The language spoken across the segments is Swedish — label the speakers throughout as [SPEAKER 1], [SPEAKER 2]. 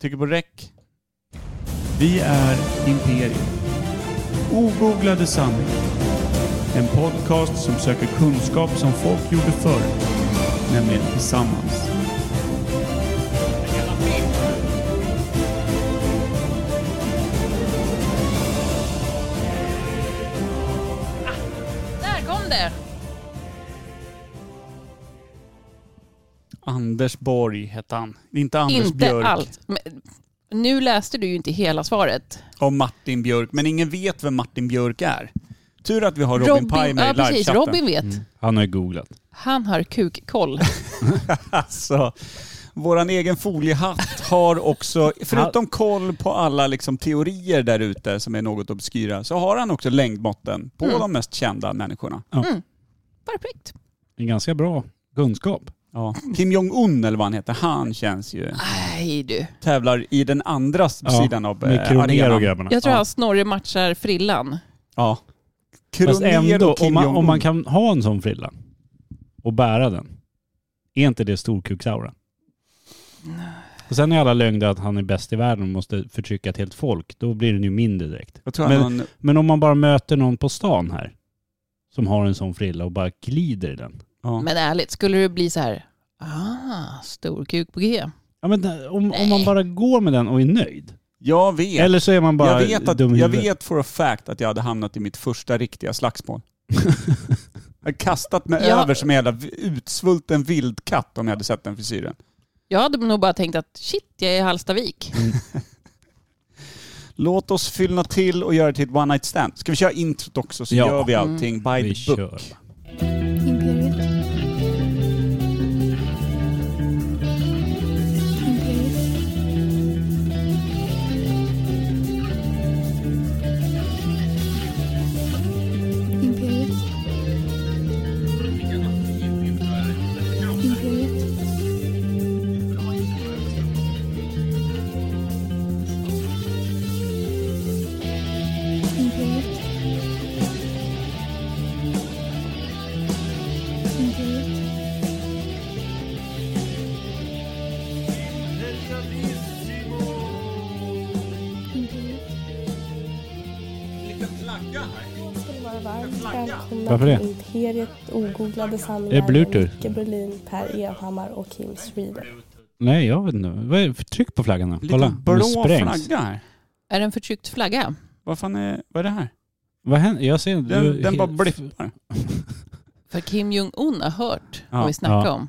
[SPEAKER 1] Trycker på räck.
[SPEAKER 2] Vi är Imperium. Ogooglade sanningar. En podcast som söker kunskap som folk gjorde förr. Nämligen tillsammans.
[SPEAKER 3] Där kom det!
[SPEAKER 2] Anders Borg hette han. Inte Anders
[SPEAKER 3] inte
[SPEAKER 2] Björk.
[SPEAKER 3] allt. Men, nu läste du ju inte hela svaret.
[SPEAKER 2] Om Martin Björk. Men ingen vet vem Martin Björk är. Tur att vi har Robin, Paj med
[SPEAKER 3] ja,
[SPEAKER 2] i
[SPEAKER 3] precis,
[SPEAKER 2] livechatten. Mm.
[SPEAKER 3] Robin vet.
[SPEAKER 1] Han har ju googlat.
[SPEAKER 3] Han har kukkoll.
[SPEAKER 2] Alltså, våran egen foliehatt har också, förutom koll på alla liksom teorier där ute som är något obskyra, så har han också längdmåtten på
[SPEAKER 1] Mm.
[SPEAKER 2] de mest kända människorna.
[SPEAKER 3] Perfekt.
[SPEAKER 1] En ganska bra kunskap.
[SPEAKER 2] Ja. Kim Jong-Un eller vad han heter, han känns ju,
[SPEAKER 3] Nej du.
[SPEAKER 2] tävlar i den andra s-
[SPEAKER 1] Ja,
[SPEAKER 2] sidan av eh,
[SPEAKER 1] Med Kronér och
[SPEAKER 2] arenan.
[SPEAKER 1] grabbarna.
[SPEAKER 3] Jag tror
[SPEAKER 2] Ja.
[SPEAKER 3] han Snorre matchar frillan.
[SPEAKER 2] Ja.
[SPEAKER 1] Fast
[SPEAKER 2] Kronér
[SPEAKER 1] ändå,
[SPEAKER 2] och
[SPEAKER 1] om
[SPEAKER 2] Kim
[SPEAKER 1] man, om man
[SPEAKER 2] Jong-Un.
[SPEAKER 1] kan ha en sån frilla och bära den, är inte det storkuksaura? Och sen är alla lögner att han är bäst i världen och måste förtrycka ett helt folk. Då blir den ju mindre direkt.
[SPEAKER 2] Jag tror han
[SPEAKER 1] Men-
[SPEAKER 2] har en
[SPEAKER 1] Men om man bara möter någon på stan här, som har en sån frilla och bara glider i den.
[SPEAKER 2] Ja.
[SPEAKER 3] Men ärligt, skulle det bli så här, ah, stor kuk på G.
[SPEAKER 1] Ja, men där- om, om man
[SPEAKER 3] Nej.
[SPEAKER 1] bara går med den och är nöjd.
[SPEAKER 2] Jag vet.
[SPEAKER 1] Eller så är man bara
[SPEAKER 2] jag, vet att,
[SPEAKER 1] dum i
[SPEAKER 2] jag
[SPEAKER 1] huvudet.
[SPEAKER 2] vet for a fact att jag hade hamnat i mitt första riktiga slagsmål. jag hade kastat mig
[SPEAKER 3] Ja.
[SPEAKER 2] över som en jävla utsvulten vildkatt om jag hade sett den frisyren.
[SPEAKER 3] Jag hade nog bara tänkt att shit, jag är i Hallstavik.
[SPEAKER 2] Mm. Låt oss fylla till och göra det till ett one night stand. Ska vi köra introt också så
[SPEAKER 1] Ja.
[SPEAKER 2] gör vi allting by
[SPEAKER 1] Vi
[SPEAKER 2] the book.
[SPEAKER 1] kör.
[SPEAKER 4] Imperiet. Imperiet. Imperiet. Imperiet. Imperiet. Imperiet. Imperiet.
[SPEAKER 5] ska ni vara varmt välkomna
[SPEAKER 1] Varför det?
[SPEAKER 5] till Imperiet Ogooglade sanningar
[SPEAKER 1] Är det Bluetooth?
[SPEAKER 5] med Micke Berlin, Per Evhammar och Kim Sweden.
[SPEAKER 1] Nej, jag vet inte. Vad är, tryck på flaggan då. Kolla.
[SPEAKER 2] Liten
[SPEAKER 1] Den
[SPEAKER 2] blå
[SPEAKER 1] sprängs.
[SPEAKER 2] flagga här.
[SPEAKER 3] är det en förtryckt flagga?
[SPEAKER 2] Vad fan är, vad är det här?
[SPEAKER 1] Vad händer? Jag ser inte.
[SPEAKER 2] Den,
[SPEAKER 1] Du-
[SPEAKER 2] den bara blippar.
[SPEAKER 3] För Kim Jong-Un har hört
[SPEAKER 2] Ja,
[SPEAKER 3] vad vi snackar
[SPEAKER 1] ja.
[SPEAKER 3] om.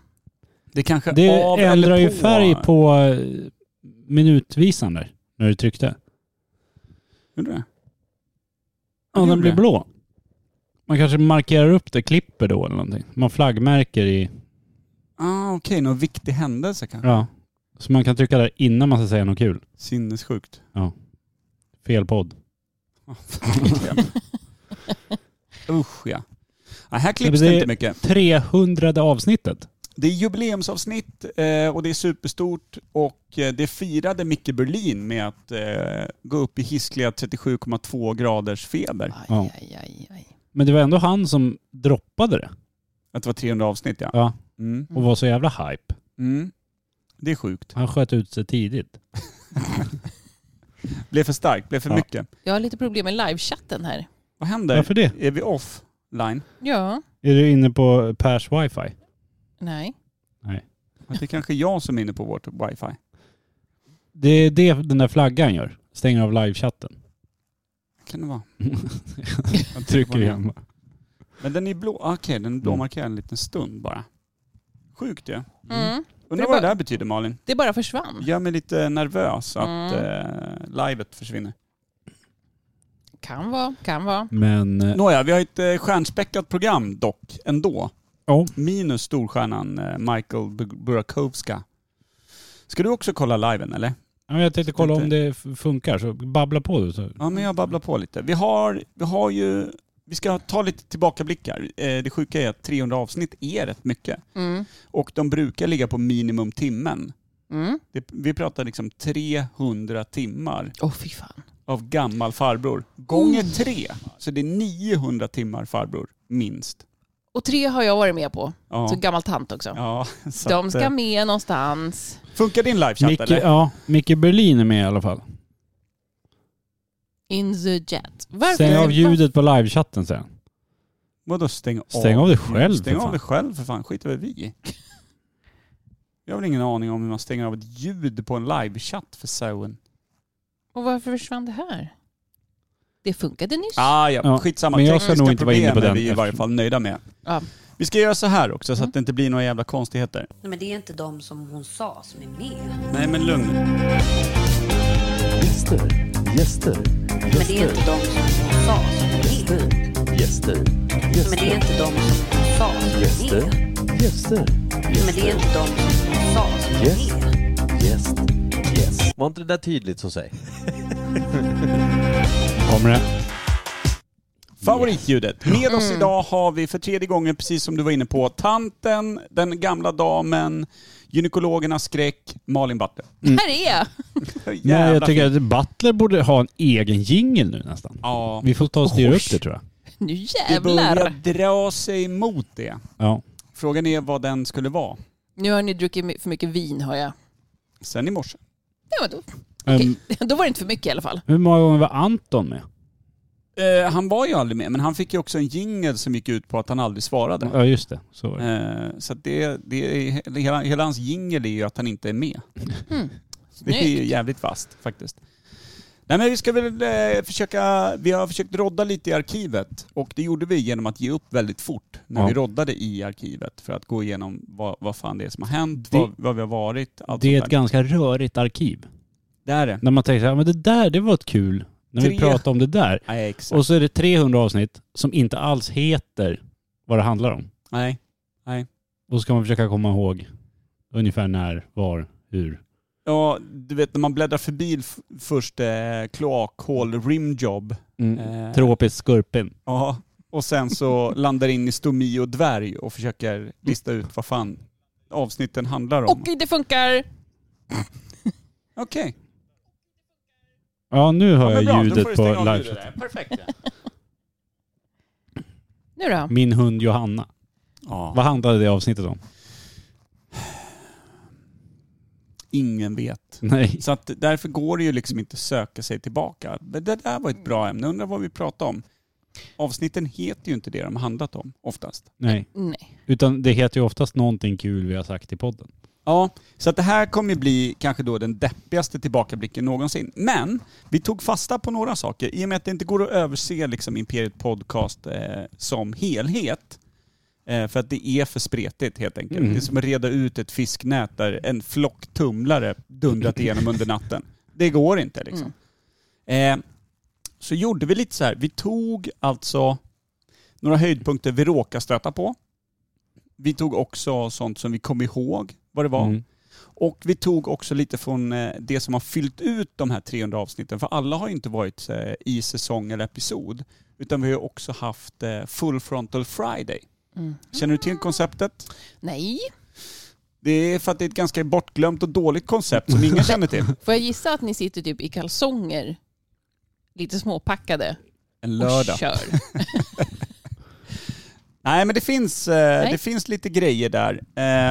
[SPEAKER 2] Det kanske
[SPEAKER 1] Det
[SPEAKER 2] av
[SPEAKER 1] ändrar
[SPEAKER 2] eller
[SPEAKER 1] ju
[SPEAKER 2] på.
[SPEAKER 1] färg på eh, minutvisan där, när du tryckte.
[SPEAKER 2] Gjorde det?
[SPEAKER 1] Ja, den blir
[SPEAKER 2] det?
[SPEAKER 1] blå. Man kanske markerar upp det, klipper då eller någonting. Man flaggmärker i...
[SPEAKER 2] Ah, Okej, någon viktig händelse kanske.
[SPEAKER 1] Ja. Så man kan trycka där innan man ska säga något kul.
[SPEAKER 2] Sinnessjukt.
[SPEAKER 1] Fel podd.
[SPEAKER 2] Ah, verkligen. Usch ja. Nej, här
[SPEAKER 1] Ja, men
[SPEAKER 2] klipps
[SPEAKER 1] det-
[SPEAKER 2] det inte mycket.
[SPEAKER 1] 300 avsnittet.
[SPEAKER 2] Det är jubileumsavsnitt eh, och det är superstort och eh, det firade Micke Berlin med att eh, gå upp i hiskliga 37,2 graders feber.
[SPEAKER 3] Aj,
[SPEAKER 1] Ja.
[SPEAKER 3] aj, aj, aj.
[SPEAKER 1] Men det var ändå han som droppade det.
[SPEAKER 2] Att det var 300 avsnitt ja.
[SPEAKER 1] Ja.
[SPEAKER 2] Mm.
[SPEAKER 1] Och var så jävla hype.
[SPEAKER 2] Mm. Det är sjukt.
[SPEAKER 1] Han sköt ut sig tidigt.
[SPEAKER 2] Blev för starkt, blev för
[SPEAKER 1] Ja.
[SPEAKER 2] mycket.
[SPEAKER 3] Jag har lite problem med livechatten här.
[SPEAKER 2] Vad händer?
[SPEAKER 1] Varför det?
[SPEAKER 2] Är vi offline?
[SPEAKER 3] Ja,
[SPEAKER 1] Är du inne på Pers wifi?
[SPEAKER 3] nej.
[SPEAKER 2] Att det är kanske är jag som är inne på vårt wifi.
[SPEAKER 1] Det är det den där flaggan gör. Stänger av livechatten.
[SPEAKER 2] Kan det vara?
[SPEAKER 1] Jag trycker igen. bara.
[SPEAKER 2] Men den är blå. ah, Okej, den
[SPEAKER 1] Mm.
[SPEAKER 2] blåmarkerar en liten stund bara. Sjukt ju.
[SPEAKER 3] Mm.
[SPEAKER 2] Undrar
[SPEAKER 3] Det
[SPEAKER 2] vad det
[SPEAKER 3] bara-
[SPEAKER 2] där betyder Malin?
[SPEAKER 3] Det bara försvann.
[SPEAKER 2] Gör mig lite nervös att
[SPEAKER 3] Mm.
[SPEAKER 2] eh, livet försvinner.
[SPEAKER 3] Kan vara, kan vara.
[SPEAKER 1] Men... eh,
[SPEAKER 2] Nåja, vi har ett eh, stjärnspäckat program dock, ändå.
[SPEAKER 1] Ja.
[SPEAKER 2] Minus storstjärnan eh, Michael Bu- Burakovska. Ska du också kolla liven eller?
[SPEAKER 1] Ja, men jag tänkte kolla om det f- funkar, så babbla på du. Så.
[SPEAKER 2] Ja, men jag babblar på lite. Vi har, vi har ju... Vi ska ta lite tillbakablickar. Eh, det sjuka är att 300 avsnitt är rätt mycket.
[SPEAKER 3] Mm.
[SPEAKER 2] Och de brukar ligga på minimum timmen.
[SPEAKER 3] Mm.
[SPEAKER 2] Det, vi pratar liksom 300 timmar
[SPEAKER 3] Åh fy fan.
[SPEAKER 2] av
[SPEAKER 3] Oh.
[SPEAKER 2] gammal farbror. Gånger tre. Så det är 900 timmar farbror, minst.
[SPEAKER 3] Och tre har jag varit med på.
[SPEAKER 2] Ja.
[SPEAKER 3] Så gammal tant också.
[SPEAKER 2] ja, så
[SPEAKER 3] De
[SPEAKER 2] att,
[SPEAKER 3] ska
[SPEAKER 2] eh,
[SPEAKER 3] med någonstans.
[SPEAKER 2] Funkar din livechatt
[SPEAKER 1] Micke,
[SPEAKER 2] eller?
[SPEAKER 1] ja, Micke Berlin är med i alla fall.
[SPEAKER 3] In the jet. Varför?
[SPEAKER 1] Stäng av ljudet på livechatten sen.
[SPEAKER 2] Vadå stäng av?
[SPEAKER 1] Stäng av dig själv,
[SPEAKER 2] Stäng
[SPEAKER 1] för
[SPEAKER 2] av
[SPEAKER 1] fan.
[SPEAKER 2] dig själv för fan, skit väl vi i. Jag har väl ingen aning om hur man stänger av ett ljud på en livechatt för Sowen.
[SPEAKER 3] Och varför försvann det här? Det funkade nyss.
[SPEAKER 2] Ah, ja,
[SPEAKER 1] Ja,
[SPEAKER 2] skitsamma.
[SPEAKER 1] men jag ska
[SPEAKER 2] Tekniska
[SPEAKER 1] nog inte vara inne på
[SPEAKER 2] problem är
[SPEAKER 1] den
[SPEAKER 2] vi i varje fall nöjda med.
[SPEAKER 3] Ja.
[SPEAKER 2] Vi ska göra så här också så
[SPEAKER 3] Mm.
[SPEAKER 2] att det inte blir några jävla konstigheter.
[SPEAKER 6] Nej, men det är inte de som hon sa som är med.
[SPEAKER 2] Nej men lugn nu.
[SPEAKER 7] Gäster, gäster,
[SPEAKER 6] Men det är
[SPEAKER 7] gäster,
[SPEAKER 6] inte de som hon sa som är med.
[SPEAKER 7] gäster,
[SPEAKER 6] Men det är
[SPEAKER 7] gäster,
[SPEAKER 6] inte de som hon sa som är
[SPEAKER 7] gäster,
[SPEAKER 6] med.
[SPEAKER 7] gäster,
[SPEAKER 6] Men det är inte de som hon sa som är med.
[SPEAKER 7] gäst, gäst. Var inte det där tydligt så säg?
[SPEAKER 1] Kommer det?
[SPEAKER 2] Favoritljudet. Med
[SPEAKER 1] Mm.
[SPEAKER 2] oss idag har vi för tredje gången, precis som du var inne på, tanten, den gamla damen, gynekologernas skräck, Malin Butler.
[SPEAKER 3] Här är jag.
[SPEAKER 1] Nej, jag
[SPEAKER 2] Jävla
[SPEAKER 1] tycker att Butler borde ha en egen jingel nu nästan.
[SPEAKER 2] Ja.
[SPEAKER 1] Vi får ta och styra upp det tror jag.
[SPEAKER 3] Nu
[SPEAKER 2] Det börjar
[SPEAKER 3] jävlar.
[SPEAKER 2] dra sig emot det.
[SPEAKER 1] Ja.
[SPEAKER 2] Frågan är vad den skulle vara.
[SPEAKER 3] Nu har ni druckit my- för mycket vin hör jag.
[SPEAKER 2] Sen i morse.
[SPEAKER 3] Ja, men då,
[SPEAKER 1] Ehm,
[SPEAKER 3] då var det inte för mycket i alla fall.
[SPEAKER 1] hur många gånger var Anton med?
[SPEAKER 2] Eh, han var ju aldrig med, men han fick ju också en jingel som gick ut på att han aldrig svarade.
[SPEAKER 1] Ja just det, så var det.
[SPEAKER 2] Eh, så att det, det är, hela, hela hans jingel är ju att han inte är med.
[SPEAKER 3] Mm.
[SPEAKER 2] Det är ju jävligt fast faktiskt. Nej men vi ska väl eh, försöka, vi har försökt rodda lite i arkivet och det gjorde vi genom att ge upp väldigt fort när
[SPEAKER 1] Ja.
[SPEAKER 2] vi roddade i arkivet för att gå igenom vad, vad fan det är som har hänt,
[SPEAKER 1] Det-
[SPEAKER 2] vad, vad vi har varit, allt
[SPEAKER 1] Det är ett
[SPEAKER 2] sånt där.
[SPEAKER 1] ganska rörigt arkiv.
[SPEAKER 2] Det är det.
[SPEAKER 1] När man tänker så här, men det där det var ett kul, när vi
[SPEAKER 2] Tre.
[SPEAKER 1] pratade om det där.
[SPEAKER 2] Nej exakt.
[SPEAKER 1] Och så är det 300 avsnitt som inte alls heter vad det handlar om.
[SPEAKER 2] Nej.
[SPEAKER 1] Och så ska man försöka komma ihåg ungefär när, var, hur.
[SPEAKER 2] Ja, du vet när man bläddrar förbi f- först eh, kloakhål, rimjob. Eh,
[SPEAKER 1] Tropiskt skurpin.
[SPEAKER 2] Ja. Och sen så landar in i stomi och dvärg och försöker lista ut vad fan avsnitten handlar om.
[SPEAKER 3] Och det funkar.
[SPEAKER 2] Okej.
[SPEAKER 1] Ja nu hör
[SPEAKER 2] Ja, men bra,
[SPEAKER 1] jag
[SPEAKER 2] då
[SPEAKER 1] ljudet
[SPEAKER 2] får du
[SPEAKER 1] på
[SPEAKER 2] stänga av ljudet
[SPEAKER 1] livechatten.
[SPEAKER 2] där. Perfekt.
[SPEAKER 3] Nu då?
[SPEAKER 1] Min hund Johanna.
[SPEAKER 2] Ja.
[SPEAKER 1] Vad handlade det avsnittet om?
[SPEAKER 2] Ingen vet.
[SPEAKER 1] Nej.
[SPEAKER 2] Så att därför går det ju liksom inte söka sig tillbaka. Men det där var ett bra ämne. Undrar vad vi pratade om. Avsnitten heter ju inte det de handlat om oftast.
[SPEAKER 1] Nej.
[SPEAKER 3] Nej.
[SPEAKER 1] Utan det heter ju oftast någonting kul vi har sagt i podden.
[SPEAKER 2] Ja, så att det här kommer ju bli kanske då den deppigaste tillbakablicken någonsin. Men vi tog fasta på några saker. I och med att det inte går att överse liksom Imperiet Podcast eh, som helhet. Eh, för att det är för spretigt helt enkelt.
[SPEAKER 1] Mm.
[SPEAKER 2] Det är som att reda ut ett fisknät där en flock tumlare dundrat igenom under natten. Det går inte liksom. Eh, så gjorde vi lite så här. Vi tog alltså några höjdpunkter vi råkar stöta på. Vi tog också sånt som vi kom ihåg vad det var.
[SPEAKER 1] Mm.
[SPEAKER 2] Och vi tog också lite från eh, det som har fyllt ut de här 300 avsnitten. För alla har ju inte varit eh, i säsong eller episod. Utan vi har ju också haft eh, Full Frontal Friday.
[SPEAKER 3] Mm.
[SPEAKER 2] Känner du till konceptet?
[SPEAKER 3] Nej.
[SPEAKER 2] Det är för att det är ett ganska bortglömt och dåligt koncept som ingen känner till.
[SPEAKER 3] Får jag gissa att ni sitter typ i kalsonger? Lite småpackade.
[SPEAKER 2] En
[SPEAKER 3] Och kör.
[SPEAKER 2] Oh, Nej men det finns, eh,
[SPEAKER 3] Nej.
[SPEAKER 2] Det finns lite grejer där.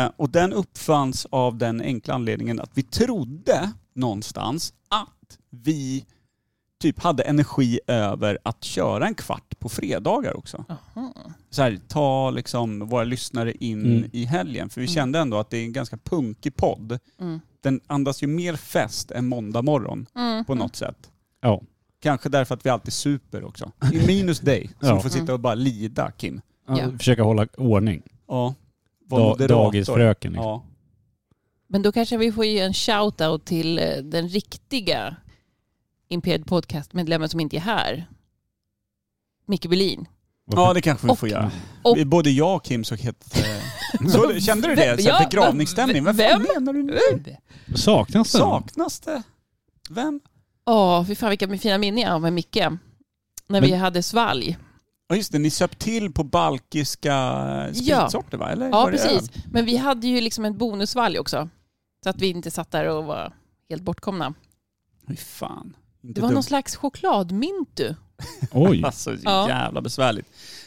[SPEAKER 2] Eh, och den uppfanns av den enkla anledningen att vi trodde någonstans att vi typ hade energi över att köra en kvart på fredagar också.
[SPEAKER 3] Aha.
[SPEAKER 2] Så här, ta liksom våra lyssnare in
[SPEAKER 1] Mm.
[SPEAKER 2] i helgen. För vi
[SPEAKER 3] Mm.
[SPEAKER 2] kände ändå att det är en ganska punkig podd.
[SPEAKER 3] Mm.
[SPEAKER 2] Den andas ju mer fest än måndag morgon
[SPEAKER 3] Mm.
[SPEAKER 2] på något sätt.
[SPEAKER 1] Ja.
[SPEAKER 2] Kanske därför att vi alltid super också. I minus dig som
[SPEAKER 1] Ja.
[SPEAKER 2] får
[SPEAKER 3] Mm.
[SPEAKER 2] sitta och bara lida Kim.
[SPEAKER 3] Ja.
[SPEAKER 1] Försöka hålla ordning.
[SPEAKER 2] Ja. Var
[SPEAKER 1] Da-
[SPEAKER 2] moderator.
[SPEAKER 1] dagisfröken. Liksom.
[SPEAKER 2] Ja.
[SPEAKER 3] Men då kanske vi får ge en shout-out till eh, den riktiga Imperied Podcast-medlemmen som inte är här. Micke Berlin.
[SPEAKER 2] ja, det kanske vi
[SPEAKER 3] Och-
[SPEAKER 2] får göra.
[SPEAKER 3] och-
[SPEAKER 2] Vi- Både jag och Kim såg helt... eh, Så, kände du det? Så
[SPEAKER 3] Ja,
[SPEAKER 2] här begravningsstämning? Vad fan menar du nu?
[SPEAKER 1] Saknas det? någon?
[SPEAKER 2] Saknas det? Vem?
[SPEAKER 3] Åh, fy fan vilka fina minnen jag har med Micke. När vi hade svalg.
[SPEAKER 2] Ja just det, ni söp till på balkiska spritsorter va? Eller
[SPEAKER 3] Ja,
[SPEAKER 2] var det öl?
[SPEAKER 3] precis. Men vi hade ju liksom en bonusvalg också. Så att vi inte satt där och var helt bortkomna.
[SPEAKER 2] Fy fan. Inte
[SPEAKER 3] Det var
[SPEAKER 2] dumt.
[SPEAKER 3] någon slags chokladmintu.
[SPEAKER 1] Oj.
[SPEAKER 2] Alltså
[SPEAKER 3] Ja.
[SPEAKER 2] jävla besvärligt.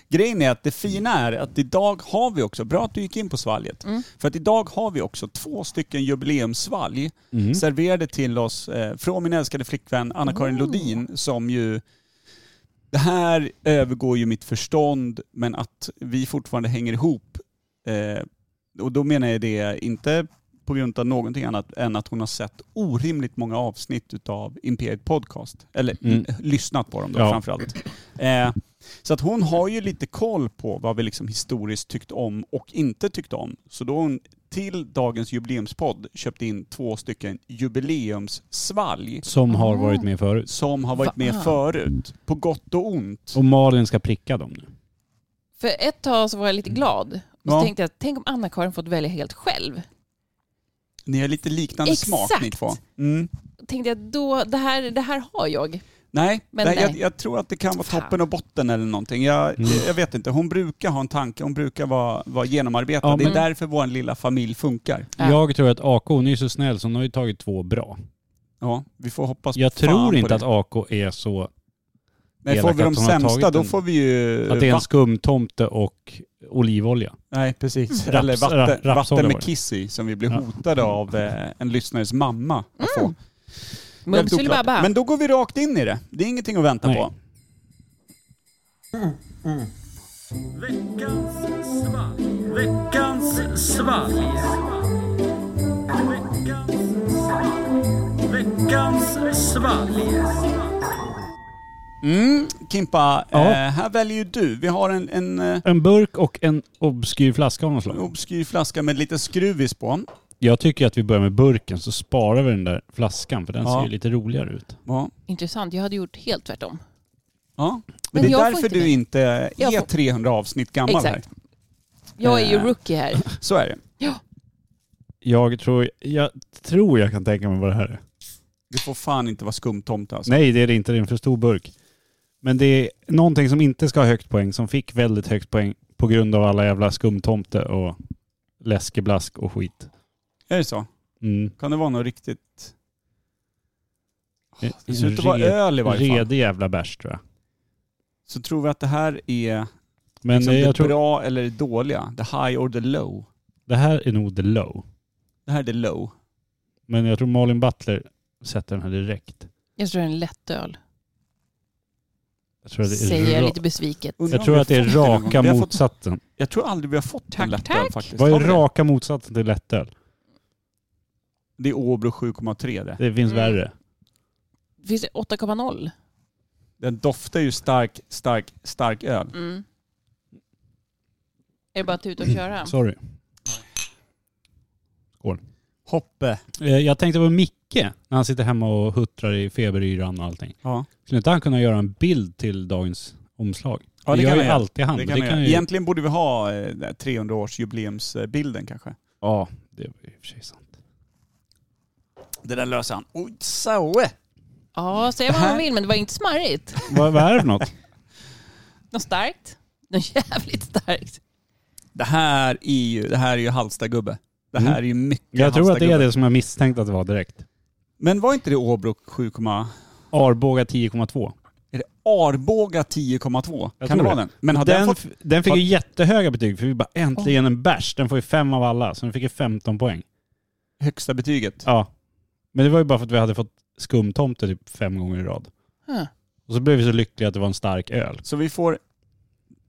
[SPEAKER 2] Grejen är att det fina är att idag har vi också, bra att du gick in på svalget,
[SPEAKER 3] Mm.
[SPEAKER 2] för att idag har vi också två stycken jubileumssvalg
[SPEAKER 1] Mm.
[SPEAKER 2] serverade till oss eh, från min älskade flickvän Anna-Karin Lodin som ju det här övergår ju mitt förstånd, men att vi fortfarande hänger ihop. Eh, och då menar jag det inte på grund av någonting annat än att hon har sett orimligt många avsnitt utav Imperiet Podcast. Eller
[SPEAKER 1] Mm.
[SPEAKER 2] l- lyssnat på dem då
[SPEAKER 1] Ja.
[SPEAKER 2] framförallt. Eh, så att hon har ju lite koll på vad vi liksom historiskt tyckt om och inte tyckt om. Så då har hon till dagens jubileumspodd köpt in två stycken jubileumssvalg
[SPEAKER 1] Som har varit med förut.
[SPEAKER 2] som har varit med
[SPEAKER 3] Va? Ah.
[SPEAKER 2] förut. På gott och ont.
[SPEAKER 1] Och Malin ska pricka dem nu.
[SPEAKER 3] För ett tag så var jag lite glad. Och så
[SPEAKER 2] Mm. Ja.
[SPEAKER 3] tänkte jag, tänk om Anna-Karin fått välja helt själv.
[SPEAKER 2] Ni har lite liknande
[SPEAKER 3] Exakt.
[SPEAKER 2] smak ni två. Mm.
[SPEAKER 3] Tänkte jag, då, det, här, det här har jag.
[SPEAKER 2] Nej,
[SPEAKER 3] Men
[SPEAKER 2] nej, Jag,
[SPEAKER 3] nej.
[SPEAKER 2] jag tror att det kan vara
[SPEAKER 3] Fan.
[SPEAKER 2] toppen och botten eller någonting. Jag,
[SPEAKER 1] Mm.
[SPEAKER 2] jag vet inte. Hon brukar ha en tanke, hon brukar vara, vara genomarbetad.
[SPEAKER 1] Ja,
[SPEAKER 2] det är
[SPEAKER 1] men-
[SPEAKER 2] därför vår lilla familj funkar.
[SPEAKER 3] Ja.
[SPEAKER 1] Jag tror att AK, hon är ju så snäll så hon har ju tagit två bra.
[SPEAKER 2] Ja, vi får hoppas
[SPEAKER 1] Jag
[SPEAKER 2] fan
[SPEAKER 1] tror
[SPEAKER 2] på
[SPEAKER 1] inte
[SPEAKER 2] det.
[SPEAKER 1] att AK är så...
[SPEAKER 2] Nej, får
[SPEAKER 1] elak
[SPEAKER 2] vi
[SPEAKER 1] att
[SPEAKER 2] de
[SPEAKER 1] hon har
[SPEAKER 2] sämsta
[SPEAKER 1] tagit
[SPEAKER 2] då
[SPEAKER 1] en-
[SPEAKER 2] får vi ju...
[SPEAKER 1] Att det är en
[SPEAKER 2] vatt-
[SPEAKER 1] skumtomte och olivolja.
[SPEAKER 2] Nej, precis.
[SPEAKER 1] Mm.
[SPEAKER 2] Eller
[SPEAKER 1] Raps- ra-
[SPEAKER 2] vatten,
[SPEAKER 1] rapsolja
[SPEAKER 2] vatten
[SPEAKER 1] var
[SPEAKER 2] med
[SPEAKER 1] det.
[SPEAKER 2] kiss i som vi blev
[SPEAKER 1] Ja.
[SPEAKER 2] hotade av eh, en lyssnares mamma att få. Väldigt
[SPEAKER 3] Mums
[SPEAKER 2] oklart.
[SPEAKER 3] Baba.
[SPEAKER 2] Men då går vi rakt in i det. Det är ingenting att vänta
[SPEAKER 1] Nej.
[SPEAKER 2] på. Mm, Kimpa,
[SPEAKER 1] Ja.
[SPEAKER 2] eh, här väljer ju du. Vi har en, en eh,
[SPEAKER 1] En burk och en obskyr flaska av något slag.
[SPEAKER 2] obskyr flaska med lite skruvis på.
[SPEAKER 1] Jag tycker att vi börjar med burken så sparar vi den där flaskan för den
[SPEAKER 2] Ja.
[SPEAKER 1] ser ju lite roligare ut.
[SPEAKER 2] Ja.
[SPEAKER 3] Intressant, jag hade gjort helt tvärtom.
[SPEAKER 2] Ja. Men,
[SPEAKER 3] Men
[SPEAKER 2] det
[SPEAKER 3] jag
[SPEAKER 2] är
[SPEAKER 3] får
[SPEAKER 2] därför
[SPEAKER 3] inte
[SPEAKER 2] du
[SPEAKER 3] det.
[SPEAKER 2] inte
[SPEAKER 3] Jag
[SPEAKER 2] är
[SPEAKER 3] får-
[SPEAKER 2] 300 avsnitt gammal
[SPEAKER 3] Exakt. Jag är ju
[SPEAKER 2] Eh.
[SPEAKER 3] rookie här.
[SPEAKER 2] här. Så är det.
[SPEAKER 1] Jag tror jag, tror jag kan tänka mig vad det här är.
[SPEAKER 2] Du får fan inte vara skumtomte alltså.
[SPEAKER 1] Nej det är det inte, det är en för stor burk. Men det är någonting som inte ska ha högt poäng, som fick väldigt högt poäng på grund av alla jävla skumtomte och läskeblask och skit.
[SPEAKER 2] Är det så?
[SPEAKER 1] Mm.
[SPEAKER 2] Kan det vara något riktigt...
[SPEAKER 1] En,
[SPEAKER 2] Alltså, Det ser ut att vara
[SPEAKER 1] red-
[SPEAKER 2] öl i varje fall.
[SPEAKER 1] redig jävla bärs tror jag.
[SPEAKER 2] Så tror vi att det här är
[SPEAKER 1] Men
[SPEAKER 2] liksom
[SPEAKER 1] eh,
[SPEAKER 2] det
[SPEAKER 1] jag tror
[SPEAKER 2] bra eller det dåliga. The high or the low.
[SPEAKER 1] det här är nog the low.
[SPEAKER 2] Det här är the low.
[SPEAKER 1] Men jag tror Malin Butler sätter den här direkt.
[SPEAKER 3] Jag tror det är en lättöl.
[SPEAKER 1] Jag tror att det är,
[SPEAKER 3] Säger jag
[SPEAKER 1] ra-
[SPEAKER 3] lite besviken.
[SPEAKER 2] Undrar
[SPEAKER 1] jag
[SPEAKER 2] om
[SPEAKER 1] tror
[SPEAKER 2] vi
[SPEAKER 1] att det är
[SPEAKER 2] har fått någon gång.
[SPEAKER 1] raka
[SPEAKER 2] Vi har fått-
[SPEAKER 1] motsatsen.
[SPEAKER 2] Jag tror aldrig vi har fått en
[SPEAKER 3] Tack,
[SPEAKER 2] lättöl
[SPEAKER 3] tack.
[SPEAKER 2] faktiskt.
[SPEAKER 1] Vad
[SPEAKER 2] Har
[SPEAKER 1] är
[SPEAKER 2] vi det?
[SPEAKER 1] raka motsatsen till lättöl?
[SPEAKER 2] Det är Åbro 7,3 det.
[SPEAKER 1] Det finns
[SPEAKER 3] Mm.
[SPEAKER 1] värre.
[SPEAKER 3] Finns det 8,0?
[SPEAKER 2] Den doftar ju stark, stark, stark öl.
[SPEAKER 3] Mm. Är det bara att tuta och köra?
[SPEAKER 1] Sorry.
[SPEAKER 2] Hoppe.
[SPEAKER 1] Eh, Jag tänkte på Micke när han sitter hemma och huttrar i feberyran och allting.
[SPEAKER 2] Ja.
[SPEAKER 1] Skulle inte han kunna göra en bild till dagens omslag?
[SPEAKER 2] Ja,
[SPEAKER 1] det,
[SPEAKER 2] det
[SPEAKER 1] gör
[SPEAKER 2] kan
[SPEAKER 1] ju
[SPEAKER 2] han göra.
[SPEAKER 1] alltid han.
[SPEAKER 2] Det kan man göra. Egentligen borde vi ha eh, 300-årsjubileumsbilden kanske.
[SPEAKER 1] Ja, det var ju i och för sig sant.
[SPEAKER 2] Det där löser han. Oj, så.
[SPEAKER 3] Ja, säga vad
[SPEAKER 2] Det här-
[SPEAKER 3] man vill men det var inte smarrigt.
[SPEAKER 1] Vad, vad är det för något?
[SPEAKER 3] Något starkt? Något jävligt starkt.
[SPEAKER 2] Det här är ju, det här är ju Halstagubbe. Det här
[SPEAKER 1] Mm.
[SPEAKER 2] är ju mycket
[SPEAKER 1] Jag tror att det är
[SPEAKER 2] Halstagubbe.
[SPEAKER 1] det som jag misstänkte att det var direkt.
[SPEAKER 2] Men var inte det Åbro 7,
[SPEAKER 1] Arboga 10,2.
[SPEAKER 2] är det Arboga 10,2?
[SPEAKER 1] Jag
[SPEAKER 2] Kan det
[SPEAKER 1] tror
[SPEAKER 2] vara
[SPEAKER 1] det.
[SPEAKER 2] den? Men har den,
[SPEAKER 1] Den,
[SPEAKER 2] fått...
[SPEAKER 1] f- den fick ju jättehöga betyg för vi bara äntligen en bärs. Den får ju fem av alla så den fick ju 15 poäng.
[SPEAKER 2] högsta betyget?
[SPEAKER 1] Ja. Men det var ju bara för att vi hade fått skumtomte typ fem gånger i rad.
[SPEAKER 3] Huh.
[SPEAKER 1] Och så blev vi så lyckliga att det var en stark öl.
[SPEAKER 2] Så vi får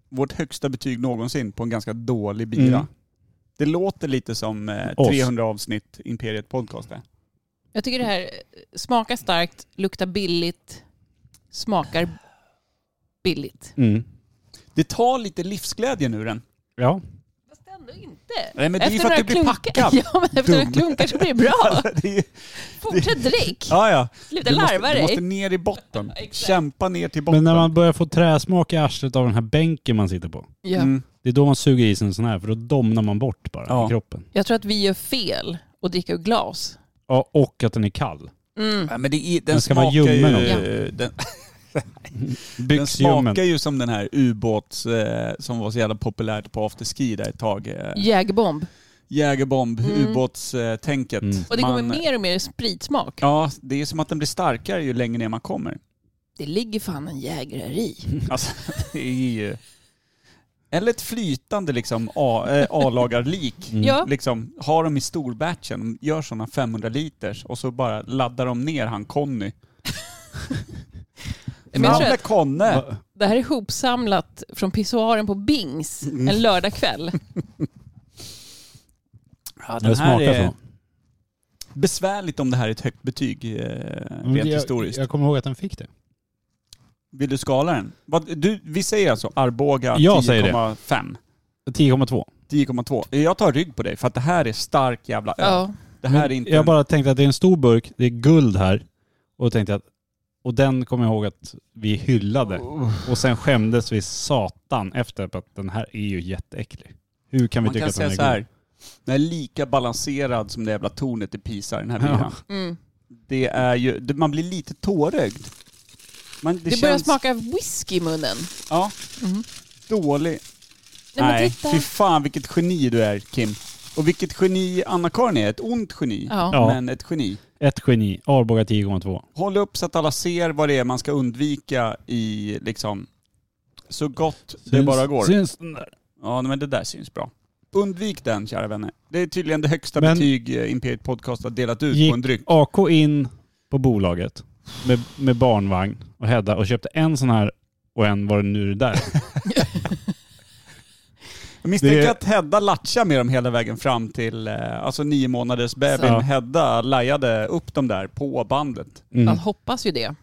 [SPEAKER 2] vårt högsta betyg någonsin på en ganska dålig bira.
[SPEAKER 1] Mm.
[SPEAKER 2] Det låter lite som eh,
[SPEAKER 1] Oss.
[SPEAKER 2] 300 avsnitt Imperiet Podcast. där.
[SPEAKER 3] Jag tycker det här eh, smakar starkt, luktar billigt, smakar billigt.
[SPEAKER 1] Mm.
[SPEAKER 2] Det tar lite livsglädje nu den.
[SPEAKER 1] Ja.
[SPEAKER 3] Fast ändå inte.
[SPEAKER 2] Nej, men det är ju för att
[SPEAKER 3] några
[SPEAKER 2] du blir
[SPEAKER 3] klunkar-
[SPEAKER 2] packad.
[SPEAKER 3] Ja, men efter några
[SPEAKER 2] Dum.
[SPEAKER 3] klunkar så blir det bra.
[SPEAKER 2] Det är-
[SPEAKER 3] Fortsätt drick.
[SPEAKER 2] ja, ja.
[SPEAKER 3] Sluta
[SPEAKER 2] Du måste,
[SPEAKER 3] larva
[SPEAKER 2] du måste
[SPEAKER 3] dig.
[SPEAKER 2] ner i botten.
[SPEAKER 3] Exakt.
[SPEAKER 2] Kämpa ner till botten.
[SPEAKER 1] Men när man börjar få träsmak i arslet av den här bänken man sitter på.
[SPEAKER 3] Ja.
[SPEAKER 2] Mm.
[SPEAKER 1] Det är då man suger i sig en sån här för då domnar man bort bara
[SPEAKER 2] Ja.
[SPEAKER 1] i kroppen.
[SPEAKER 3] Jag tror att vi gör fel och dricker ur glas.
[SPEAKER 1] Ja, och att den är kall.
[SPEAKER 3] Mm.
[SPEAKER 2] Ja, men det är, den,
[SPEAKER 1] Den ska vara
[SPEAKER 2] smakar
[SPEAKER 1] ljummen
[SPEAKER 2] ju,
[SPEAKER 1] också.
[SPEAKER 2] den, den
[SPEAKER 1] Byxljummen.
[SPEAKER 2] smakar ju som den här ubåts eh, som var så jävla populärt på afterski där ett tag. Eh,
[SPEAKER 3] Jägerbomb.
[SPEAKER 2] jägerbomb,
[SPEAKER 3] Mm.
[SPEAKER 2] ubåtstänket.
[SPEAKER 1] Mm.
[SPEAKER 3] Och det kommer
[SPEAKER 2] Man-
[SPEAKER 3] mer och mer spritsmak.
[SPEAKER 2] Ja, det är som att den blir starkare ju längre ner man kommer.
[SPEAKER 3] Det ligger fan en jägare i.
[SPEAKER 1] Mm.
[SPEAKER 2] Alltså, det är ju... Eller ett flytande liksom A- eh, A-lagarlik.
[SPEAKER 1] Mm.
[SPEAKER 3] Ja,
[SPEAKER 2] Liksom, har dem i storbatchen, de gör sådana 500 liters och så bara laddar de ner han Conny. Fram
[SPEAKER 3] men jag tror
[SPEAKER 2] med
[SPEAKER 3] att
[SPEAKER 2] Conny!
[SPEAKER 1] Va-
[SPEAKER 3] det här är hopsamlat från pissoaren på Bings
[SPEAKER 2] Mm.
[SPEAKER 3] en lördagkväll.
[SPEAKER 2] Ja,
[SPEAKER 1] Det smakar så.
[SPEAKER 2] besvärligt om det här är ett högt betyg eh,
[SPEAKER 1] Men
[SPEAKER 2] rent
[SPEAKER 1] det- jag,
[SPEAKER 2] historiskt.
[SPEAKER 1] jag kommer ihåg att den fick det.
[SPEAKER 2] Vill du skala den? Vad, du, vi säger alltså Arboga
[SPEAKER 1] Jag säger det.
[SPEAKER 2] 10,5.
[SPEAKER 1] 10,2.
[SPEAKER 2] 10,2. Jag tar rygg på dig för att det här är stark jävla öl.
[SPEAKER 3] Ja.
[SPEAKER 2] Det här
[SPEAKER 1] Men
[SPEAKER 2] är inte...
[SPEAKER 1] jag
[SPEAKER 2] en-
[SPEAKER 1] bara tänkte att det är en stor burk, det är guld här. Och tänkte att, och den kommer jag ihåg att vi hyllade. Och sen skämdes vi satan efter på att den här är ju jätteäcklig. Hur kan vi
[SPEAKER 2] Man
[SPEAKER 1] tycka
[SPEAKER 2] kan
[SPEAKER 1] att den
[SPEAKER 2] säga
[SPEAKER 1] är
[SPEAKER 2] så
[SPEAKER 1] god?
[SPEAKER 2] här. Den är lika balanserad som det jävla tornet i Pisa, den här
[SPEAKER 1] Ja.
[SPEAKER 2] bilen.
[SPEAKER 3] Mm.
[SPEAKER 2] Det är ju... det- Man blir lite tårögd. Man, det
[SPEAKER 3] Det,
[SPEAKER 2] känns...
[SPEAKER 3] börjar smaka whisky i munnen.
[SPEAKER 2] Ja.
[SPEAKER 3] Mm.
[SPEAKER 2] Dålig.
[SPEAKER 3] Nej, men
[SPEAKER 2] Nej,
[SPEAKER 3] titta.
[SPEAKER 2] fy fan vilket geni du är Kim. Och vilket geni Anna-Karin är. Ett ont geni.
[SPEAKER 3] Ja.
[SPEAKER 1] Ja.
[SPEAKER 2] Men ett geni.
[SPEAKER 1] Ett geni, Arboga 10,2.
[SPEAKER 2] Håll upp så att alla ser vad det är man ska undvika i liksom så gott det
[SPEAKER 1] Syns-
[SPEAKER 2] bara går.
[SPEAKER 1] Syns den där?
[SPEAKER 2] Ja, men det där syns bra. Undvik den, kära vänner. Det är tydligen det högsta
[SPEAKER 1] Men-
[SPEAKER 2] betyg eh, Imperiet Podcast har delat ut
[SPEAKER 1] Gick-
[SPEAKER 2] på en dryck.
[SPEAKER 1] AK in på bolaget med, med barnvagn och Hedda och köpte en sån här och en var det nu det där.
[SPEAKER 2] Jag misstänker
[SPEAKER 1] det-
[SPEAKER 2] att Hedda latchade med dem hela vägen fram till, eh, alltså nio månaders bebin.
[SPEAKER 1] Så.
[SPEAKER 2] Hedda lajade upp dem där på bandet.
[SPEAKER 3] Jag
[SPEAKER 1] Mm.
[SPEAKER 3] hoppas ju det.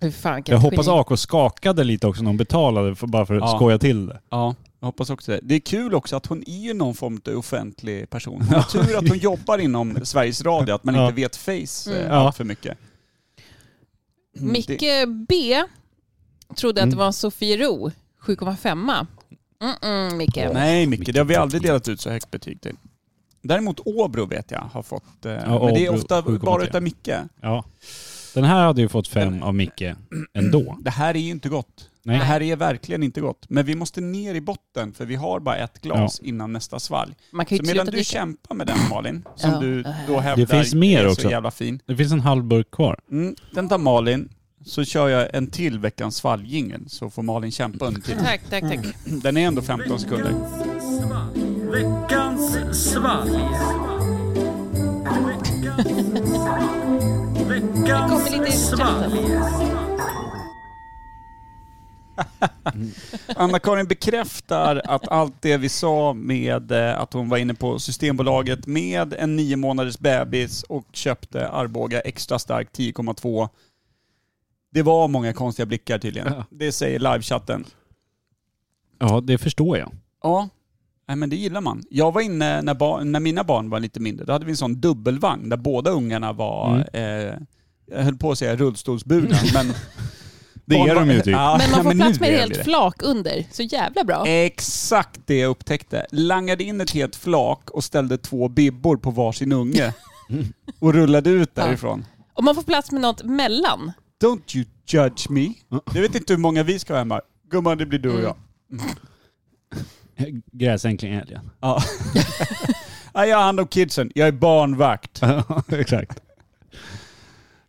[SPEAKER 3] Fy Fan, vilket
[SPEAKER 1] Jag hoppas
[SPEAKER 3] geni.
[SPEAKER 1] AK skakade lite också när hon betalade för, bara för att
[SPEAKER 2] Ja.
[SPEAKER 1] skoja till det.
[SPEAKER 2] Ja, jag hoppas också det. Det är kul också att hon är ju någon form av offentlig person. Hon har tur att hon jobbar inom Sveriges Radio, att man
[SPEAKER 1] Ja.
[SPEAKER 2] inte vet face eh,
[SPEAKER 3] Mm.
[SPEAKER 1] Ja.
[SPEAKER 2] allt för mycket. Mm, det-
[SPEAKER 3] Micke B trodde att
[SPEAKER 1] Mm.
[SPEAKER 3] det var en Sofiero 7,5. Mm-mm, Micke.
[SPEAKER 2] Nej Micke, det har vi aldrig delat ut så högt betyg till. Däremot Åbro vet jag har fått, eh, men det är
[SPEAKER 1] Åbro,
[SPEAKER 2] ofta
[SPEAKER 1] 7,3.
[SPEAKER 2] bara utav Micke.
[SPEAKER 1] Ja. Den här hade ju fått fem av Micke ändå.
[SPEAKER 2] Det här är ju inte gott.
[SPEAKER 1] Nej.
[SPEAKER 2] Det här är verkligen inte gott. Men vi måste ner i botten för vi har bara ett glas innan nästa svalg.
[SPEAKER 3] Man kan ju
[SPEAKER 2] Så
[SPEAKER 3] inte
[SPEAKER 2] medan
[SPEAKER 3] sluta
[SPEAKER 2] du
[SPEAKER 3] dricka.
[SPEAKER 2] kämpar med den Malin, som
[SPEAKER 3] Ja.
[SPEAKER 2] du då hävdar
[SPEAKER 1] finns mer
[SPEAKER 2] är så
[SPEAKER 1] också.
[SPEAKER 2] jävla fin.
[SPEAKER 1] Det finns en halv burk kvar.
[SPEAKER 2] Mm, den tar Malin, så kör jag en till veckans svalgjingel så får Malin kämpa under tiden.
[SPEAKER 3] Tack, tack, tack.
[SPEAKER 2] Den är ändå 15 sekunder.
[SPEAKER 3] Det kommer lite i chatten.
[SPEAKER 2] Anna-Karin bekräftar att allt det vi sa med eh, att hon var inne på Systembolaget med en nio månaders bebis och köpte Arboga extra stark 10,2. Det var många konstiga blickar tydligen.
[SPEAKER 1] Ja.
[SPEAKER 2] Det säger livechatten.
[SPEAKER 1] Ja, det förstår jag.
[SPEAKER 2] Ja, Nej, men det gillar man. Jag var inne när, ba- när mina barn var lite mindre. Då hade vi en sån dubbelvagn där båda ungarna
[SPEAKER 1] Mm.
[SPEAKER 2] var, eh, jag höll på att säga rullstolsburna, men...
[SPEAKER 1] Det är de ju typ.
[SPEAKER 2] Ja,
[SPEAKER 3] Men man får
[SPEAKER 2] nu
[SPEAKER 3] plats med
[SPEAKER 2] är
[SPEAKER 3] ett
[SPEAKER 2] de
[SPEAKER 3] helt
[SPEAKER 2] det. Eh.
[SPEAKER 3] flak under. Så jävla bra.
[SPEAKER 2] Exakt det jag upptäckte. Langade in ett helt flak och ställde två bibbor på varsin unge. och rullade ut därifrån.
[SPEAKER 3] Och man får plats med något mellan.
[SPEAKER 2] Don't you judge me.
[SPEAKER 1] Mm.
[SPEAKER 2] Du vet inte hur många vi ska ha hemma. Gumman, det blir du
[SPEAKER 3] Mm.
[SPEAKER 2] och jag.
[SPEAKER 1] Gräsänkling Alien.
[SPEAKER 2] Ja. Nej, jag har hand om kidsen. Jag är barnvakt.
[SPEAKER 1] Exakt.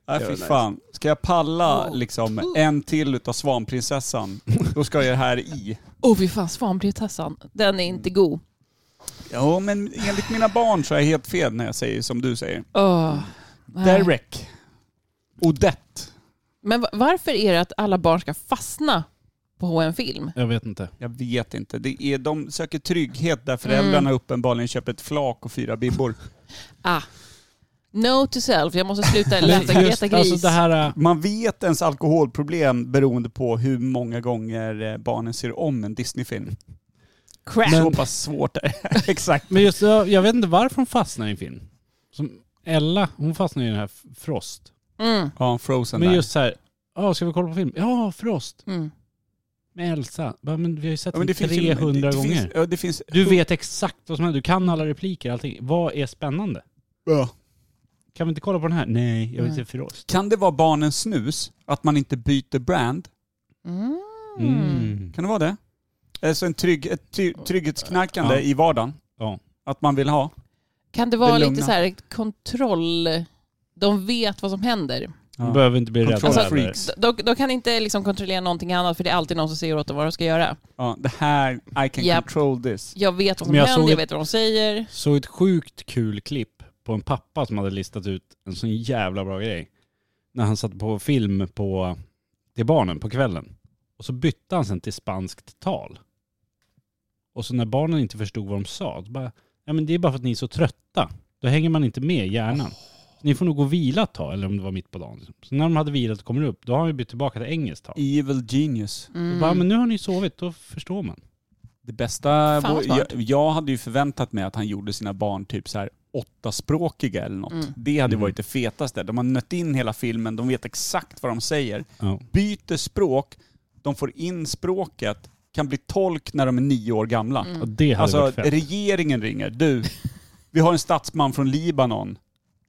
[SPEAKER 2] Nej fy fan. Ska jag palla liksom en till utav svanprinsessan, då ska jag det här i.
[SPEAKER 3] Åh fy fan, svanbrevtassan. Den är inte god.
[SPEAKER 2] Ja men enligt mina barn så är jag helt fel när jag säger som du säger.
[SPEAKER 3] Åh, nej.
[SPEAKER 2] Derek. Odette.
[SPEAKER 3] Men va- varför är det att alla barn ska fastna på en film?
[SPEAKER 1] Jag vet inte.
[SPEAKER 2] Jag vet inte. Det är, de söker trygghet där föräldrarna
[SPEAKER 1] Mm.
[SPEAKER 2] uppenbarligen köper ett flak och fyra bibbor.
[SPEAKER 3] Ah. No to self, jag måste sluta läsa Greta Gris.
[SPEAKER 1] alltså det här... äh,
[SPEAKER 2] Man vet ens alkoholproblem beroende på hur många gånger eh, barnen ser om en Disney-film.
[SPEAKER 3] Crap.
[SPEAKER 2] Så pass svårt är det. Exakt.
[SPEAKER 1] Men just jag, jag vet inte varför hon fastnar i en film. Som Ella, hon fastnar i den här F- Frost.
[SPEAKER 3] Mm,
[SPEAKER 2] Ja, Frozen
[SPEAKER 1] Men
[SPEAKER 2] där.
[SPEAKER 1] just så här, ja ska vi kolla på film? Ja, Frost.
[SPEAKER 3] mm.
[SPEAKER 1] Med Elsa. Bara, men vi har ju sett
[SPEAKER 2] Ja,
[SPEAKER 1] den
[SPEAKER 2] men det finns ju-
[SPEAKER 1] 300
[SPEAKER 2] det, det
[SPEAKER 1] gånger.
[SPEAKER 2] Finns, ja, det finns...
[SPEAKER 1] Du vet exakt vad som händer. Du kan alla repliker, allting. Vad är spännande?
[SPEAKER 2] Ja.
[SPEAKER 1] Kan vi inte kolla på den här? Nej, jag vill se
[SPEAKER 3] Nej.
[SPEAKER 1] Frost.
[SPEAKER 2] Kan det vara barnens snus? Att man inte byter brand?
[SPEAKER 3] Mm.
[SPEAKER 1] Mm.
[SPEAKER 2] Kan det vara det? Alltså en trygg, ett ty, trygghetsknarkande
[SPEAKER 1] Ja.
[SPEAKER 2] i vardagen?
[SPEAKER 1] Ja.
[SPEAKER 2] Att man vill ha?
[SPEAKER 3] Kan det
[SPEAKER 2] Det
[SPEAKER 3] vara lite
[SPEAKER 2] lugna.
[SPEAKER 3] så här kontroll... De vet vad som händer.
[SPEAKER 1] De
[SPEAKER 2] Ja.
[SPEAKER 1] behöver inte bli rädda
[SPEAKER 2] Control
[SPEAKER 1] heller.
[SPEAKER 2] freaks.
[SPEAKER 3] De, de kan inte liksom kontrollera någonting annat för det är alltid någon som säger åt dem vad de ska göra.
[SPEAKER 2] Ja, det här, I can
[SPEAKER 3] Japp.
[SPEAKER 2] control this.
[SPEAKER 3] Jag vet vad som
[SPEAKER 1] Men jag
[SPEAKER 3] händer,
[SPEAKER 1] såg
[SPEAKER 3] jag
[SPEAKER 1] ett-
[SPEAKER 3] vet vad de säger.
[SPEAKER 1] Såg ett sjukt kul klipp på en pappa som hade listat ut en sån jävla bra grej. När han satte på film på, till barnen på kvällen. Och så bytte han sen till spanskt tal. Och så när barnen inte förstod vad de sa, då bara, ja men det är bara för att ni är så trötta. Då hänger man inte med i hjärnan. Ni får nog gå och vila ett tag, eller om det var mitt på dagen. liksom. Så när de hade vilat och kommer upp, då har han ju bytt tillbaka till engelskt tal.
[SPEAKER 2] Evil genius.
[SPEAKER 1] Då
[SPEAKER 3] Mm.
[SPEAKER 1] Bara, men nu har ni sovit, då förstår man.
[SPEAKER 2] Det bästa...
[SPEAKER 3] Fan, vad smart.
[SPEAKER 2] jag, jag hade ju förväntat mig att han gjorde sina barn typ så här åttaspråkiga eller något.
[SPEAKER 3] Mm.
[SPEAKER 2] Det hade
[SPEAKER 1] Mm.
[SPEAKER 2] varit det fetaste. De har nött in hela filmen, de vet exakt vad de säger.
[SPEAKER 1] Ja.
[SPEAKER 2] Byter språk, de får in språket, kan bli tolk när de är nio år gamla.
[SPEAKER 3] Mm.
[SPEAKER 1] Och det hade
[SPEAKER 2] Alltså
[SPEAKER 1] varit fett.
[SPEAKER 2] regeringen ringer. Du, vi har en statsman från Libanon.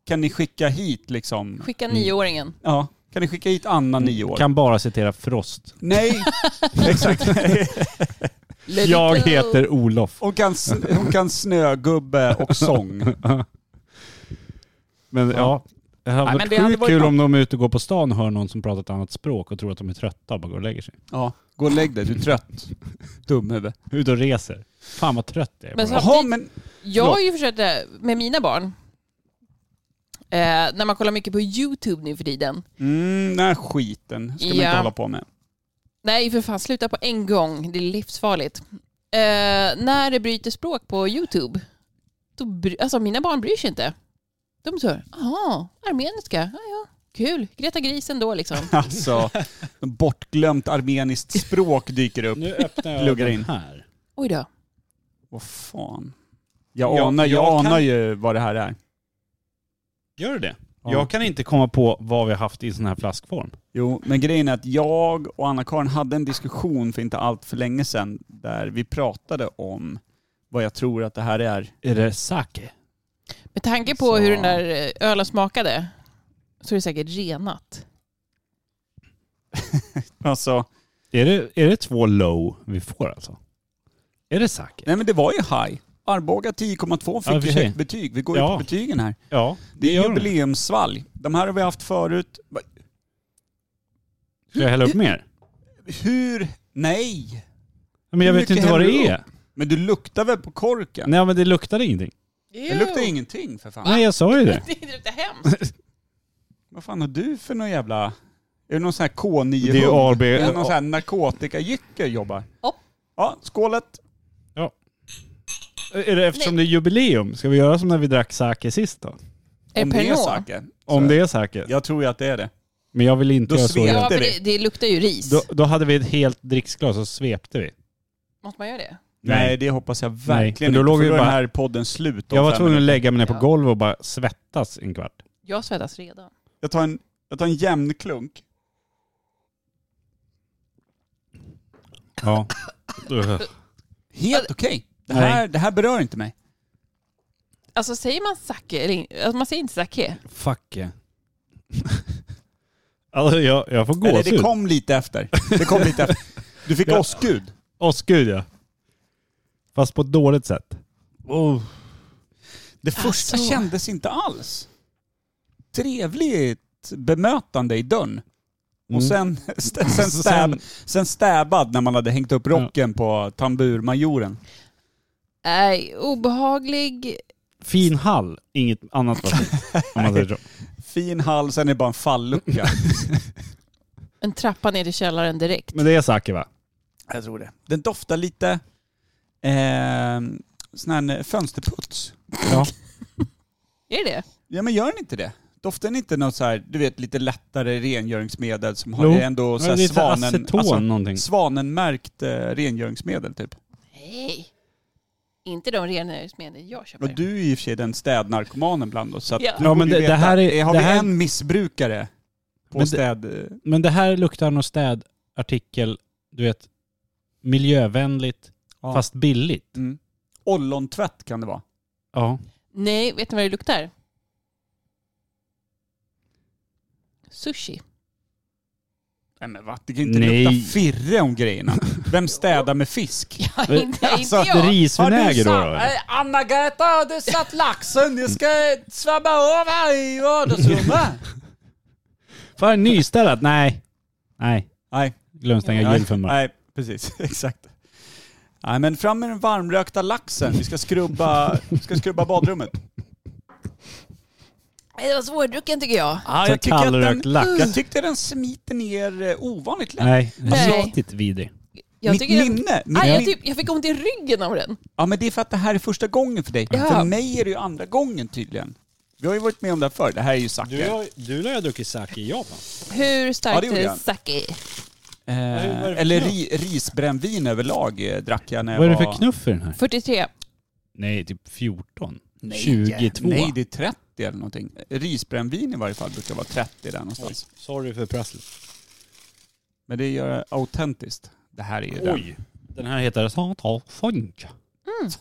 [SPEAKER 2] Kan ni skicka hit liksom?
[SPEAKER 3] Skicka
[SPEAKER 1] Mm.
[SPEAKER 3] nioåringen.
[SPEAKER 2] Ja. Kan ni skicka hit Anna, nio år?
[SPEAKER 1] Kan bara citera Frost.
[SPEAKER 2] Nej, exakt.
[SPEAKER 3] Let it
[SPEAKER 1] Jag
[SPEAKER 3] go.
[SPEAKER 1] heter Olof.
[SPEAKER 2] Hon kan, sn- hon kan snögubbe och sång.
[SPEAKER 1] Men ja, det hade
[SPEAKER 3] men
[SPEAKER 1] varit
[SPEAKER 3] det hade
[SPEAKER 1] sjukt
[SPEAKER 3] varit
[SPEAKER 1] kul
[SPEAKER 3] något-
[SPEAKER 1] om de är ute och går på stan och hör någon som pratar ett annat språk och tror att de är trötta och bara går och lägger sig.
[SPEAKER 2] Ja, gå och lägg dig, du är trött. Dumhuvud.
[SPEAKER 1] Ut och reser. Fan vad trött jag är.
[SPEAKER 3] Men
[SPEAKER 1] på det.
[SPEAKER 3] så-
[SPEAKER 2] Jaha, men
[SPEAKER 3] Jag har ju försökt det med mina barn. Eh, när man kollar mycket på YouTube nu för tiden.
[SPEAKER 2] mm, den här skiten ska man
[SPEAKER 3] Ja.
[SPEAKER 2] inte hålla på med.
[SPEAKER 3] Nej för fan, sluta på en gång. Det är livsfarligt. Eh, när det bryter språk på YouTube, då bry- alltså mina barn bryr sig inte. De så här, jaha, armeniska, ja ja, kul, Greta Grisen då liksom.
[SPEAKER 2] Alltså, bortglömt armeniskt språk dyker upp.
[SPEAKER 1] Nu öppnar jag
[SPEAKER 2] Pluggar
[SPEAKER 1] den
[SPEAKER 2] in.
[SPEAKER 1] här.
[SPEAKER 3] Oj då.
[SPEAKER 2] Vad fan. Jag
[SPEAKER 1] Ja,
[SPEAKER 2] anar, jag
[SPEAKER 1] jag kan-
[SPEAKER 2] anar ju vad det här är.
[SPEAKER 1] Gör du det?
[SPEAKER 2] Ja.
[SPEAKER 1] Jag kan inte komma på vad vi har haft i sån här flaskform.
[SPEAKER 2] Jo, men grejen är att jag och Anna-Karin hade en diskussion för inte allt för länge sedan där vi pratade om vad jag tror att det här är.
[SPEAKER 1] Är det sake?
[SPEAKER 3] Med tanke på
[SPEAKER 2] Så.
[SPEAKER 3] hur den där eh, ölen smakade så är det säkert renat.
[SPEAKER 2] Alltså,
[SPEAKER 1] Är det, är det två low vi får alltså? Är det sake?
[SPEAKER 2] nej men det var ju high. Arboga 10,2
[SPEAKER 1] Ja, i
[SPEAKER 2] fick
[SPEAKER 1] och för
[SPEAKER 2] ju
[SPEAKER 1] sig.
[SPEAKER 2] högt betyg. Vi går ju
[SPEAKER 1] Ja.
[SPEAKER 2] på betygen här.
[SPEAKER 1] Ja,
[SPEAKER 2] Det är
[SPEAKER 1] gör de.
[SPEAKER 2] jubileumsvalg. De här har vi haft förut. Va-
[SPEAKER 1] Ska jag hälla upp mer?
[SPEAKER 2] Hur? Nej!
[SPEAKER 1] Men jag
[SPEAKER 2] Hur
[SPEAKER 1] vet
[SPEAKER 2] mycket
[SPEAKER 1] inte vad
[SPEAKER 2] häller
[SPEAKER 1] det
[SPEAKER 2] du
[SPEAKER 1] är.
[SPEAKER 2] Men du luktar väl på korken?
[SPEAKER 1] Nej men det luktade ingenting.
[SPEAKER 2] Det luktar ingenting för fan.
[SPEAKER 1] Nej jag sa ju det.
[SPEAKER 3] Det luktar hemskt.
[SPEAKER 2] Vad fan har du för någon jävla... Är det någon sån här K900?
[SPEAKER 1] Det är ju ARB.
[SPEAKER 2] Är det någon sån här narkotikajycke jobbar?
[SPEAKER 3] Hopp.
[SPEAKER 2] Ja, skålet.
[SPEAKER 1] Är det eftersom det är jubileum? Ska vi göra som när vi drack sake sist då?
[SPEAKER 3] Är
[SPEAKER 2] Om
[SPEAKER 3] det
[SPEAKER 2] det är
[SPEAKER 3] Pernod?
[SPEAKER 2] saker.
[SPEAKER 1] Om det är sake.
[SPEAKER 2] Jag tror ju att det är det.
[SPEAKER 1] Men jag vill inte
[SPEAKER 2] Då
[SPEAKER 1] göra så.
[SPEAKER 2] svep-
[SPEAKER 1] igen.
[SPEAKER 3] Ja,
[SPEAKER 2] Inte
[SPEAKER 3] för
[SPEAKER 2] det.
[SPEAKER 3] det, det luktar ju ris.
[SPEAKER 1] Då, då hade vi ett helt dricksglas och svepte vi.
[SPEAKER 3] Måste man göra det?
[SPEAKER 1] Nej.
[SPEAKER 2] Nej, det hoppas jag verkligen
[SPEAKER 1] Nej, för då låg
[SPEAKER 2] inte.
[SPEAKER 1] vi
[SPEAKER 2] För då är
[SPEAKER 1] bara-
[SPEAKER 2] den här podden slut om
[SPEAKER 1] Jag var
[SPEAKER 2] fem
[SPEAKER 1] tvungen att
[SPEAKER 2] minuter.
[SPEAKER 1] lägga mig ner på
[SPEAKER 3] Ja.
[SPEAKER 1] golvet och bara svettas en kvart.
[SPEAKER 3] Jag svettas redan.
[SPEAKER 2] jag tar, en, jag tar en jämn klunk.
[SPEAKER 1] Ja.
[SPEAKER 2] Helt okej. Det,
[SPEAKER 1] Nej.
[SPEAKER 2] här, det här berör inte mig.
[SPEAKER 3] Alltså säger man sake eller in- alltså, man säger inte sake.
[SPEAKER 1] Fuck yeah. Alltså jag, jag får
[SPEAKER 2] Eller det
[SPEAKER 1] gåshud.
[SPEAKER 2] kom lite efter. Det kom lite efter. Du fick
[SPEAKER 1] Ja.
[SPEAKER 2] åskgud.
[SPEAKER 1] Åskgud ja. Fast på ett dåligt sätt. Oh.
[SPEAKER 2] Det första
[SPEAKER 3] Alltså.
[SPEAKER 2] kändes inte alls. Trevligt bemötande i dörren. Och
[SPEAKER 1] Mm.
[SPEAKER 2] sen, st- sen, stäb, sen stäbad när man hade hängt upp rocken på tamburmajoren.
[SPEAKER 3] Nej, obehaglig.
[SPEAKER 1] Fin hall, inget annat var fint. om man säger så.
[SPEAKER 2] Fin hall, sen är det bara en fallucka.
[SPEAKER 3] En trappa ner till källaren direkt.
[SPEAKER 1] Men det är sake va?
[SPEAKER 2] Jag tror det. Den doftar lite eh, sån här fönsterputs.
[SPEAKER 1] Ja.
[SPEAKER 3] Är det det?
[SPEAKER 2] Ja men gör den inte det? Doftar den inte något så här, du vet lite lättare rengöringsmedel som har
[SPEAKER 1] Jo.
[SPEAKER 2] det är ändå så här
[SPEAKER 1] Lite
[SPEAKER 2] svanen,
[SPEAKER 1] aceton
[SPEAKER 2] alltså,
[SPEAKER 1] någonting.
[SPEAKER 2] svanenmärkt eh, rengöringsmedel typ.
[SPEAKER 3] Nej. Inte de rengöringsmedel jag köper.
[SPEAKER 2] Och du är i och för sig den städnarkomanen bland oss. Så att
[SPEAKER 3] Ja.
[SPEAKER 2] du
[SPEAKER 1] Ja,
[SPEAKER 2] borde
[SPEAKER 1] men
[SPEAKER 2] ju
[SPEAKER 1] det-
[SPEAKER 2] veta.
[SPEAKER 1] det här är-
[SPEAKER 2] Har
[SPEAKER 1] det
[SPEAKER 2] vi
[SPEAKER 1] här-
[SPEAKER 2] en missbrukare på
[SPEAKER 1] Men det-
[SPEAKER 2] städ... eh,
[SPEAKER 1] Men det här luktar någon städartikel, du vet, miljövänligt
[SPEAKER 2] Ja.
[SPEAKER 1] fast billigt.
[SPEAKER 2] Mm. Ollontvätt kan det vara.
[SPEAKER 1] Ja.
[SPEAKER 3] Nej, vet ni vad det luktar? Sushi.
[SPEAKER 2] Nej men va? Det kan inte
[SPEAKER 1] Nej.
[SPEAKER 2] lukta firre om grejerna. Vem städar med fisk?
[SPEAKER 3] Ja, inte,
[SPEAKER 2] alltså,
[SPEAKER 3] inte jag.
[SPEAKER 1] Risvinäger då? då?
[SPEAKER 2] Anna-Greta, har du satt laxen? Jag ska svabba över i vardagsrummet.
[SPEAKER 1] Fan, nyställat? Nej. Nej.
[SPEAKER 2] Nej.
[SPEAKER 1] Glöm stänga
[SPEAKER 2] Nej,
[SPEAKER 1] gylfen bara.
[SPEAKER 2] Nej, precis. Exakt. Nej, men fram med den varmrökta laxen. Vi ska skrubba, vi ska skrubba badrummet.
[SPEAKER 3] Nej, Det var svårdrucken tycker jag.
[SPEAKER 2] Ah,
[SPEAKER 1] Så kallrökt lax.
[SPEAKER 2] jag tyckte den smiter ner eh, ovanligt lätt.
[SPEAKER 1] Nej.
[SPEAKER 3] Nej.
[SPEAKER 1] Riktigt vidrig.
[SPEAKER 3] Jag
[SPEAKER 2] Mitt
[SPEAKER 3] tycker den-
[SPEAKER 2] minne, mitt
[SPEAKER 3] Nej, jag,
[SPEAKER 2] minne.
[SPEAKER 3] typ, jag fick ont i ryggen av den.
[SPEAKER 2] Ja men det är för att det här är första gången för dig.
[SPEAKER 3] Ja.
[SPEAKER 2] För mig är det ju andra gången tydligen. Vi har ju varit med om det här förr. Det här är ju sake.
[SPEAKER 1] du lär ha druckit sake i Japan.
[SPEAKER 3] Hur
[SPEAKER 2] Ja,
[SPEAKER 3] starkt
[SPEAKER 2] det gjorde
[SPEAKER 3] är
[SPEAKER 2] jag.
[SPEAKER 3] sake?
[SPEAKER 1] är det
[SPEAKER 2] Eh,
[SPEAKER 1] för
[SPEAKER 2] eller
[SPEAKER 1] knuff?
[SPEAKER 2] ri, risbrännvin överlag eh, drack jag när jag
[SPEAKER 1] Vad är det
[SPEAKER 2] var...
[SPEAKER 1] för knuff i den här?
[SPEAKER 3] 43.
[SPEAKER 1] Nej, typ 14.
[SPEAKER 2] Nej,
[SPEAKER 1] 22.
[SPEAKER 2] Nej, det är 30 eller någonting. Risbrännvin i varje fall brukar vara 30 där någonstans.
[SPEAKER 1] Sorry för prasslet.
[SPEAKER 2] Men det gör det autentiskt. Det här är ju den.
[SPEAKER 1] Oj. Den här heter Santa Sonja.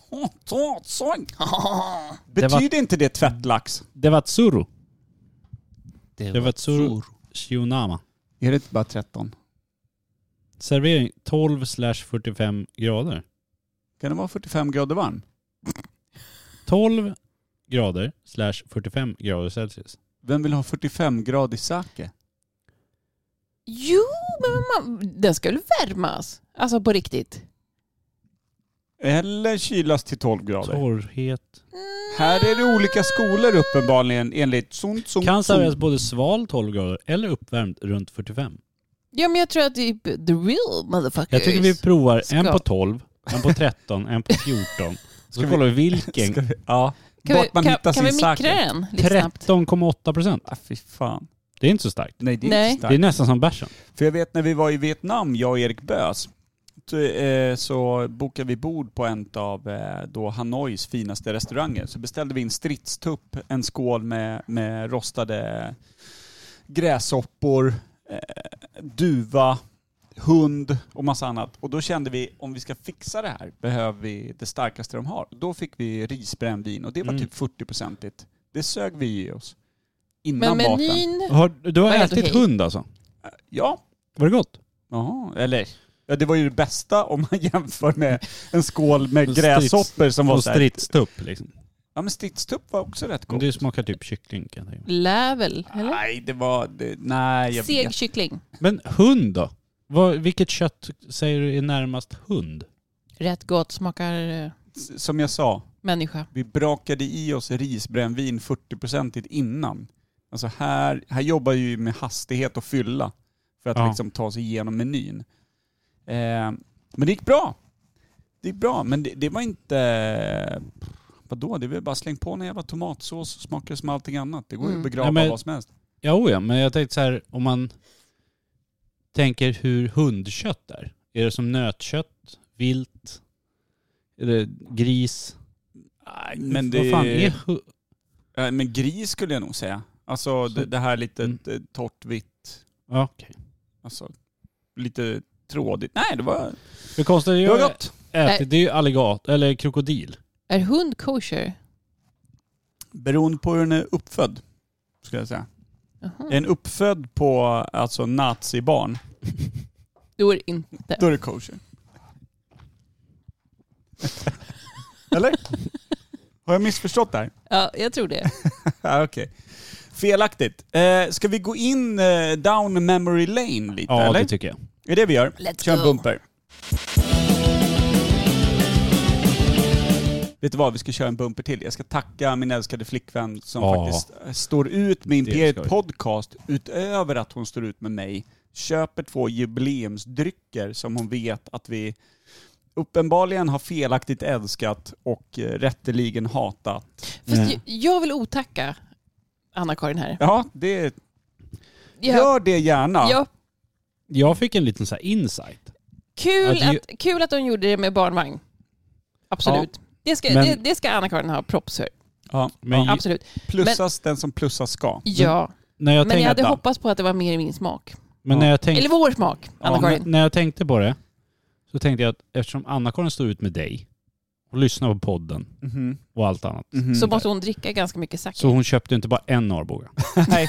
[SPEAKER 2] Så, så, så. Betyder inte det tvättlax?
[SPEAKER 1] Devatsuru. Devatsuru Shionama.
[SPEAKER 2] Är det inte bara 13?
[SPEAKER 1] Servering 12 slash 45 grader.
[SPEAKER 2] Kan det vara 45 grader varm?
[SPEAKER 1] 12 grader slash 45 grader Celsius.
[SPEAKER 2] Vem vill ha 45 grader sake?
[SPEAKER 3] Jo, men man, den ska väl värmas? Alltså på riktigt.
[SPEAKER 2] Eller kylas till 12 grader?
[SPEAKER 1] Torrhet.
[SPEAKER 2] Här är det olika skolor uppenbarligen enligt Sun Tzu.
[SPEAKER 1] Kan serveras både sval 12 grader eller uppvärmd runt 45.
[SPEAKER 3] Ja, men jag tror att det är the real motherfuckers.
[SPEAKER 1] Jag tycker vi provar en
[SPEAKER 3] Ska-
[SPEAKER 1] på 12, en på 13, en på 14.
[SPEAKER 2] vi-
[SPEAKER 1] Så kollar vi vilken.
[SPEAKER 2] Ska vi- Ja.
[SPEAKER 3] kan
[SPEAKER 2] Vart man
[SPEAKER 3] kan,
[SPEAKER 2] hittar
[SPEAKER 3] kan
[SPEAKER 2] sin
[SPEAKER 3] vi mikra
[SPEAKER 2] sake.
[SPEAKER 3] den lite snabbt?
[SPEAKER 1] 13,8 procent.
[SPEAKER 2] Ah, fy fan.
[SPEAKER 1] Det är inte så starkt.
[SPEAKER 2] Nej, det är
[SPEAKER 3] Nej.
[SPEAKER 2] inte starkt.
[SPEAKER 1] Det är nästan som bärsen.
[SPEAKER 2] För jag vet när vi var i Vietnam, jag och Erik Bös, så, eh, så bokade vi bord på en av eh, då Hanois finaste restauranger. Så beställde vi in stridstupp, en skål med, med rostade gräshoppor, eh, duva, hund och massa annat. Och då kände vi, om vi ska fixa det här behöver vi det starkaste de har. Då fick vi risbrännvin och det var
[SPEAKER 1] Mm.
[SPEAKER 2] typ 40-procentigt. Det sög vi i oss. Innan
[SPEAKER 3] Men
[SPEAKER 2] maten.
[SPEAKER 3] menyn...
[SPEAKER 1] Har, du har
[SPEAKER 3] Vad är det
[SPEAKER 1] ätit
[SPEAKER 3] okej?
[SPEAKER 1] hund alltså?
[SPEAKER 2] Ja,
[SPEAKER 1] Var det gott?
[SPEAKER 2] Jaha, eller? Ja det var ju det bästa om man jämför med en skål med
[SPEAKER 1] Och
[SPEAKER 2] gräshoppor som var
[SPEAKER 1] Och
[SPEAKER 2] så här.
[SPEAKER 1] stridstupp liksom.
[SPEAKER 2] Ja men stridstupp var också rätt
[SPEAKER 1] Men
[SPEAKER 2] gott.
[SPEAKER 1] Det smakar typ kyckling kan jag tänka mig.
[SPEAKER 3] Lävel, eller?
[SPEAKER 2] Nej det var, det, nej jag
[SPEAKER 3] Seg
[SPEAKER 2] vet.
[SPEAKER 3] kyckling.
[SPEAKER 1] Men hund då? Vad, vilket kött säger du är närmast hund?
[SPEAKER 3] Rätt gott, smakar eh,
[SPEAKER 2] Som jag sa,
[SPEAKER 3] människa.
[SPEAKER 2] vi brakade i oss risbrännvin 40% innan. Alltså här, här jobbar ju med hastighet och fylla för att
[SPEAKER 1] Ja.
[SPEAKER 2] liksom ta sig igenom menyn. Eh, men det gick bra. Det gick bra, men det, det var inte... Vadå, det var ju bara släng på en jävla tomatsås så smakar det som allting annat. Det går ju
[SPEAKER 3] Mm.
[SPEAKER 2] att begrava
[SPEAKER 1] Ja, men-
[SPEAKER 2] vad som helst.
[SPEAKER 1] Ja, oja, men jag tänkte så här om man tänker hur hundkött är. Är det som nötkött, vilt, är det gris?
[SPEAKER 2] Nej, men det...
[SPEAKER 1] Vad fan är hu-
[SPEAKER 2] Ja, men gris skulle jag nog säga. Alltså det, det här lite
[SPEAKER 1] Mm.
[SPEAKER 2] eh, torrt vitt.
[SPEAKER 1] ja, okej.
[SPEAKER 2] Alltså lite trådigt. Nej, det var,
[SPEAKER 1] Hur konstigt är det
[SPEAKER 2] det var gott.
[SPEAKER 1] ätit? Det är ju alligat, eller krokodil.
[SPEAKER 3] Är hund kosher?
[SPEAKER 2] Beroende på hur den är uppfödd, skulle jag säga.
[SPEAKER 3] Jaha.
[SPEAKER 2] Är den uppfödd på alltså nazibarn,
[SPEAKER 3] Då är det inte.
[SPEAKER 2] då är det kosher. Eller? Har jag missförstått det här?
[SPEAKER 3] Ja, jag tror det.
[SPEAKER 2] Ja, Okej. Felaktigt. Eh, ska vi gå in eh, down memory lane lite
[SPEAKER 1] Ja,
[SPEAKER 2] eller?
[SPEAKER 1] det tycker jag.
[SPEAKER 2] är det vi gör?
[SPEAKER 3] Let's
[SPEAKER 2] Kör en
[SPEAKER 3] go.
[SPEAKER 2] bumper. Vet du vad, vi ska köra en bumper till. Jag ska tacka min älskade flickvän som
[SPEAKER 1] Ja.
[SPEAKER 2] faktiskt eh, står ut med
[SPEAKER 1] Det ska
[SPEAKER 2] Imperiet
[SPEAKER 1] vi.
[SPEAKER 2] Podcast utöver att hon står ut med mig. Köper två jubileumsdrycker som hon vet att vi uppenbarligen har felaktigt älskat och eh, rätteligen hatat.
[SPEAKER 3] Fast
[SPEAKER 1] Nej.
[SPEAKER 3] jag, jag vill otacka Anna-Karin här.
[SPEAKER 2] Ja, det,
[SPEAKER 3] Ja,
[SPEAKER 2] gör det gärna.
[SPEAKER 3] ja.
[SPEAKER 1] Jag fick en liten så här insight.
[SPEAKER 3] Kul,
[SPEAKER 1] Ja, det-
[SPEAKER 3] att, kul att de gjorde det med barnvagn. Absolut. Det ska,
[SPEAKER 1] Men-
[SPEAKER 3] det, det ska Anna-Karin ha props för.
[SPEAKER 2] Ja.
[SPEAKER 1] Men
[SPEAKER 2] Ja.
[SPEAKER 3] Absolut.
[SPEAKER 2] Plussas den som plussas ska.
[SPEAKER 3] Ja.
[SPEAKER 1] när jag
[SPEAKER 3] Men jag
[SPEAKER 1] tänkte,
[SPEAKER 3] hade hoppats på att det var mer i min smak.
[SPEAKER 1] men när jag tänkte
[SPEAKER 3] Eller vår smak,
[SPEAKER 1] Ja,
[SPEAKER 3] Anna-Karin.
[SPEAKER 1] när- när jag tänkte på det så tänkte jag att eftersom Anna-Karin står ut med dig och lyssnar på podden
[SPEAKER 2] Mhm.
[SPEAKER 1] och allt annat.
[SPEAKER 2] Mhm.
[SPEAKER 3] Så måste hon dricka ganska mycket sake.
[SPEAKER 1] Så hon köpte inte bara en Arboga
[SPEAKER 2] Nej,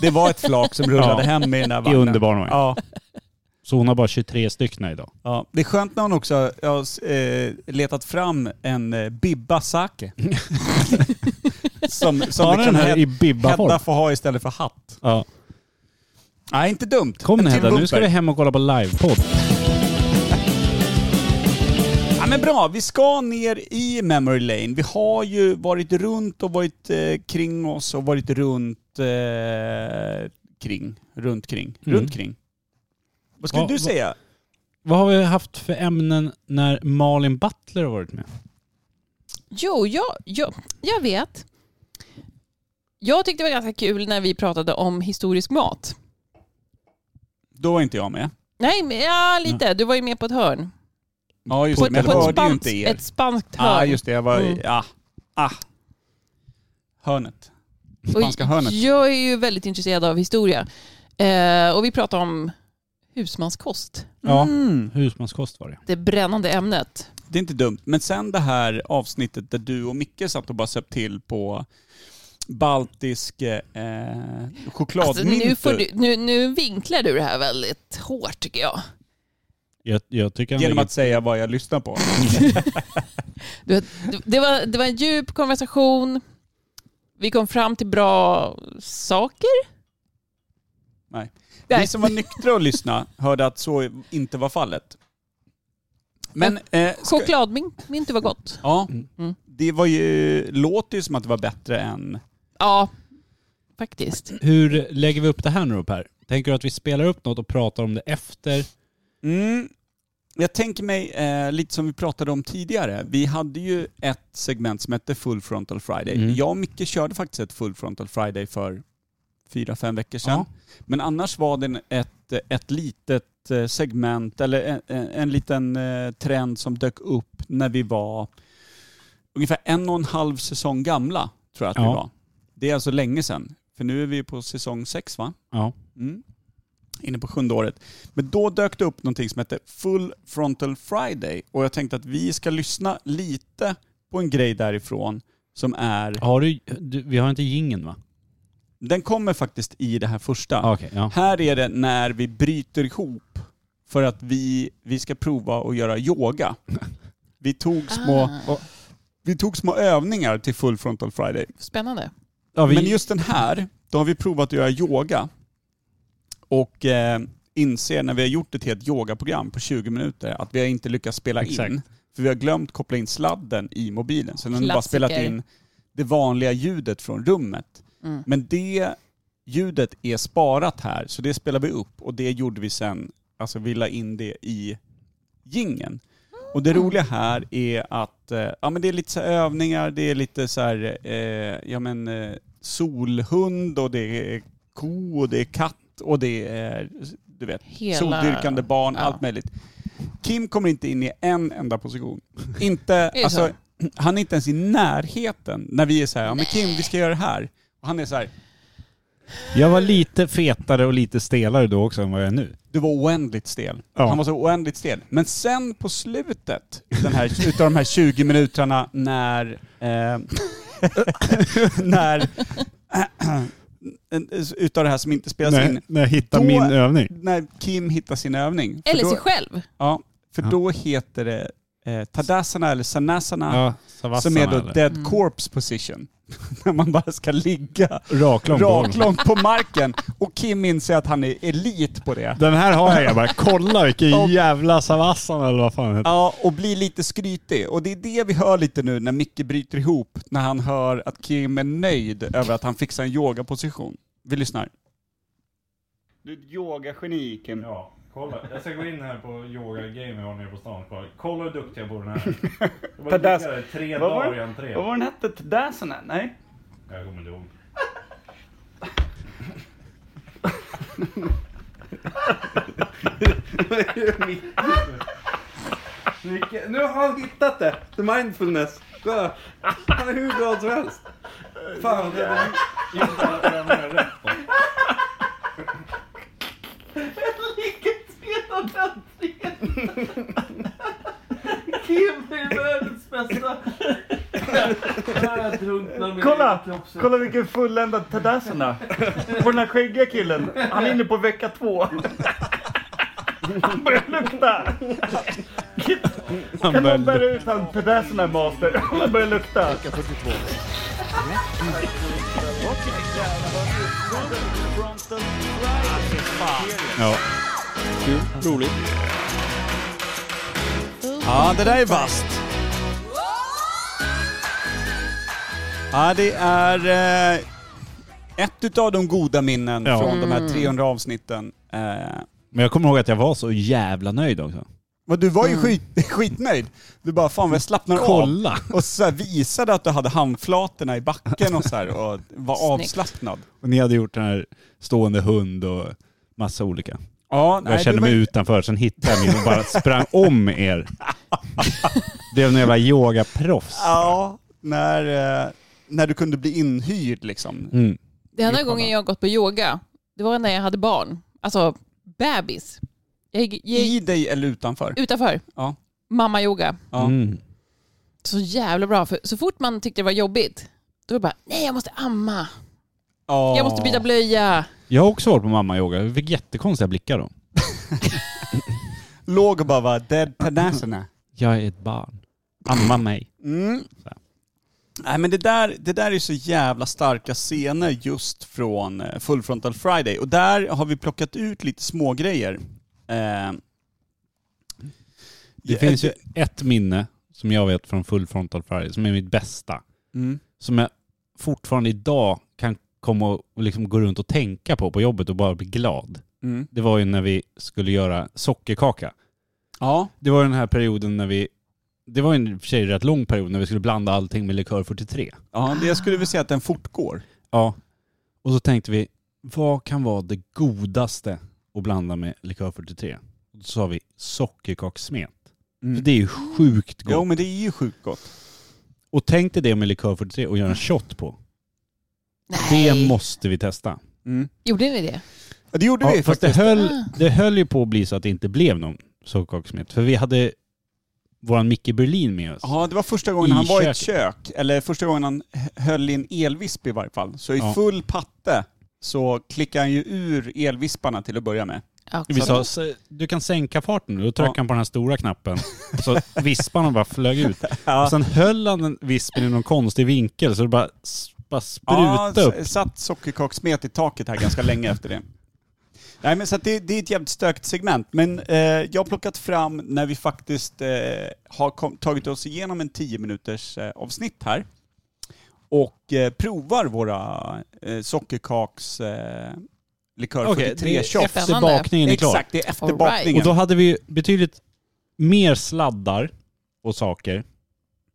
[SPEAKER 2] det var ett flak som rullade
[SPEAKER 1] Ja.
[SPEAKER 2] hem i den där
[SPEAKER 1] i
[SPEAKER 2] vagnen.
[SPEAKER 1] underbarnvagn.
[SPEAKER 2] Ja,
[SPEAKER 1] Så hon har bara 23 stycken idag.
[SPEAKER 2] ja. Det är skönt när hon också har ja, s- eh, letat fram en eh, Bibba Sake. liksom som som
[SPEAKER 1] Har
[SPEAKER 2] liksom
[SPEAKER 1] ni den liksom här
[SPEAKER 2] Hed-
[SPEAKER 1] i bibbaform?
[SPEAKER 2] Hedda får ha istället för hatt.
[SPEAKER 1] Ja.
[SPEAKER 2] Nej, inte dumt.
[SPEAKER 1] Kom nu
[SPEAKER 2] En till
[SPEAKER 1] Hedda, nu ska vi
[SPEAKER 2] bumper.
[SPEAKER 1] hem och kolla på livepodd.
[SPEAKER 2] Ja, men bra, vi ska ner i memory lane. Vi har ju varit runt och varit eh, kring oss och varit runt eh, kring, runt kring,
[SPEAKER 1] Mm.
[SPEAKER 2] runt kring. Vad skulle
[SPEAKER 1] Va-
[SPEAKER 2] du
[SPEAKER 1] va-
[SPEAKER 2] säga?
[SPEAKER 1] Vad har vi haft för ämnen när Malin Butler har varit med?
[SPEAKER 3] Jo, jag, jag, jag vet. Jag tyckte det var ganska kul när vi pratade om historisk mat.
[SPEAKER 2] Då var inte jag med.
[SPEAKER 3] Nej, men, ja lite. Du var ju med på ett hörn.
[SPEAKER 2] Ja Mm. just
[SPEAKER 3] På,
[SPEAKER 2] det, men jag
[SPEAKER 3] på ett,
[SPEAKER 2] hörde ju
[SPEAKER 3] spanskt,
[SPEAKER 2] inte er.
[SPEAKER 3] ett spanskt hörn.
[SPEAKER 2] Ja ah, just det, jag var
[SPEAKER 3] Mm.
[SPEAKER 2] ja. Ah. Hörnet.
[SPEAKER 3] Och
[SPEAKER 2] Spanska hörnet.
[SPEAKER 3] Jag är ju väldigt intresserad av historia. Eh, och vi pratade om husmanskost.
[SPEAKER 1] Ja.
[SPEAKER 2] Mm.
[SPEAKER 1] Husmanskost var det.
[SPEAKER 3] Det brännande ämnet.
[SPEAKER 2] Det är inte dumt. Men sen det här avsnittet där du och Micke satt och bara söp till på baltisk eh,
[SPEAKER 3] Alltså, nu,
[SPEAKER 2] chokladmyntor
[SPEAKER 3] får du, nu, nu vinklar du det här väldigt hårt tycker jag.
[SPEAKER 1] Jag, jag tycker han
[SPEAKER 2] genom
[SPEAKER 1] lägger-
[SPEAKER 2] att säga vad jag lyssnar på.
[SPEAKER 3] Du, du- det, var, det var en djup konversation. Vi kom fram till bra saker.
[SPEAKER 2] Nej.
[SPEAKER 3] Nej.
[SPEAKER 2] Vi som var nyktra och lyssnade hörde att så inte var fallet. Men... Eh, ska,
[SPEAKER 3] Chokladmynta var gott.
[SPEAKER 2] ja,
[SPEAKER 3] Mm.
[SPEAKER 2] det var ju, låter ju som att det var bättre än...
[SPEAKER 3] Ja, faktiskt.
[SPEAKER 1] Hur lägger vi upp det här nu då Per? Tänker du att vi spelar upp något och pratar om det efter?
[SPEAKER 2] Mm. Jag tänker mig, eh, lite som vi pratade om tidigare, vi hade ju ett segment som hette Full Frontal Friday.
[SPEAKER 1] Mm.
[SPEAKER 2] Jag och Micke körde faktiskt ett Full Frontal Friday för fyra, fem veckor sedan.
[SPEAKER 1] Ja.
[SPEAKER 2] Men annars var det en- ett, ett litet eh, segment, eller en, en- en liten eh, trend som dök upp när vi var ungefär en och en halv säsong gamla, tror jag att vi
[SPEAKER 1] Ja.
[SPEAKER 2] var. Det är alltså länge sedan, för nu är vi på säsong sex va?
[SPEAKER 1] Ja.
[SPEAKER 2] Mm. Inne på sjunde året. Men då dök det upp någonting som hette Full Frontal Friday och jag tänkte att vi ska lyssna lite på en grej därifrån som är...
[SPEAKER 1] Har du, du, vi har inte gingen va?
[SPEAKER 2] Den kommer faktiskt i det här första.
[SPEAKER 1] Ja. Okej, ja.
[SPEAKER 2] Här är det när vi bryter ihop för att vi, vi ska prova att göra yoga. Vi tog små,
[SPEAKER 3] Ah,
[SPEAKER 2] och, vi tog små övningar till Full Frontal Friday.
[SPEAKER 3] Spännande.
[SPEAKER 1] ja vi,
[SPEAKER 2] Men just den här, då har vi provat att göra yoga. Och eh, inser när vi har gjort ett helt yogaprogram på 20 minuter att vi har inte lyckats spela
[SPEAKER 1] Exakt.
[SPEAKER 2] in. För vi har glömt koppla in sladden i mobilen. Så den har bara
[SPEAKER 3] Klassiker.
[SPEAKER 2] spelat in det vanliga ljudet från rummet.
[SPEAKER 3] Mm.
[SPEAKER 2] Men det ljudet är sparat här, så det spelar vi upp. Och det gjorde vi sen, alltså vi la in det i gingen. Och det roliga här är att eh, ja, men det är lite så här övningar, det är lite så här, eh, ja men eh, solhund och det är ko och det är katt och det är, du vet,
[SPEAKER 3] Hela-
[SPEAKER 2] soldyrkande barn,
[SPEAKER 3] ja.
[SPEAKER 2] allt möjligt. Kim kommer inte in i en enda position. Inte,
[SPEAKER 3] det
[SPEAKER 2] alltså, han är inte ens i närheten när vi är så här, ja men Kim vi ska göra det här. Och han är så här,
[SPEAKER 1] jag var lite fetare och lite stelare då också än vad jag är nu.
[SPEAKER 2] du var oändligt stel.
[SPEAKER 1] Ja.
[SPEAKER 2] Han var så oändligt stel. Men sen på slutet, den här, utav de här 20 minuterna när... Eh, när... utav det här som inte spelas in.
[SPEAKER 1] när jag hittar
[SPEAKER 2] Då-
[SPEAKER 1] min övning.
[SPEAKER 2] När Kim hittar sin övning. För
[SPEAKER 3] Eller
[SPEAKER 2] då,
[SPEAKER 3] sig själv.
[SPEAKER 2] Ja, för
[SPEAKER 1] Ja.
[SPEAKER 2] då heter det eh, Tadasana eller Sanasana.
[SPEAKER 1] Ja,
[SPEAKER 2] Som
[SPEAKER 1] Savassarna,
[SPEAKER 2] är då
[SPEAKER 1] eller?
[SPEAKER 2] dead
[SPEAKER 3] Mm.
[SPEAKER 2] corpse position. när man bara ska ligga
[SPEAKER 1] Raklång på golvet.
[SPEAKER 2] raklång på marken. Och Kim inser att han är elit på det.
[SPEAKER 1] Den här har jag grabbar. Kolla vilken jävla Savassan eller vad fan det heter.
[SPEAKER 2] Ja, och bli lite skrytig. Och det är det vi hör lite nu när Micke bryter ihop, när han hör att Kim är nöjd över att han fixar en yogaposition. Vi lyssnar. Du är ett yogageni, Kim.
[SPEAKER 8] Ja, kolla. Jag ska gå in här på yoga game jag har nere på stan. Kolla, kolla hur duktig jag bor den här. Jag var
[SPEAKER 2] Tadas-
[SPEAKER 8] där tre
[SPEAKER 2] Vad var
[SPEAKER 8] dagar i
[SPEAKER 2] det?
[SPEAKER 8] entrén.
[SPEAKER 2] Vad var den hette? Tadasana? Nej?
[SPEAKER 8] Jag kommer inte ihåg.
[SPEAKER 9] Vilken- Nu har han hittat det! The mindfulness! Kolla. Han är hur glad som helst. Fan, det är
[SPEAKER 8] Just alla övningar är rätt på.
[SPEAKER 9] Kim är världens bästa! Kolla! Kolla vilken fulländad Tadasana! På den här skäggiga killen. Han är inne på vecka två. Han börjar lukta! Kan någon bära ut han Tadasana master? Han börjar lukta.
[SPEAKER 2] Ja.
[SPEAKER 7] Kul, roligt.
[SPEAKER 2] Ja, det där är vasst. Ja, det är eh, ett utav de goda minnen
[SPEAKER 1] Ja.
[SPEAKER 2] från de här 300 avsnitten. Eh,
[SPEAKER 1] Men jag kommer ihåg att jag var så jävla nöjd också.
[SPEAKER 2] men du var ju skit, skitnöjd. Du bara, fan vad jag slappnar av.
[SPEAKER 1] Mm. Kolla!
[SPEAKER 2] Och så här visade att du hade handflatorna i backen och så här och var
[SPEAKER 3] Snyggt.
[SPEAKER 2] avslappnad.
[SPEAKER 1] Och ni hade gjort den här stående hund och massa olika.
[SPEAKER 2] Ja,
[SPEAKER 1] jag kände
[SPEAKER 2] du var
[SPEAKER 1] mig
[SPEAKER 2] ju-
[SPEAKER 1] utanför, sen hittade jag min och bara sprang om er. Blev någon jävla yogaproffs.
[SPEAKER 2] Ja, när, eh, när du kunde bli inhyrd liksom.
[SPEAKER 1] Mm.
[SPEAKER 3] Den enda
[SPEAKER 2] Japan,
[SPEAKER 3] gången
[SPEAKER 2] va?
[SPEAKER 3] jag har gått på yoga, det var när jag hade barn. Alltså bebis. Jag gick, jag gick
[SPEAKER 2] I dig eller utanför.
[SPEAKER 3] utanför.
[SPEAKER 2] Ja.
[SPEAKER 3] Mamma-yoga.
[SPEAKER 2] Ja.
[SPEAKER 1] Mm.
[SPEAKER 3] Så jävla bra. För så fort man tyckte det var jobbigt, då var det bara nej jag måste amma, jag måste byta blöja.
[SPEAKER 1] Jag har också varit på mamma-yoga. Jag fick jättekonstiga blickar då.
[SPEAKER 2] Låg och bara var dead panasserna.
[SPEAKER 1] Jag är ett barn. Amma mig.
[SPEAKER 2] Mm.
[SPEAKER 1] Så.
[SPEAKER 2] Nej men det där, det där är så jävla starka scener just från eh, Full Frontal Friday. Och där har vi plockat ut lite smågrejer. Eh,
[SPEAKER 1] Det finns ju ett minne som jag vet från Full Frontal Friday som är mitt bästa.
[SPEAKER 2] Mm.
[SPEAKER 1] Som jag fortfarande idag kan komma och liksom gå runt och tänka på på jobbet och bara bli glad.
[SPEAKER 2] Mm.
[SPEAKER 1] Det var ju när vi skulle göra sockerkaka.
[SPEAKER 2] Ja.
[SPEAKER 1] Det var den här perioden när vi, det var ju i och för sig en rätt lång period när vi skulle blanda allting med likör 43.
[SPEAKER 2] ja, det jag skulle vilja säga att den fortgår.
[SPEAKER 1] Ja. Och så tänkte vi, vad kan vara det godaste att blanda med likör 43? Och så sa vi sockerkaksmet. För Det är ju sjukt gott.
[SPEAKER 2] Mm. Jo men det är ju sjukt gott.
[SPEAKER 1] Och tänk dig det med likör 43 och göra en
[SPEAKER 2] Ah.
[SPEAKER 1] shot på. Det måste vi testa.
[SPEAKER 3] Gjorde ni det?
[SPEAKER 2] Ja, det gjorde
[SPEAKER 1] Ja,
[SPEAKER 2] vi
[SPEAKER 1] fast det
[SPEAKER 2] faktiskt.
[SPEAKER 1] höll,
[SPEAKER 3] Ah.
[SPEAKER 1] det höll ju på att bli så att det inte blev någon sockerkaksmet. För vi hade våran Micke Berlin med oss.
[SPEAKER 2] Ja, det var första gången
[SPEAKER 1] I
[SPEAKER 2] han var i ett
[SPEAKER 1] köket.
[SPEAKER 2] kök. Eller första gången han h- höll i en elvisp i varje fall. Så i
[SPEAKER 1] Ja.
[SPEAKER 2] full patte så klickade han ju ur elvisparna till att börja med.
[SPEAKER 3] Ja,
[SPEAKER 1] Vi
[SPEAKER 3] klart.
[SPEAKER 1] sa, "S- du kan sänka farten nu. Då tryckte
[SPEAKER 2] Ja.
[SPEAKER 1] han på den här stora knappen. Så visparna bara flög ut. Och sen höll han den vispen i någon konstig vinkel så det bara, s- bara
[SPEAKER 2] Ja,
[SPEAKER 1] sprutade upp.
[SPEAKER 2] s- satt sockerkaksmet i taket här ganska länge efter det. Nej men så att det, det är ett jävligt stökigt segment. Men eh, jag har plockat fram när vi faktiskt eh, har kom, tagit oss igenom en 10 minuters eh, avsnitt här. Och eh, provar våra eh, sockerkaks eh, likör
[SPEAKER 1] Okej, det
[SPEAKER 2] 43
[SPEAKER 1] är
[SPEAKER 2] shots.
[SPEAKER 1] efter
[SPEAKER 3] Spännande.
[SPEAKER 1] bakningen är klar.
[SPEAKER 2] Exakt, det är efter
[SPEAKER 3] All
[SPEAKER 2] bakningen.
[SPEAKER 1] Och då hade vi ju betydligt mer sladdar och saker.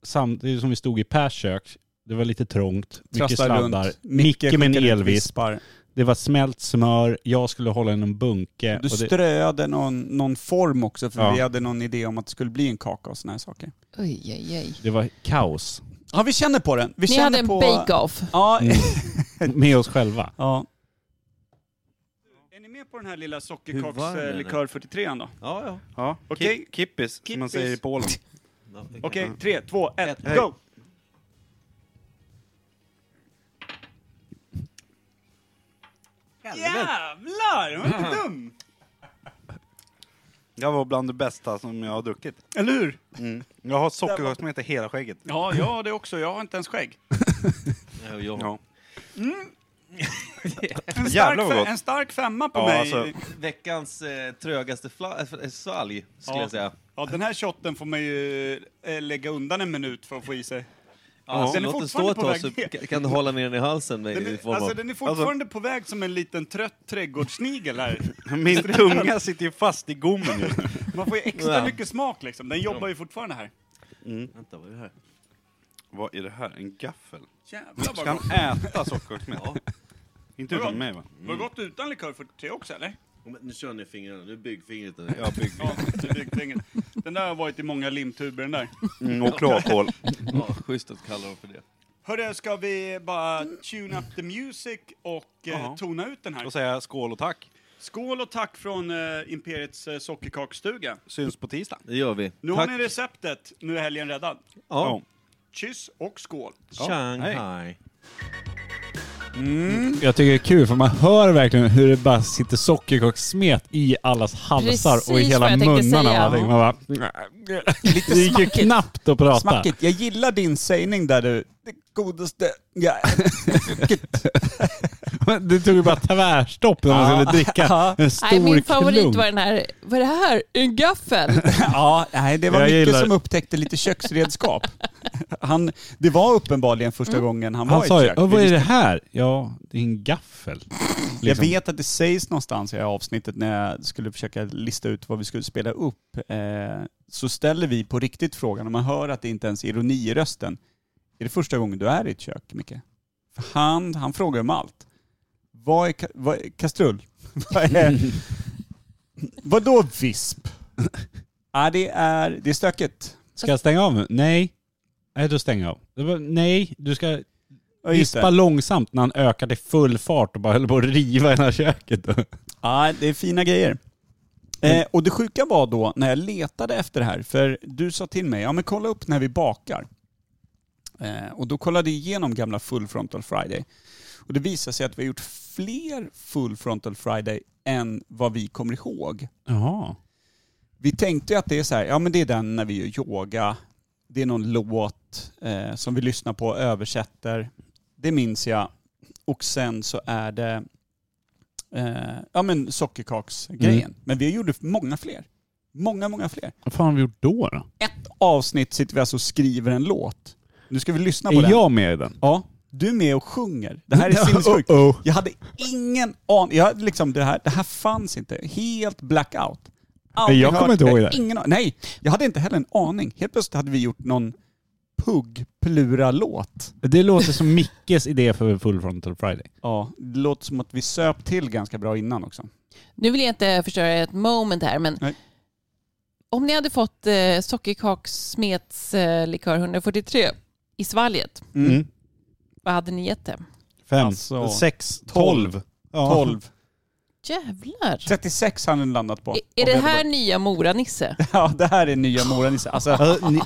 [SPEAKER 1] Samtidigt som vi stod i Pers kök. Det var lite trångt, mycket
[SPEAKER 2] Trasslar runt.
[SPEAKER 1] sladdar. Micke med en
[SPEAKER 2] skickar ut
[SPEAKER 1] elvisp.
[SPEAKER 2] vispar.
[SPEAKER 1] Det var smält smör, jag skulle hålla i någon bunke.
[SPEAKER 2] Du
[SPEAKER 1] och det,
[SPEAKER 2] ströade någon, någon form också för
[SPEAKER 1] Ja.
[SPEAKER 2] vi hade någon idé om att det skulle bli en kaka och såna här saker.
[SPEAKER 3] Oj, oj, oj.
[SPEAKER 1] det var kaos
[SPEAKER 2] Ja, vi känner på den. Vi
[SPEAKER 3] Ni
[SPEAKER 2] känner
[SPEAKER 3] hade en
[SPEAKER 2] på...
[SPEAKER 3] bake-off.
[SPEAKER 2] Ja.
[SPEAKER 1] Mm. med oss själva.
[SPEAKER 2] ja. Är ni med på den här lilla sockerkakslikör 43 då?
[SPEAKER 7] Ja, ja.
[SPEAKER 2] Ja. Okej,
[SPEAKER 8] Kippis, som man
[SPEAKER 2] Kippis.
[SPEAKER 8] säger i Polen.
[SPEAKER 2] okej. Tre, två, ett,
[SPEAKER 7] Ett.
[SPEAKER 2] go! Jävlar! Var inte dum!
[SPEAKER 8] Det var bland det bästa som jag har druckit.
[SPEAKER 2] Eller hur?
[SPEAKER 8] Jag har sockerkaksmet i hela skägget.
[SPEAKER 2] Ja, jag har det också. Jag har inte ens skägg.
[SPEAKER 7] Ja, ja.
[SPEAKER 8] Ja.
[SPEAKER 2] En stark,
[SPEAKER 8] Jävlar vad
[SPEAKER 2] fe-
[SPEAKER 8] gott.
[SPEAKER 2] en stark femma på
[SPEAKER 8] Ja,
[SPEAKER 2] mig.
[SPEAKER 8] alltså.
[SPEAKER 7] Veckans eh, trögaste
[SPEAKER 2] eh,
[SPEAKER 7] fla- äh, svalg, skulle
[SPEAKER 2] Ja.
[SPEAKER 7] jag säga.
[SPEAKER 2] Ja, den här shotten får man ju eh, lägga undan en minut för att få i sig.
[SPEAKER 7] Ja,
[SPEAKER 2] Den är
[SPEAKER 7] låt den stå
[SPEAKER 2] fortfarande
[SPEAKER 7] ett
[SPEAKER 2] på
[SPEAKER 7] tag
[SPEAKER 2] väg
[SPEAKER 7] så
[SPEAKER 2] ner.
[SPEAKER 7] ka- kan du hålla ner den i halsen. Med,
[SPEAKER 2] Den
[SPEAKER 7] i
[SPEAKER 2] är,
[SPEAKER 7] form av...
[SPEAKER 2] alltså, den är fortfarande på väg som en liten trött trädgårdssnigel här.
[SPEAKER 8] Min tunga sitter ju fast i gommen just nu.
[SPEAKER 2] Man får ju extra
[SPEAKER 7] Ja.
[SPEAKER 2] mycket smak liksom. Den jobbar ju fortfarande här.
[SPEAKER 7] Vänta, vad är det här?
[SPEAKER 8] Vad är det här? En gaffel?
[SPEAKER 2] Jävlar
[SPEAKER 8] Ska
[SPEAKER 2] vad gott.
[SPEAKER 8] han äta sockerkaksmet? Inte utan mig va? Mm.
[SPEAKER 2] Var gott utan likör 43 också eller?
[SPEAKER 7] Men Nu kör ni fingrarna, nu byggfingret. där. Ja,
[SPEAKER 2] Ja, det är byggfingret. Den där har varit i många limtuber den där.
[SPEAKER 8] Mm, och kloakhål.
[SPEAKER 7] ja, schysst att kalla dem för det.
[SPEAKER 2] Hörru, ska vi bara tune up the music och eh,
[SPEAKER 8] Ja.
[SPEAKER 2] tona ut den här?
[SPEAKER 8] Då säger jag skål och tack.
[SPEAKER 2] Skål och tack från eh, Imperiets eh, sockerkakstuga.
[SPEAKER 8] Syns på tisdag.
[SPEAKER 7] Det gör vi.
[SPEAKER 2] Nu
[SPEAKER 7] Tack.
[SPEAKER 2] har ni receptet, nu är helgen räddad.
[SPEAKER 7] Ja.
[SPEAKER 2] Kyss och skål.
[SPEAKER 7] Shanghai.
[SPEAKER 1] Jag tycker det är kul för man hör verkligen hur det bara sitter sockerkaksmet i allas halsar och i
[SPEAKER 3] Precis vad
[SPEAKER 1] hela
[SPEAKER 3] jag tänkte
[SPEAKER 1] munnarna.
[SPEAKER 3] säga.
[SPEAKER 1] och allting. Man bara, det gick ju knappt att prata.
[SPEAKER 2] Smackigt, jag gillar din sägning där du... Det godaste jag
[SPEAKER 1] Du tog ju bara tvärstopp när man skulle dricka en stor
[SPEAKER 3] Nej, min favorit
[SPEAKER 1] klunk.
[SPEAKER 3] var den här, vad är det här? En gaffel?
[SPEAKER 2] Ja, nej, det var
[SPEAKER 1] Jag
[SPEAKER 2] mycket
[SPEAKER 1] gillar-
[SPEAKER 2] som upptäckte lite köksredskap. Han, det var uppenbarligen första gången han, var
[SPEAKER 1] Han
[SPEAKER 2] i
[SPEAKER 1] sa
[SPEAKER 2] ett
[SPEAKER 1] ju,
[SPEAKER 2] kök.
[SPEAKER 1] "Åh,
[SPEAKER 2] Vi
[SPEAKER 1] vad är
[SPEAKER 2] visste-
[SPEAKER 1] det här? Ja, det är en gaffel.
[SPEAKER 2] Jag
[SPEAKER 1] Liksom.
[SPEAKER 2] vet att det sägs någonstans i det här avsnittet när jag skulle försöka lista ut vad vi skulle spela upp. Eh, så ställer vi på riktigt frågan, och man hör att det inte ens är ironi i rösten. Är det första gången du är i ett kök, Micke? För han, han frågar om allt. Vad är, ka, vad är kastrull? vad är, vadå visp? ja, det, är, det är stökigt.
[SPEAKER 1] Ska jag stänga av nu? Nej. Nej, då stänger jag av. Det var, nej, du ska
[SPEAKER 2] Ja, just det.
[SPEAKER 1] vispa långsamt när han ökar till full fart och bara höll på att riva hela köket.
[SPEAKER 2] Ja, det är fina grejer. Eh, och det sjuka var då när jag letade efter det här, för du sa till mig, ja men kolla upp när vi bakar. Eh, och då kollade jag igenom gamla Full Frontal Friday. Och det visade sig att vi har gjort fler Full Frontal Friday än vad vi kommer ihåg.
[SPEAKER 1] Jaha.
[SPEAKER 2] Vi tänkte ju att det är så här, ja men det är den när vi gör yoga, det är någon låt eh, som vi lyssnar på och översätter. Det minns jag. Och sen så är det eh, ja men sockerkaksgrejen.
[SPEAKER 1] Mm.
[SPEAKER 2] Men vi gjorde många fler. Många, många fler.
[SPEAKER 1] Vad fan har vi gjort då? då?
[SPEAKER 2] Ett avsnitt sitter vi alltså och skriver en låt. Nu ska vi lyssna på
[SPEAKER 1] Är
[SPEAKER 2] den.
[SPEAKER 1] jag med i den? oh,
[SPEAKER 2] Ja, du är med och sjunger. Det här är sinnessjukt.
[SPEAKER 1] Uh-oh.
[SPEAKER 2] Jag hade ingen aning. Jag hade liksom, det, här, det här fanns inte. Helt blackout. Aldrig
[SPEAKER 1] Jag kommer
[SPEAKER 2] hört
[SPEAKER 1] inte ihåg det.
[SPEAKER 2] Ingen an- Nej, jag hade inte heller en aning. Helt plötsligt hade vi gjort någon pugg-plura-låt.
[SPEAKER 1] Det låter som Mickes idé för Full Frontal Friday.
[SPEAKER 2] Ja, det låter som att vi söp till ganska bra innan också.
[SPEAKER 3] Nu vill jag inte förstöra ett moment här, men
[SPEAKER 2] Nej.
[SPEAKER 3] om ni hade fått eh, sockerkakssmets eh, likör 143 i svalget,
[SPEAKER 1] Mm.
[SPEAKER 3] vad hade ni gett det?
[SPEAKER 1] Fem,
[SPEAKER 2] Alltså,
[SPEAKER 1] sex,
[SPEAKER 2] tolv.
[SPEAKER 1] tolv.
[SPEAKER 2] 12.
[SPEAKER 3] Jävlar!
[SPEAKER 2] 36 hade den landat på.
[SPEAKER 3] Är- Är det här nya Mora-Nisse?
[SPEAKER 2] Ja, det här är nya Mora-Nisse. Alltså,
[SPEAKER 1] Alltså, ni,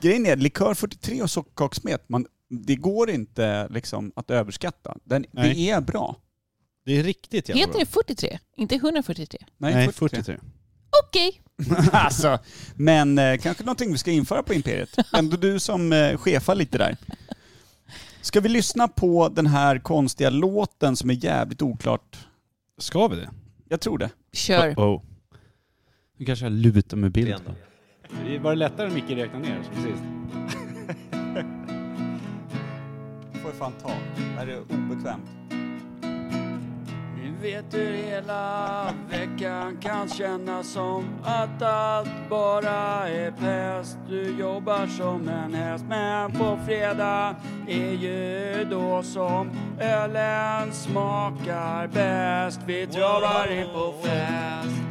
[SPEAKER 2] grejen är, likör 43 och sockerkakssmet, man- det går inte liksom att överskatta. Den, det
[SPEAKER 1] Nej.
[SPEAKER 2] är bra.
[SPEAKER 1] det är riktigt jävla
[SPEAKER 3] Heter
[SPEAKER 1] bra.
[SPEAKER 3] det 43? Inte 143?
[SPEAKER 2] Nej,
[SPEAKER 1] Nej,
[SPEAKER 2] 43.
[SPEAKER 1] 43.
[SPEAKER 3] Okej!
[SPEAKER 2] Alltså, men eh, kanske någonting vi ska införa på Imperiet. Ändå du som eh, chefar lite där. Ska vi lyssna på den här konstiga låten som är jävligt oklart?
[SPEAKER 1] Ska vi det?
[SPEAKER 2] Jag tror det.
[SPEAKER 3] Kör.
[SPEAKER 1] Oh. Nu kanske jag lutar med
[SPEAKER 7] igen då.
[SPEAKER 1] bilden. Var det lättare än Micke räkna ner? Precis.
[SPEAKER 2] får fan ta. Det här är obekvämt.
[SPEAKER 10] Ni vet hur hela veckan kan kännas som att allt bara är pest. Du jobbar som en häst men på fredag är ju då som ölen smakar bäst. Vi travar in på fest.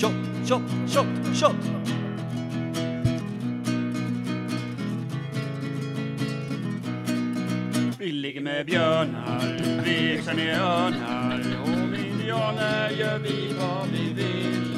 [SPEAKER 10] Shot, shot, shot, shot! Vi ligger med björnar, vi yxar ner örnar och med indianer gör vi vad vi vill.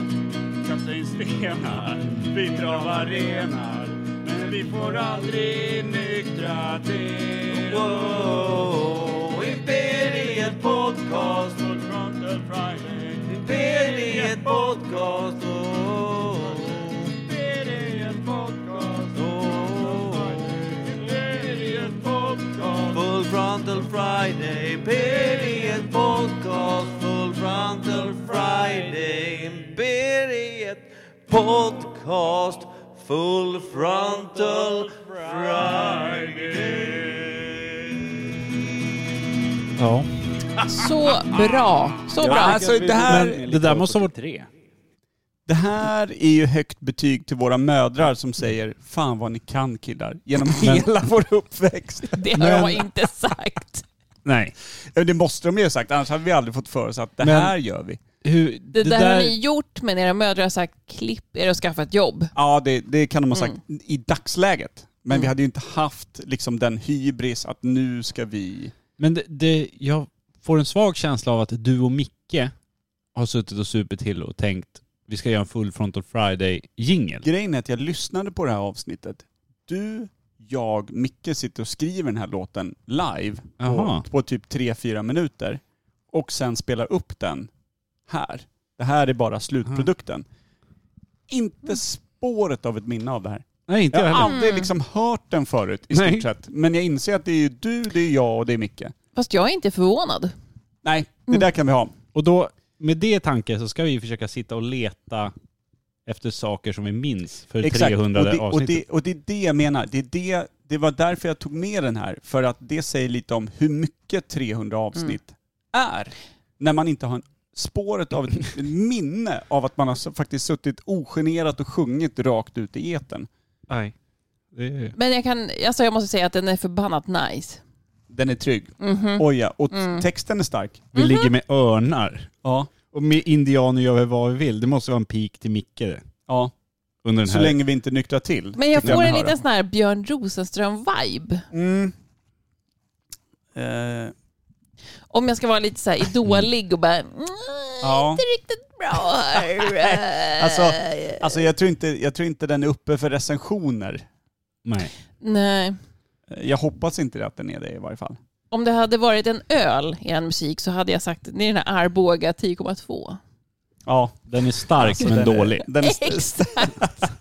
[SPEAKER 10] Kastar in stenar, vi travar renar men vi får aldrig nyktra till. Wow, Imperiet Podcast och Frontal Friday. Imperiet Podcast och Imperiet Podcast och Imperiet Podcast.
[SPEAKER 7] Full frontal Friday, Imperiet podcast. Full frontal Friday, Imperiet podcast. Full frontal Friday.
[SPEAKER 1] Ja.
[SPEAKER 3] Så bra! Så
[SPEAKER 2] Ja,
[SPEAKER 3] bra!
[SPEAKER 2] alltså, det, här,
[SPEAKER 1] Men det där måste ha varit... Tre.
[SPEAKER 2] det här är ju högt betyg till våra mödrar som säger Fan vad ni kan killar, genom hela vår uppväxt.
[SPEAKER 3] Det har jag inte sagt.
[SPEAKER 1] Nej.
[SPEAKER 2] Ja, Det måste de ju ha sagt, annars hade vi aldrig fått för oss att det
[SPEAKER 1] Men-
[SPEAKER 2] här gör vi.
[SPEAKER 1] Hur,
[SPEAKER 3] Det, där, har ni gjort, men era mödrar har sagt klipp er och skaffa ett jobb.
[SPEAKER 2] Ja, det, det kan de ha sagt i dagsläget. Men vi hade ju inte haft liksom, den hybris att nu ska vi...
[SPEAKER 1] Men det, det, jag får en svag känsla av att du och Micke har suttit och supit till och tänkt vi ska göra en full frontal friday jingel.
[SPEAKER 2] Grejen är att jag lyssnade på det här avsnittet. Du, jag, Micke sitter och skriver den här låten live på,
[SPEAKER 1] Jaha.
[SPEAKER 2] på typ 3-4 minuter och sen spelar upp den här. Det här är bara slutprodukten. Inte spåret av ett minne av det här.
[SPEAKER 1] Nej, inte
[SPEAKER 2] jag
[SPEAKER 1] jag
[SPEAKER 2] har
[SPEAKER 1] heller.
[SPEAKER 2] aldrig liksom hört den förut i
[SPEAKER 1] Nej.
[SPEAKER 2] stort sett. Men jag inser att det är ju du, det är jag och det är Micke.
[SPEAKER 3] Fast jag är inte förvånad.
[SPEAKER 2] Nej, det där kan vi ha.
[SPEAKER 1] Och då, med det i tanke så ska vi försöka sitta och leta efter saker som vi minns för 300
[SPEAKER 2] och det, och,
[SPEAKER 1] avsnittet.
[SPEAKER 2] det, och det är det jag menar. Det, är det, det var därför jag tog med den här. För att det säger lite om hur mycket 300
[SPEAKER 3] Mm.
[SPEAKER 2] avsnitt är. När man inte har en spåret av ett minne av att man har s- faktiskt suttit ogenerat och sjungit rakt ut i etern.
[SPEAKER 1] Nej.
[SPEAKER 3] Men jag kan, alltså jag måste säga att den är förbannat nice.
[SPEAKER 2] Den är trygg.
[SPEAKER 3] Mhm.
[SPEAKER 2] Oj ja, och
[SPEAKER 3] Mm.
[SPEAKER 2] texten är stark.
[SPEAKER 1] Vi ligger med örnar.
[SPEAKER 2] Ja.
[SPEAKER 1] Mm-hmm. Och med indianer gör vi vad vi vill. Det måste vara en pik till Micke. det.
[SPEAKER 2] Ja.
[SPEAKER 1] Under den
[SPEAKER 2] Så
[SPEAKER 1] här.
[SPEAKER 2] länge vi inte nyktrar till.
[SPEAKER 3] Men jag
[SPEAKER 2] tycker
[SPEAKER 3] får
[SPEAKER 2] mig
[SPEAKER 3] en
[SPEAKER 2] höra.
[SPEAKER 3] liten sån här Björn Rosenström-vibe.
[SPEAKER 2] Mm. Eh,
[SPEAKER 3] Om jag ska vara lite så här idolig och bara, mm,
[SPEAKER 2] ja.
[SPEAKER 3] inte riktigt bra här. Eh,
[SPEAKER 2] Alltså, alltså jag, tror inte, jag tror inte den är uppe för recensioner.
[SPEAKER 1] Nej.
[SPEAKER 3] Nej.
[SPEAKER 2] Eh, Jag hoppas inte det att den är det i varje fall.
[SPEAKER 3] Om det hade varit en öl i en musik så hade jag sagt, det är den här Arboga 10,2.
[SPEAKER 2] Ja,
[SPEAKER 1] Den är stark men
[SPEAKER 2] Alltså den är-
[SPEAKER 1] dålig.
[SPEAKER 2] Den är st-
[SPEAKER 3] Exakt.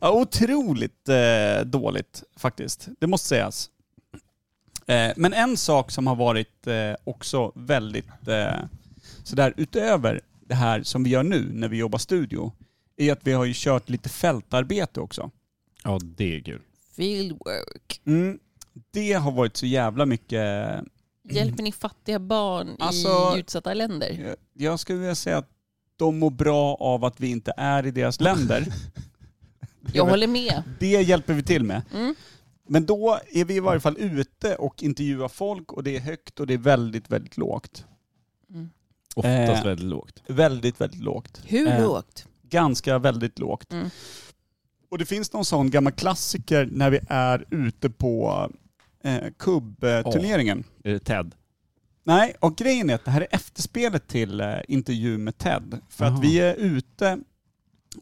[SPEAKER 2] ja, otroligt eh, dåligt faktiskt. Det måste sägas. Eh, men en sak som har varit eh, också väldigt eh, sådär utöver det här som vi gör nu när vi jobbar studio är att vi har ju kört lite fältarbete också.
[SPEAKER 1] Ja, det är kul.
[SPEAKER 3] Fieldwork.
[SPEAKER 2] Mm. Det har varit så jävla mycket
[SPEAKER 3] Hjälper ni fattiga barn
[SPEAKER 2] Alltså-
[SPEAKER 3] i utsatta länder?
[SPEAKER 2] Jag- Jag skulle vilja säga att de mår bra av att vi inte är i deras länder.
[SPEAKER 3] Jag håller med.
[SPEAKER 2] Det hjälper vi till med.
[SPEAKER 3] Mm.
[SPEAKER 2] Men då är vi i varje fall ute och intervjuar folk och det är högt och det är väldigt, väldigt lågt.
[SPEAKER 3] Mm.
[SPEAKER 1] Oftast
[SPEAKER 2] Eh.
[SPEAKER 1] väldigt lågt.
[SPEAKER 2] Väldigt, väldigt lågt.
[SPEAKER 3] Hur
[SPEAKER 2] Eh,
[SPEAKER 3] lågt?
[SPEAKER 2] Ganska väldigt lågt.
[SPEAKER 3] Mm.
[SPEAKER 2] Och det finns någon sån gammal klassiker när vi är ute på eh, kubbturneringen.
[SPEAKER 1] Är det Ted?
[SPEAKER 2] Nej, och grejen är att det här är efterspelet till eh, intervju med Ted. För
[SPEAKER 1] Jaha.
[SPEAKER 2] att vi är ute,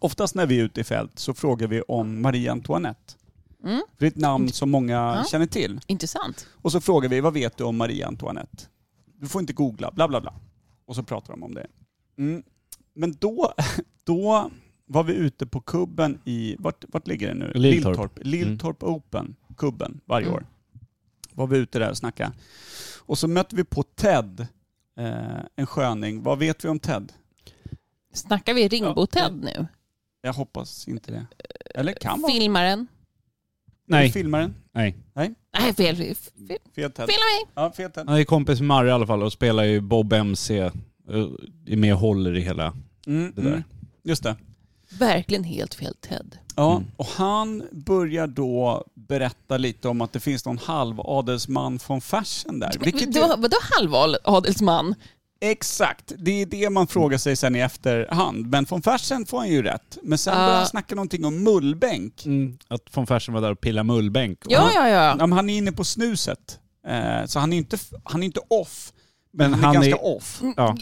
[SPEAKER 2] oftast när vi är ute i fält så frågar vi om Marie Antoinette.
[SPEAKER 3] Mm.
[SPEAKER 2] För det är ett namn som många
[SPEAKER 3] Ja.
[SPEAKER 2] känner till.
[SPEAKER 3] Intressant.
[SPEAKER 2] Och så frågar vi, vad vet du om Marie Antoinette? Du får inte googla, bla bla bla. Och så pratar de om det. Mm. Men då, då var vi ute på kubben i, vart, vart ligger det nu?
[SPEAKER 1] Lilltorp. Mm.
[SPEAKER 2] Lilltorp Open, kubben, varje
[SPEAKER 3] Mm.
[SPEAKER 2] år. Var vi ute där och snackade. Och så mötte vi på Ted, eh, en sköning. Vad vet vi om Ted?
[SPEAKER 3] Snackar vi Ringbo-Ted nu?
[SPEAKER 2] Jag hoppas inte det. Eller kan vara.
[SPEAKER 3] Filmaren?
[SPEAKER 1] Nej.
[SPEAKER 2] Filmaren?
[SPEAKER 1] Nej.
[SPEAKER 3] Nej, fel. fel, fel
[SPEAKER 2] Fel Ted.
[SPEAKER 3] filma mig!
[SPEAKER 2] Ja, fel Ted.
[SPEAKER 1] Han är kompis med Marre i alla fall och spelar ju Bob MC. eh, Är med och håller i hela
[SPEAKER 2] Mm,
[SPEAKER 1] det där.
[SPEAKER 2] mm. Just det.
[SPEAKER 3] Verkligen helt fel Ted.
[SPEAKER 2] Ja,
[SPEAKER 1] Mm.
[SPEAKER 2] och han börjar då berätta lite om att det finns någon halvadelsman från fashion där. Vilket
[SPEAKER 3] Det
[SPEAKER 2] ju,
[SPEAKER 3] var, vadå halvadelsman?
[SPEAKER 2] exakt, det är det man frågar sig sen i efterhand. Men från fashion får han ju rätt. Men sen börjar
[SPEAKER 3] Ja.
[SPEAKER 2] han snacka någonting om mullbänk.
[SPEAKER 1] Att von Fersen var där och pillade mullbänk. Och
[SPEAKER 3] Ja, ja, ja.
[SPEAKER 2] Ja, men han är inne på snuset. Eh, så han är inte, han är inte off, men, han
[SPEAKER 1] Men
[SPEAKER 2] är
[SPEAKER 1] han
[SPEAKER 2] ganska
[SPEAKER 1] är-
[SPEAKER 2] off.
[SPEAKER 1] Ja.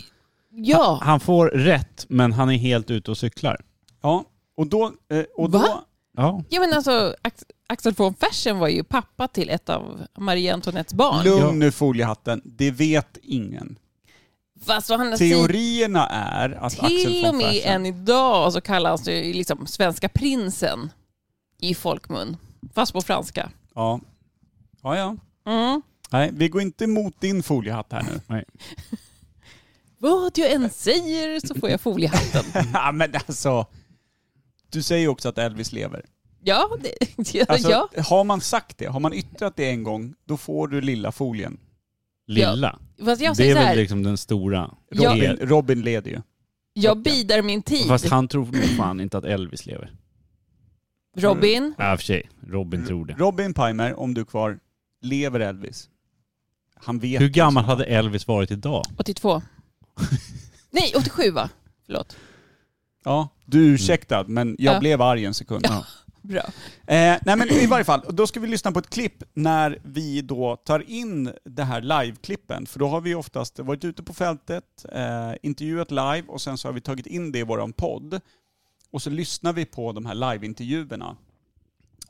[SPEAKER 3] Ja,
[SPEAKER 1] Han får rätt, men han är helt ute och cyklar.
[SPEAKER 2] Ja, och då... Eh, och
[SPEAKER 3] Va?
[SPEAKER 2] då
[SPEAKER 1] Ja.
[SPEAKER 3] ja men alltså Ax- Axel von Fersen var ju pappa till ett av Marie Antoinettes barn.
[SPEAKER 2] lugn nu foliehatten, det vet ingen.
[SPEAKER 3] Fast vad han
[SPEAKER 2] Teorierna är att Axel
[SPEAKER 3] Alltså, till och
[SPEAKER 2] von
[SPEAKER 3] med
[SPEAKER 2] Fersen...
[SPEAKER 3] än idag så kallas det ju liksom svenska prinsen i folkmun. Fast på franska.
[SPEAKER 2] Ja. ja, ja.
[SPEAKER 3] Mm.
[SPEAKER 2] Nej, vi går inte emot din foliehatt här nu.
[SPEAKER 3] Vad jag än säger så får jag foliehatten.
[SPEAKER 2] ja, men alltså. Du säger ju också att Elvis lever.
[SPEAKER 3] Ja, det, ja,
[SPEAKER 2] Alltså,
[SPEAKER 3] ja.
[SPEAKER 2] Har man sagt det, har man yttrat det en gång, då får du lilla folien.
[SPEAKER 1] Lilla.
[SPEAKER 3] Fast jag
[SPEAKER 1] det
[SPEAKER 3] säger
[SPEAKER 1] är
[SPEAKER 3] så här,
[SPEAKER 1] väl liksom den stora.
[SPEAKER 3] Ja.
[SPEAKER 2] Robin, Robin leder ju.
[SPEAKER 3] jag bidar min tid.
[SPEAKER 1] Fast han tror nog fan inte att Elvis lever.
[SPEAKER 3] Robin,
[SPEAKER 1] Ja, i och för sig. Robin tror det.
[SPEAKER 2] Robin Pimer, om du är kvar, lever Elvis? Han vet
[SPEAKER 1] Hur
[SPEAKER 2] ju
[SPEAKER 1] gammal
[SPEAKER 2] så.
[SPEAKER 1] hade Elvis varit idag?
[SPEAKER 3] 82. Nej, 87 va? Förlåt.
[SPEAKER 2] Ja, du är ursäktad, men jag
[SPEAKER 3] Ja.
[SPEAKER 2] blev arg en sekund.
[SPEAKER 3] Bra.
[SPEAKER 2] Eh, nej men i varje fall, då ska vi lyssna på ett klipp när vi då tar in det här live-klippen. För då har vi oftast varit ute på fältet, eh, intervjuat live och sen så har vi tagit in det i våran podd. Och så lyssnar vi på de här live-intervjuerna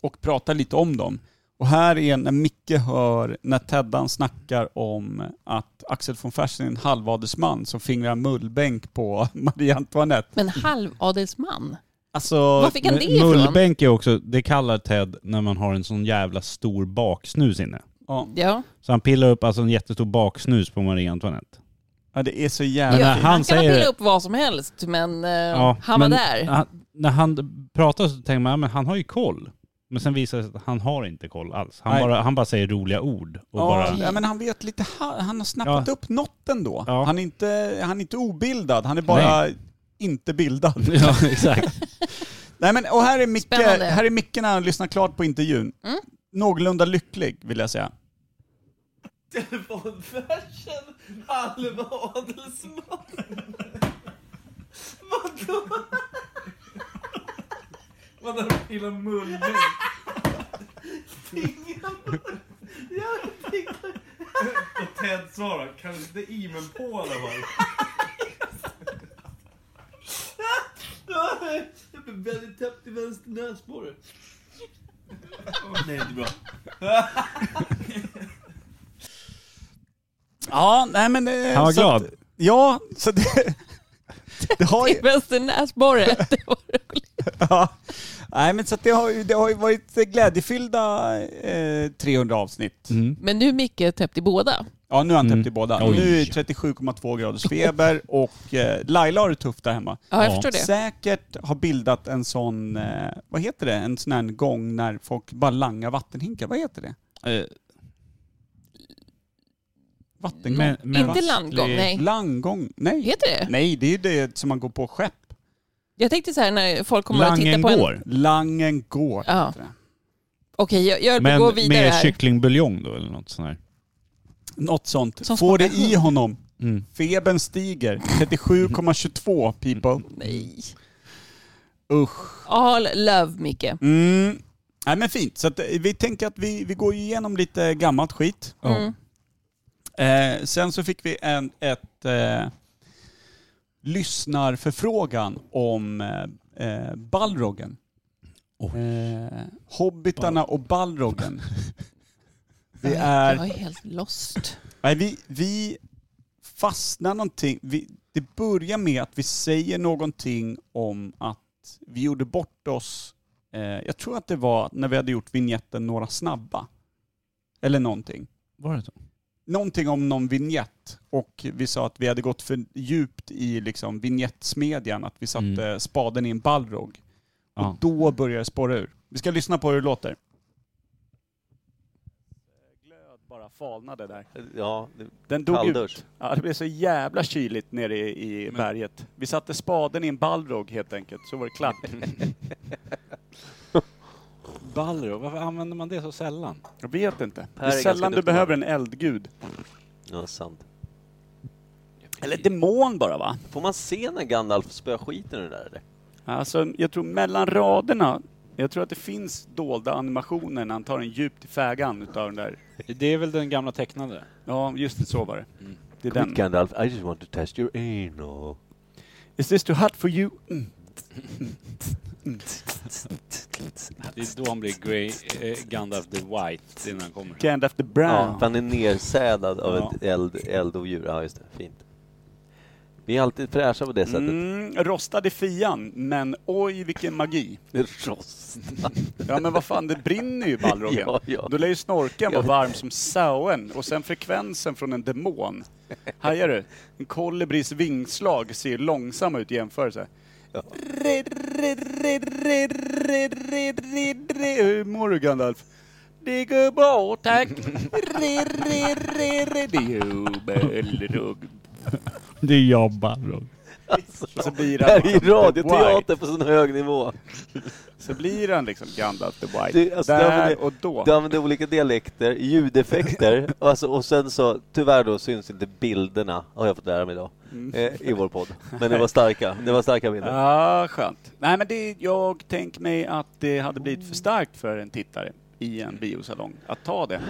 [SPEAKER 2] och pratar lite om dem. Och här är när Micke hör när Teddan snackar om att Axel von Fersen är en halvadelsman som fingrar mullbänk på Marie Antoinette.
[SPEAKER 3] Men halvadelsman?
[SPEAKER 2] Alltså,
[SPEAKER 3] Var fick han det ifrån?
[SPEAKER 1] Mullbänk är också, det kallar Ted när man har en sån jävla stor baksnus inne.
[SPEAKER 3] Ja.
[SPEAKER 1] Så han pillar upp alltså en jättestor baksnus på Marie Antoinette.
[SPEAKER 2] Ja det är så
[SPEAKER 3] Ja,
[SPEAKER 2] jävla...
[SPEAKER 1] när han
[SPEAKER 3] han kan
[SPEAKER 1] säger
[SPEAKER 3] pilla
[SPEAKER 1] det-
[SPEAKER 3] upp vad som helst, men eh,
[SPEAKER 1] Ja,
[SPEAKER 3] han var
[SPEAKER 1] men
[SPEAKER 3] där.
[SPEAKER 1] Han, när han pratar så tänker man, ja, men han har ju koll. Men sen visar det sig att han har inte koll alls. Han,
[SPEAKER 2] Nej.
[SPEAKER 1] bara, han bara säger roliga ord. Och
[SPEAKER 2] ja,
[SPEAKER 1] bara,
[SPEAKER 2] ja, men han vet lite, ha- han har snappat upp något ändå. Han, är inte, han är inte obildad, han är bara
[SPEAKER 1] Nej.
[SPEAKER 2] inte bildad.
[SPEAKER 1] Ja, exakt.
[SPEAKER 2] Nej men, och här är, Micke,
[SPEAKER 3] Spännande.
[SPEAKER 2] här är Micke när han lyssnar klart på intervjun.
[SPEAKER 3] Mm.
[SPEAKER 2] Någorlunda lycklig vill jag säga.
[SPEAKER 11] Telefonfärsen, halva adelsman. Vadå?
[SPEAKER 8] Vadå, pilla munnen?
[SPEAKER 11] Jag tänkte...
[SPEAKER 8] Och Ted svarar, kan inte i men på i alla fall.
[SPEAKER 11] Jag blev väldigt täppt i vänster näsborre.
[SPEAKER 8] Nej, inte bra.
[SPEAKER 2] Ja, nej men... eh,
[SPEAKER 1] Han var
[SPEAKER 2] så
[SPEAKER 1] glad.
[SPEAKER 2] Att, ja, så det... det har ju,
[SPEAKER 3] I Västernäsborre.
[SPEAKER 2] ja. Nej men så att det har, ju- det har ju varit glädjefyllda eh, 300 avsnitt.
[SPEAKER 3] men nu är Micke täppt i båda.
[SPEAKER 2] Ja nu har han täppt i båda.
[SPEAKER 1] Mm. Oj.
[SPEAKER 2] Nu är det 37,2 graders feber och eh, Laila har det tufft där hemma.
[SPEAKER 3] Ja, jag Ja. förstår det.
[SPEAKER 2] Säkert har bildat en sån, eh, vad heter det, en sån här gång när folk bara langar vattenhinkar. Vad heter det?
[SPEAKER 1] Eh,
[SPEAKER 2] Vattengång?
[SPEAKER 1] Men- men
[SPEAKER 3] Inte vasslig- landgång, nej.
[SPEAKER 2] Langgång, nej.
[SPEAKER 3] Heter det?
[SPEAKER 2] Nej, det är ju det som man går på skepp.
[SPEAKER 3] Jag tänkte så här när folk kommer att titta på en...
[SPEAKER 2] Langen går.
[SPEAKER 3] Ja. Okej, jag, jag
[SPEAKER 1] Men
[SPEAKER 3] går vidare
[SPEAKER 1] med
[SPEAKER 3] här.
[SPEAKER 1] kycklingbuljong då eller något sånt här.
[SPEAKER 2] Något sånt.
[SPEAKER 3] Som
[SPEAKER 2] Får det
[SPEAKER 3] smakar
[SPEAKER 2] i
[SPEAKER 3] hund.
[SPEAKER 2] honom.
[SPEAKER 1] Mm.
[SPEAKER 2] Febern stiger. 37,22 people.
[SPEAKER 1] Mm.
[SPEAKER 3] Nej.
[SPEAKER 2] Usch.
[SPEAKER 3] All love, Micke.
[SPEAKER 2] Mm. Nej men fint. Så att, eh, vi tänker att vi, vi går igenom lite gammalt skit.
[SPEAKER 3] Mm.
[SPEAKER 2] Eh, sen så fick vi en ett, eh, lyssnarförfrågan om eh, eh, Balrogen. Eh, Hobbitarna och Balrogen. Det är...
[SPEAKER 3] Jag är helt lost.
[SPEAKER 2] Nej, vi, vi fastnar någonting. Vi, det börjar med att vi säger någonting om att vi gjorde bort oss. Eh, jag tror att det var när vi hade gjort vignetten Några snabba. Eller någonting.
[SPEAKER 1] Var det så?
[SPEAKER 2] Någonting om någon vignett. Och vi sa att vi hade gått för djupt i liksom vignettsmedjan. Att vi satte spaden i en ballrog. Och
[SPEAKER 1] Ja.
[SPEAKER 2] då började det spåra ur. Vi ska lyssna på hur det låter. Glöd bara falnade där.
[SPEAKER 7] Ja,
[SPEAKER 2] Den dog
[SPEAKER 7] Kalldusch.
[SPEAKER 2] ut. Ja, det blev så jävla kyligt nere i, i berget. Vi satte spaden i en ballrog helt enkelt, så var det klart.
[SPEAKER 7] Mm.
[SPEAKER 1] Ballro, varför använder man det så sällan?
[SPEAKER 2] Jag vet inte. det
[SPEAKER 7] Per
[SPEAKER 2] är
[SPEAKER 7] är ganska
[SPEAKER 2] sällan du
[SPEAKER 7] duktig
[SPEAKER 2] behöver en eldgud.
[SPEAKER 7] Ja, sant.
[SPEAKER 2] Eller demon bara va?
[SPEAKER 7] Får man se när Gandalf spöar skiten ur det där eller?
[SPEAKER 2] Alltså, jag tror mellan raderna, jag tror att det finns dolda animationer när han tar en djupt i fägan utav den där.
[SPEAKER 12] Det är väl den gamla tecknade?
[SPEAKER 2] Ja, just det, så var det. Det är
[SPEAKER 7] Kom hit,
[SPEAKER 2] den.
[SPEAKER 7] Gandalf, I just want to test your anal.
[SPEAKER 2] Is this too hot for you? Mm.
[SPEAKER 12] Det är då han blir Grey, eh, Gandalf the White innan han kommer.
[SPEAKER 2] Gandalf the
[SPEAKER 7] Ja,
[SPEAKER 2] brown.
[SPEAKER 7] för han är nersädad av
[SPEAKER 12] Ja.
[SPEAKER 7] ett eld, eldodjur. Ja, just det. Fint. Vi är alltid fräscha på det sättet.
[SPEAKER 2] Mm, rostad i fian, men oj vilken magi.
[SPEAKER 7] Rostad.
[SPEAKER 2] Ja men vad fan, det brinner ju i ballrongen.
[SPEAKER 7] Ja, ja.
[SPEAKER 2] Då lär ju snorken vara
[SPEAKER 7] Jag vet.
[SPEAKER 2] varm som sauen och sen frekvensen från en demon. Hajar du? En kolibris vingslag ser ju långsam ut i jämförelse. Red, red, red, red, red, red, red, red. Hur mår du Gandalf? Det går bra tack. Red, red, red, red. Jo, ballrog.
[SPEAKER 1] Det är jag Ballro.
[SPEAKER 2] Och Så blir
[SPEAKER 7] Det här är ju
[SPEAKER 2] The White.
[SPEAKER 7] radioteater på sån hög nivå.
[SPEAKER 2] Så blir han liksom Gandalf the White.
[SPEAKER 7] Du, alltså, du
[SPEAKER 2] Där
[SPEAKER 7] använder-
[SPEAKER 2] och då.
[SPEAKER 7] Du använder olika dialekter, ljudeffekter och, alltså, och sen så, tyvärr då syns inte bilderna, har jag fått lära mig idag, eh, i vår podd. Men det var starka, det var starka bilder.
[SPEAKER 2] Mm. Ja, skönt. Nej, men det, jag tänker mig att det hade blivit för starkt för en tittare i en biosalong att ta det.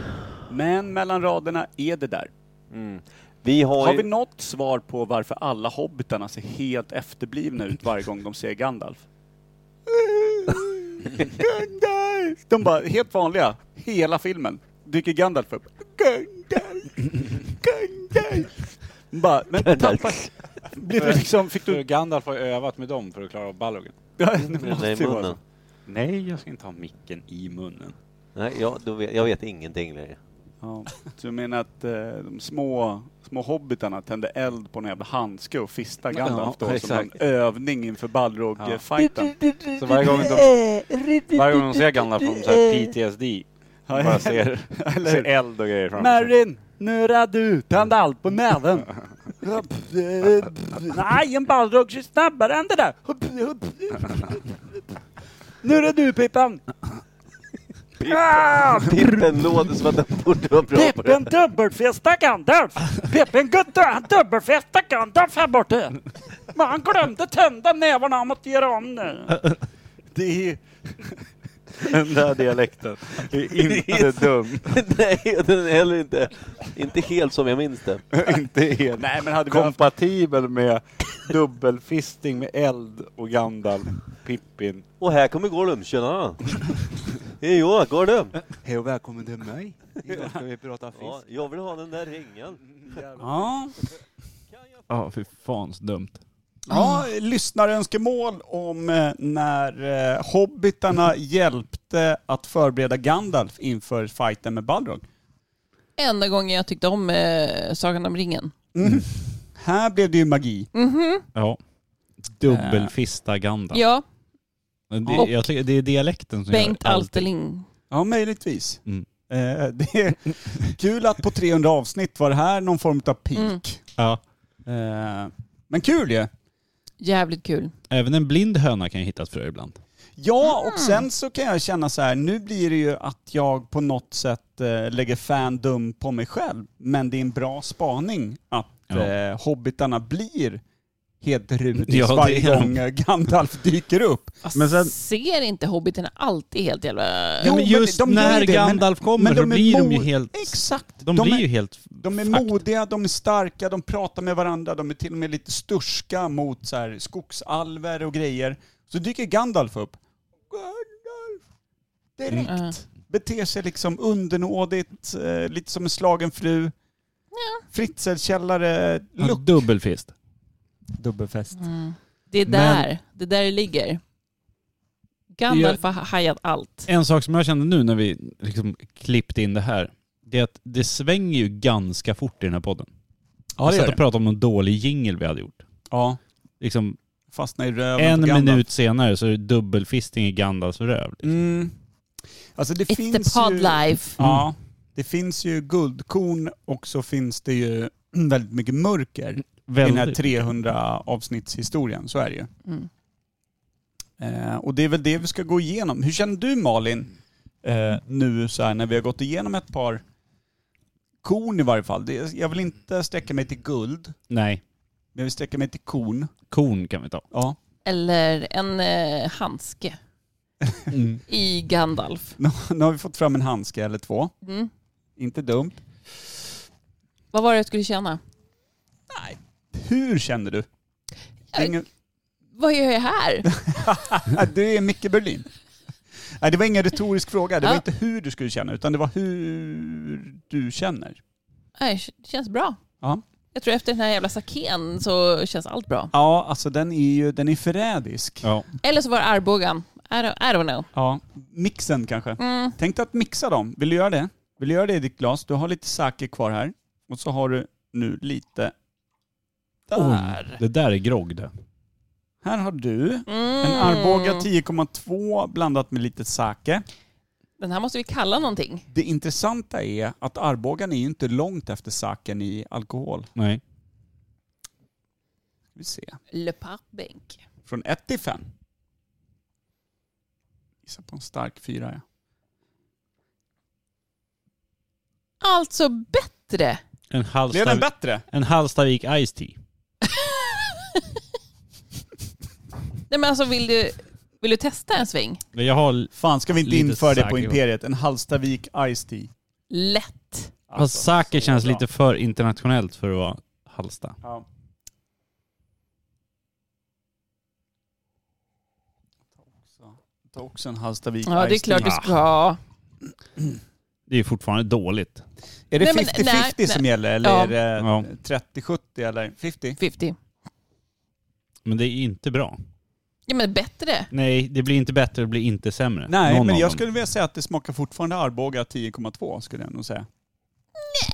[SPEAKER 2] Men mellan raderna är det där.
[SPEAKER 7] Vi har,
[SPEAKER 2] Har
[SPEAKER 7] ju-
[SPEAKER 2] vi något svar på varför alla hobbitarna ser helt efterblivna ut varje gång de ser Gandalf? De bara, helt vanliga, hela filmen. Dyker Gandalf upp. Gandalf! Gandalf! Bara, men tappar... Blir du liksom, fick du...
[SPEAKER 12] Gandalf har ju övat med dem för att klara av Balrogen.
[SPEAKER 2] Ja, det måste Nej, i ju vara munnen. så.
[SPEAKER 12] Nej, jag ska inte ha micken i munnen.
[SPEAKER 7] Nej, jag, då vet, jag vet ingenting längre.
[SPEAKER 2] Ja, så du menar att eh, de små, små hobbitarna tände eld på en jävla handske och fistade
[SPEAKER 12] Ja,
[SPEAKER 2] Gandalf då som en
[SPEAKER 12] exakt.
[SPEAKER 2] övning inför Balrog-fajten?
[SPEAKER 12] Så varje gång de, varje gång de ser Gandalf får de så här PTSD.
[SPEAKER 2] Ja,
[SPEAKER 12] Bara ser,
[SPEAKER 2] eller-
[SPEAKER 12] ser eld och grejer framför sig.
[SPEAKER 2] Marin, nu är du! Tänd allt på näven! Nej, en Balrog kör snabbare än det där! Nu är du Pippan! Ah!
[SPEAKER 7] Pippen låter som att den borde vara bra på
[SPEAKER 2] Pippen
[SPEAKER 7] det.
[SPEAKER 2] dubbelfesta Gandalf! Pippen Gutte, han dubbelfesta Gandalf här borta! Men han glömde tända nävarna, han måste göra om nu. Det är...
[SPEAKER 12] Den där dialekten är
[SPEAKER 7] Det är
[SPEAKER 12] inte
[SPEAKER 7] så-
[SPEAKER 12] dum.
[SPEAKER 7] Nej, den är heller inte, inte helt som jag minns det.
[SPEAKER 12] inte helt
[SPEAKER 2] Nej, men hade vi haft-
[SPEAKER 12] kompatibel med dubbelfisting med eld och Gandalf, Pippin.
[SPEAKER 7] Och här kommer Gollum, tjena! Hej jag, Gollum!
[SPEAKER 2] Hej och välkommen till mig. Idag ska vi prata fisk.
[SPEAKER 7] Ja, jag vill ha den där ringen.
[SPEAKER 2] Ja.
[SPEAKER 1] Ja, fy fans dumt.
[SPEAKER 2] Ja, lyssnarönskemål om eh, när eh, hobbitarna hjälpte att förbereda Gandalf inför fighten med Balrog.
[SPEAKER 3] Enda gången jag tyckte om eh, Sagan om ringen.
[SPEAKER 2] Mm. Här blev det ju magi.
[SPEAKER 3] Mhm.
[SPEAKER 1] Ja. Dubbelfista Gandalf.
[SPEAKER 3] Ja,
[SPEAKER 1] Det,
[SPEAKER 3] Och-
[SPEAKER 1] jag tycker det är dialekten som
[SPEAKER 3] Bengt
[SPEAKER 1] gör allt.
[SPEAKER 3] Alteling.
[SPEAKER 2] Ja, möjligtvis.
[SPEAKER 1] Mm.
[SPEAKER 2] Eh, det är kul att på 300 avsnitt var det här någon form av peak.
[SPEAKER 3] Mm.
[SPEAKER 1] Ja.
[SPEAKER 2] Eh, men kul ju.
[SPEAKER 3] Jävligt kul.
[SPEAKER 1] Även en blind höna kan ju hitta ett frö ibland.
[SPEAKER 2] Ja, och sen så kan jag känna så här, nu blir det ju att jag på något sätt eh, lägger fandom på mig själv. Men det är en bra spaning att
[SPEAKER 1] Ja.
[SPEAKER 2] eh, hobbitarna blir helt rudis
[SPEAKER 1] Ja, det
[SPEAKER 2] varje
[SPEAKER 1] är de.
[SPEAKER 2] gång eh, Gandalf dyker upp.
[SPEAKER 1] Men sen,
[SPEAKER 3] Ser inte hobbiterna alltid helt jävla...
[SPEAKER 1] Ja, men just
[SPEAKER 2] de gör ju
[SPEAKER 1] när
[SPEAKER 2] det, men-
[SPEAKER 1] Gandalf kommer
[SPEAKER 2] men
[SPEAKER 1] så
[SPEAKER 2] är
[SPEAKER 1] blir de ju
[SPEAKER 2] mo-
[SPEAKER 1] helt-
[SPEAKER 2] Exakt.
[SPEAKER 1] de, blir
[SPEAKER 2] är,
[SPEAKER 1] ju helt...
[SPEAKER 2] De är modiga, de är starka, de pratar med varandra, de är till och med lite sturska mot så här, skogsalver och grejer. Så dyker Gandalf upp. Gandalf! Direkt.
[SPEAKER 3] Mm.
[SPEAKER 2] Beter sig liksom undernådigt, eh, lite som en slagen fru. Fritzelkällare, look.
[SPEAKER 1] Dubbelfist.
[SPEAKER 2] Dubbelfest.
[SPEAKER 3] Det är
[SPEAKER 1] Men-
[SPEAKER 3] där. Det där det ligger. Gandalf har hajat allt.
[SPEAKER 1] En sak som jag kände nu när vi liksom klippte in det här, det är att det svänger ju ganska fort i den här podden.
[SPEAKER 2] Ja, det
[SPEAKER 1] jag
[SPEAKER 2] gör
[SPEAKER 1] satt
[SPEAKER 2] det.
[SPEAKER 1] och pratade om någon dålig jingle vi hade gjort.
[SPEAKER 2] Alltså, Ja,
[SPEAKER 1] Liksom,
[SPEAKER 2] fastnar i röven
[SPEAKER 1] en
[SPEAKER 2] på Gandalf.
[SPEAKER 1] minut senare så är det dubbelfisting i Gandalfs röv.
[SPEAKER 2] Mm. Alltså det
[SPEAKER 3] It's the
[SPEAKER 2] finns
[SPEAKER 3] pod
[SPEAKER 2] ju...
[SPEAKER 3] life.
[SPEAKER 2] Ja, det finns ju guldkorn och så finns det ju väldigt mycket mörker i den här
[SPEAKER 1] Väldigt.
[SPEAKER 2] 300 avsnittshistorien. Så är det ju.
[SPEAKER 3] Mm.
[SPEAKER 2] Eh, och det är väl det vi ska gå igenom. Hur känner du Malin eh, nu så här när vi har gått igenom ett par korn i varje fall? Det, jag vill inte sträcka mig till guld,
[SPEAKER 1] Nej,
[SPEAKER 2] men jag vill sträcka mig till korn.
[SPEAKER 1] korn kan vi ta.
[SPEAKER 2] Ja.
[SPEAKER 3] Eller en eh, handske
[SPEAKER 2] Mm.
[SPEAKER 3] i Gandalf.
[SPEAKER 2] Nu, nu har vi fått fram en handske eller två.
[SPEAKER 3] Mm.
[SPEAKER 2] Inte dumt.
[SPEAKER 3] Vad var det jag skulle känna?
[SPEAKER 2] Hur känner du?
[SPEAKER 3] Jag-
[SPEAKER 2] Ingen-
[SPEAKER 3] Vad gör jag här?
[SPEAKER 2] Ja, det är Micke Berlin. Nej, det var ingen retorisk fråga. Det var
[SPEAKER 3] Ja.
[SPEAKER 2] inte hur du skulle känna, utan det var hur du känner.
[SPEAKER 3] Nej, det känns bra.
[SPEAKER 2] Ja.
[SPEAKER 3] Jag tror efter den här jävla saken så känns allt bra.
[SPEAKER 2] Ja, alltså den är ju den är förrädisk. Ja.
[SPEAKER 1] Ja.
[SPEAKER 3] Eller så var det armbågan. I don't, I don't know.
[SPEAKER 2] Mixen kanske.
[SPEAKER 3] Mm.
[SPEAKER 2] Tänk dig att mixa dem. Vill du göra det? Vill du göra det i ditt glas? Du har lite sake kvar här. Och så har du nu lite... Där.
[SPEAKER 1] Oj, det där är grogg det.
[SPEAKER 2] Här har du
[SPEAKER 3] Mm.
[SPEAKER 2] en Arboga 10,2 blandat med lite sake.
[SPEAKER 3] Den här måste vi kalla någonting.
[SPEAKER 2] Det intressanta är att Arbogan är ju inte långt efter saken i alkohol.
[SPEAKER 1] Nej.
[SPEAKER 2] Vi ser.
[SPEAKER 3] Le Parbank.
[SPEAKER 2] Från 1 till 5. Gissa på en stark fyra. Ja.
[SPEAKER 3] Alltså bättre.
[SPEAKER 1] En
[SPEAKER 2] Blev den
[SPEAKER 1] Hallstavik,
[SPEAKER 2] bättre?
[SPEAKER 1] en Hallstavik Ice Tea.
[SPEAKER 3] Nej men alltså vill du, vill du testa en sväng?
[SPEAKER 1] Men Jag har,
[SPEAKER 2] Fan, ska vi inte
[SPEAKER 1] Lite
[SPEAKER 2] införa det på
[SPEAKER 1] sake.
[SPEAKER 2] Imperiet? En Hallstavik Ice Tea.
[SPEAKER 3] Lätt.
[SPEAKER 1] alltså, Sake
[SPEAKER 2] så
[SPEAKER 1] känns
[SPEAKER 2] bra.
[SPEAKER 1] lite för internationellt för att vara Hallsta.
[SPEAKER 2] Ja. Ta också en Hallstavik
[SPEAKER 3] Ja, det är
[SPEAKER 2] Ice Tea.
[SPEAKER 3] klart du ska ha.
[SPEAKER 1] Det är ju fortfarande dåligt.
[SPEAKER 2] Är det
[SPEAKER 3] Nej, men-
[SPEAKER 2] 50-50
[SPEAKER 3] nej,
[SPEAKER 2] som
[SPEAKER 3] nej.
[SPEAKER 2] gäller eller
[SPEAKER 3] Ja.
[SPEAKER 2] är det 30-70 eller 50?
[SPEAKER 3] 50.
[SPEAKER 1] Men det är inte bra.
[SPEAKER 3] Ja men bättre.
[SPEAKER 1] Nej, det blir inte bättre, det blir inte sämre.
[SPEAKER 2] Nej,
[SPEAKER 1] Någon
[SPEAKER 2] men
[SPEAKER 1] av
[SPEAKER 2] jag
[SPEAKER 1] dem.
[SPEAKER 2] skulle vilja säga att det smakar fortfarande Arboga 10,2 skulle jag nog säga.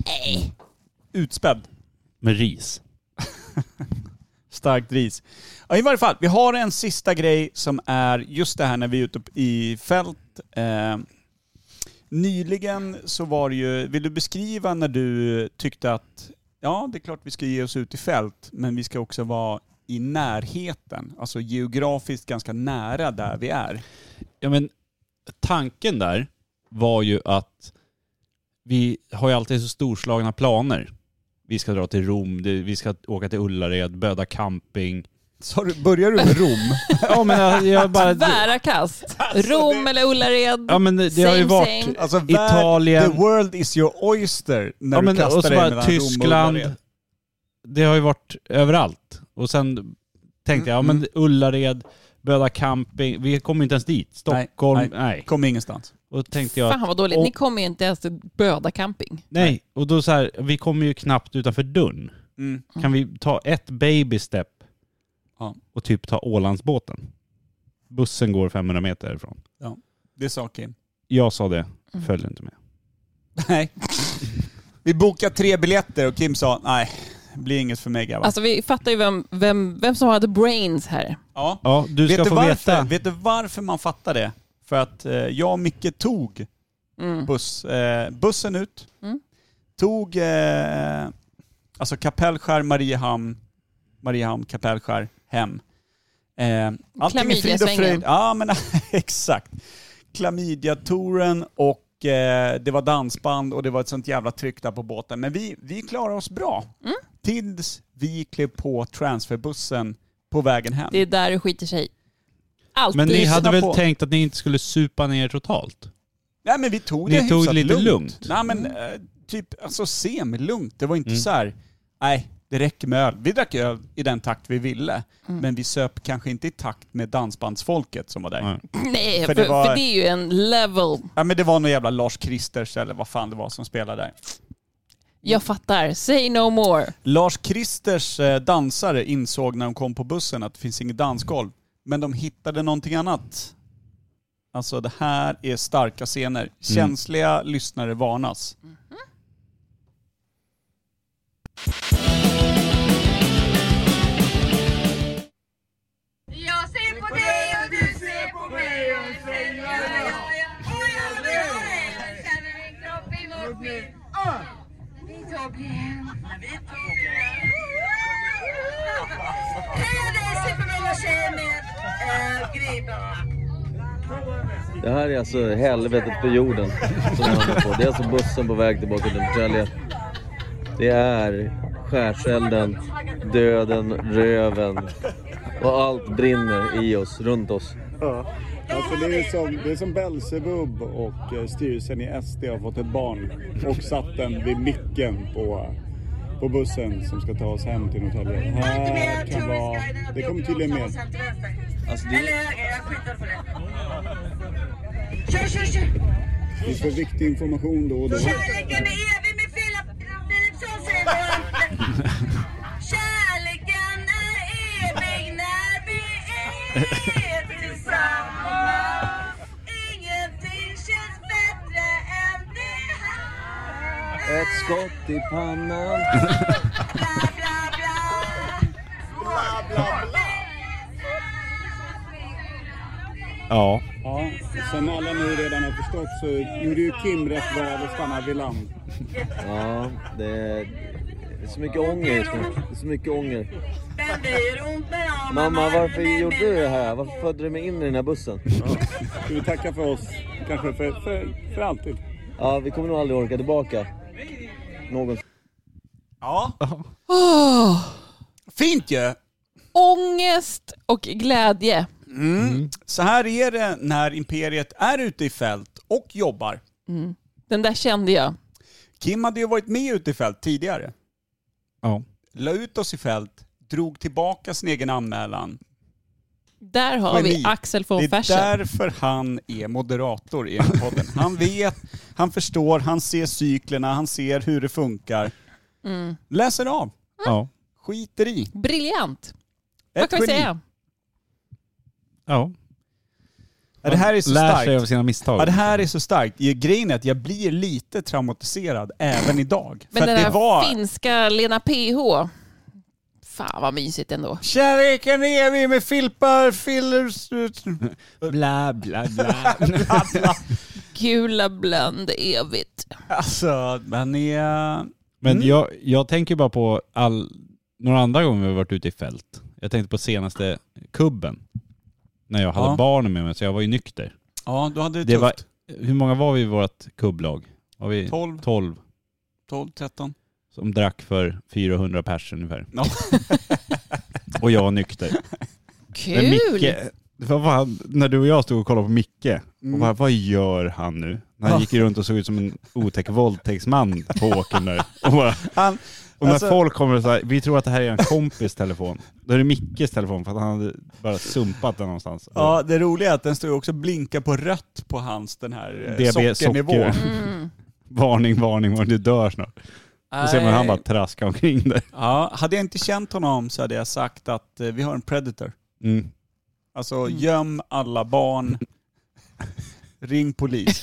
[SPEAKER 3] Nej!
[SPEAKER 2] Utspädd.
[SPEAKER 1] Med ris.
[SPEAKER 2] Starkt ris. Ja, I varje fall, vi har en sista grej som är just det här när vi är ute i fält. Eh, nyligen så var det ju, vill du beskriva när du tyckte att ja, det är klart vi ska ge oss ut i fält, men vi ska också vara i närheten, alltså geografiskt ganska nära där vi är.
[SPEAKER 1] Ja, men tanken där var ju att vi har ju alltid så storslagna planer. Vi ska dra till Rom, det- vi ska åka till Ullared, böda camping.
[SPEAKER 2] Så börjar du med Rom?
[SPEAKER 1] ja men äh, jag, jag bara... Alltså,
[SPEAKER 3] Tvära kast. Rom eller Ullared.
[SPEAKER 1] Ja men det, det har ju
[SPEAKER 3] Same,
[SPEAKER 1] varit
[SPEAKER 3] same.
[SPEAKER 2] Alltså, vär-
[SPEAKER 1] Italien,
[SPEAKER 2] The world is your oyster när
[SPEAKER 1] ja, men,
[SPEAKER 2] du kastar
[SPEAKER 1] och så
[SPEAKER 2] dig
[SPEAKER 1] bara
[SPEAKER 2] mellan Rom och
[SPEAKER 1] Tyskland.
[SPEAKER 2] Ullared.
[SPEAKER 1] Det har ju varit överallt. Och sen tänkte
[SPEAKER 2] Mm,
[SPEAKER 1] jag, ja men Ullared, Böda camping, vi kom ju inte ens dit. Stockholm, nej.
[SPEAKER 2] nej. Kom ingenstans.
[SPEAKER 1] Och tänkte jag att-
[SPEAKER 3] Fan vad dåligt.
[SPEAKER 1] och-
[SPEAKER 3] Ni kommer ju inte ens till Böda camping.
[SPEAKER 1] Nej, och då så här, vi kommer ju knappt utanför dörren.
[SPEAKER 2] Mm.
[SPEAKER 1] Kan vi ta ett baby step
[SPEAKER 2] Ja.
[SPEAKER 1] och typ ta Ålandsbåten? Bussen går 500 meter ifrån.
[SPEAKER 2] Ja, det sa Kim.
[SPEAKER 1] Jag sa det, följde inte med.
[SPEAKER 2] Nej. Vi bokade tre biljetter och Kim sa nej, det blir inget för mig grabbar.
[SPEAKER 3] Alltså vi fattar ju vem, vem, vem som hade brains här.
[SPEAKER 2] ja.
[SPEAKER 1] Ja, du
[SPEAKER 2] vet
[SPEAKER 1] ska
[SPEAKER 2] du
[SPEAKER 1] få
[SPEAKER 2] varför?
[SPEAKER 1] veta.
[SPEAKER 2] Vet du varför man fattar det? För att eh, jag och Micke tog buss, eh, bussen ut,
[SPEAKER 3] Mm.
[SPEAKER 2] tog eh, alltså Kapellskär, Mariehamn, Mariehamn, Kapellskär, hem. Eh, allting i frid och
[SPEAKER 3] Klamydiasvängen.
[SPEAKER 2] fröjd. Ja, men exakt. Klamydia-touren och eh, det var dansband och det var ett sånt jävla tryck där på båten. Men vi, vi klarade oss bra.
[SPEAKER 3] Mm.
[SPEAKER 2] Tills vi klev på transferbussen på vägen hem.
[SPEAKER 3] Det är där det skiter sig. Alltid.
[SPEAKER 1] Men ni
[SPEAKER 2] lyssna
[SPEAKER 1] hade väl
[SPEAKER 2] på.
[SPEAKER 1] tänkt att ni inte skulle supa ner totalt?
[SPEAKER 2] Nej men vi tog
[SPEAKER 1] Ni
[SPEAKER 2] det
[SPEAKER 1] tog
[SPEAKER 2] hyfsat
[SPEAKER 1] det lite
[SPEAKER 2] lugnt.
[SPEAKER 1] lugnt. Mm.
[SPEAKER 2] Nej men eh, typ alltså semilugnt. Det var inte så här, nej det räcker med öl. Vi drack öl i den takt vi ville. Men vi söp kanske inte i takt med dansbandsfolket som var där. För
[SPEAKER 3] Nej, för,
[SPEAKER 2] det var-
[SPEAKER 3] för det är ju en level.
[SPEAKER 2] Ja men det var någon jävla Lars Kristers eller vad fan det var som spelade där.
[SPEAKER 3] Jag fattar. Say no more.
[SPEAKER 2] Lars Kristers eh, dansare insåg när de kom på bussen att det finns inget dansgolv. Men de hittade någonting annat. Alltså det här är starka
[SPEAKER 1] Mm.
[SPEAKER 2] scener. Känsliga lyssnare varnas.
[SPEAKER 4] Jag ser på dig och du ser på mig och säger ja, ja, ja. Och jag ser på dig och känner min kropp emot min. Åh! Vi tog igen. Vi tog igen. Hej och dig supermega tjejer med äh,
[SPEAKER 11] Det här är alltså helvetet på jorden som jag håller på. Det är alltså bussen på väg tillbaka till Norrtälje. Det är skärselden, döden, röven och allt brinner i oss, runt oss.
[SPEAKER 13] Ja. Alltså det, är som, det är som Belsebub och eh, styrelsen i SD har fått ett barn och satt den vid micken på, på bussen som ska ta oss hem till Norrtälje. Här kan vara... Det kommer tydligen med.
[SPEAKER 11] Alltså,
[SPEAKER 13] det-
[SPEAKER 4] jag skitar på det. Kör, kör, kör!
[SPEAKER 13] Vi får viktig information då och då.
[SPEAKER 4] Kärleken är evig med Filip Philipsson säger våran... Kärleken är evig när vi är tillsammans. Ingenting känns bättre än det här.
[SPEAKER 11] Ett skott i pannan.
[SPEAKER 4] Bla, bla, bla. Bla, bla, bla.
[SPEAKER 1] Ja.
[SPEAKER 13] Ja, som alla nu redan har förstått så gjorde ju Kim rätt val att stanna vid land.
[SPEAKER 11] Ja, det är det är så mycket ånger just nu. Det är så mycket ånger.
[SPEAKER 4] Den blir ont när jag
[SPEAKER 11] Mamma, varför gjorde du det här? Varför födde du mig in i den här bussen?
[SPEAKER 13] Ska vi tacka för oss? Kanske för, för, för alltid.
[SPEAKER 11] Ja, vi kommer nog aldrig orka tillbaka. Någonsin.
[SPEAKER 2] Ja.
[SPEAKER 3] Åh,
[SPEAKER 2] Fint ju!
[SPEAKER 3] ångest och glädje.
[SPEAKER 2] Mm. Så här är det när Imperiet är ute i fält och jobbar.
[SPEAKER 3] Mm. Den där kände jag.
[SPEAKER 2] Kim hade ju varit med ute i fält tidigare.
[SPEAKER 1] Ja.
[SPEAKER 2] La ut oss i fält, drog tillbaka sin egen anmälan.
[SPEAKER 3] Där har vi
[SPEAKER 2] Geni.
[SPEAKER 3] Axel von
[SPEAKER 2] Det är
[SPEAKER 3] Fersen.
[SPEAKER 2] därför han är moderator i den här podden. Han vet, han förstår, han ser cyklerna, han ser hur det funkar.
[SPEAKER 3] Mm.
[SPEAKER 2] Läser av.
[SPEAKER 1] Ja.
[SPEAKER 2] Skiter i.
[SPEAKER 3] Briljant. Vad kan vi
[SPEAKER 2] geni.
[SPEAKER 3] säga?
[SPEAKER 1] Ja.
[SPEAKER 2] Ja, det här är så
[SPEAKER 1] Lär
[SPEAKER 2] starkt.
[SPEAKER 1] sig av sina misstag.
[SPEAKER 2] Ja, det här är så starkt. Ja, Grejen är att jag blir lite traumatiserad även idag.
[SPEAKER 3] Men
[SPEAKER 2] för
[SPEAKER 3] den
[SPEAKER 2] att det
[SPEAKER 3] där
[SPEAKER 2] var...
[SPEAKER 3] finska Lena PH. Fan vad mysigt ändå.
[SPEAKER 2] Kärleken är evig med filpar, fillers...
[SPEAKER 1] Bla, bla, bla.
[SPEAKER 3] Gula blönd evigt.
[SPEAKER 2] Alltså, men är...
[SPEAKER 1] Men jag, jag tänker bara på all, några andra gånger vi har varit ute i fält. Jag tänkte på senaste kubben. När jag hade
[SPEAKER 2] Ja.
[SPEAKER 1] barnen med mig, så jag var ju nykter.
[SPEAKER 2] Ja, du hade det,
[SPEAKER 1] Det var,
[SPEAKER 2] tufft.
[SPEAKER 1] hur många var vi i vårt kubblag? Var vi
[SPEAKER 2] Tolv.
[SPEAKER 1] 12
[SPEAKER 2] 12, 13.
[SPEAKER 1] som drack för 400 pers ungefär. och jag nykter.
[SPEAKER 3] Kul!
[SPEAKER 1] Men Micke, vad var han, när du och jag stod och kollade på Micke,
[SPEAKER 2] Mm.
[SPEAKER 1] och bara, vad gör han nu? När
[SPEAKER 2] Ja.
[SPEAKER 1] han gick runt och såg ut som en otäck våldtäktsman på åkern där. Och, bara,
[SPEAKER 2] Han-
[SPEAKER 1] och när
[SPEAKER 2] alltså-
[SPEAKER 1] folk kommer och säger, vi tror att det här är en kompis telefon. Då är det Mickes telefon för att han hade bara sumpat den någonstans.
[SPEAKER 2] Ja, det roliga är att den står ju också och blinkar på rött på hans den här eh,
[SPEAKER 1] DB
[SPEAKER 2] sockernivå.
[SPEAKER 1] socker.
[SPEAKER 3] Mm.
[SPEAKER 1] Varning, varning, varning, du dör snart. Då ser man hur han
[SPEAKER 2] Nej.
[SPEAKER 1] bara traskar omkring där.
[SPEAKER 2] Ja, hade jag inte känt honom så hade jag sagt att eh, vi har en predator.
[SPEAKER 1] Mm.
[SPEAKER 2] Alltså göm alla barn, ring polis.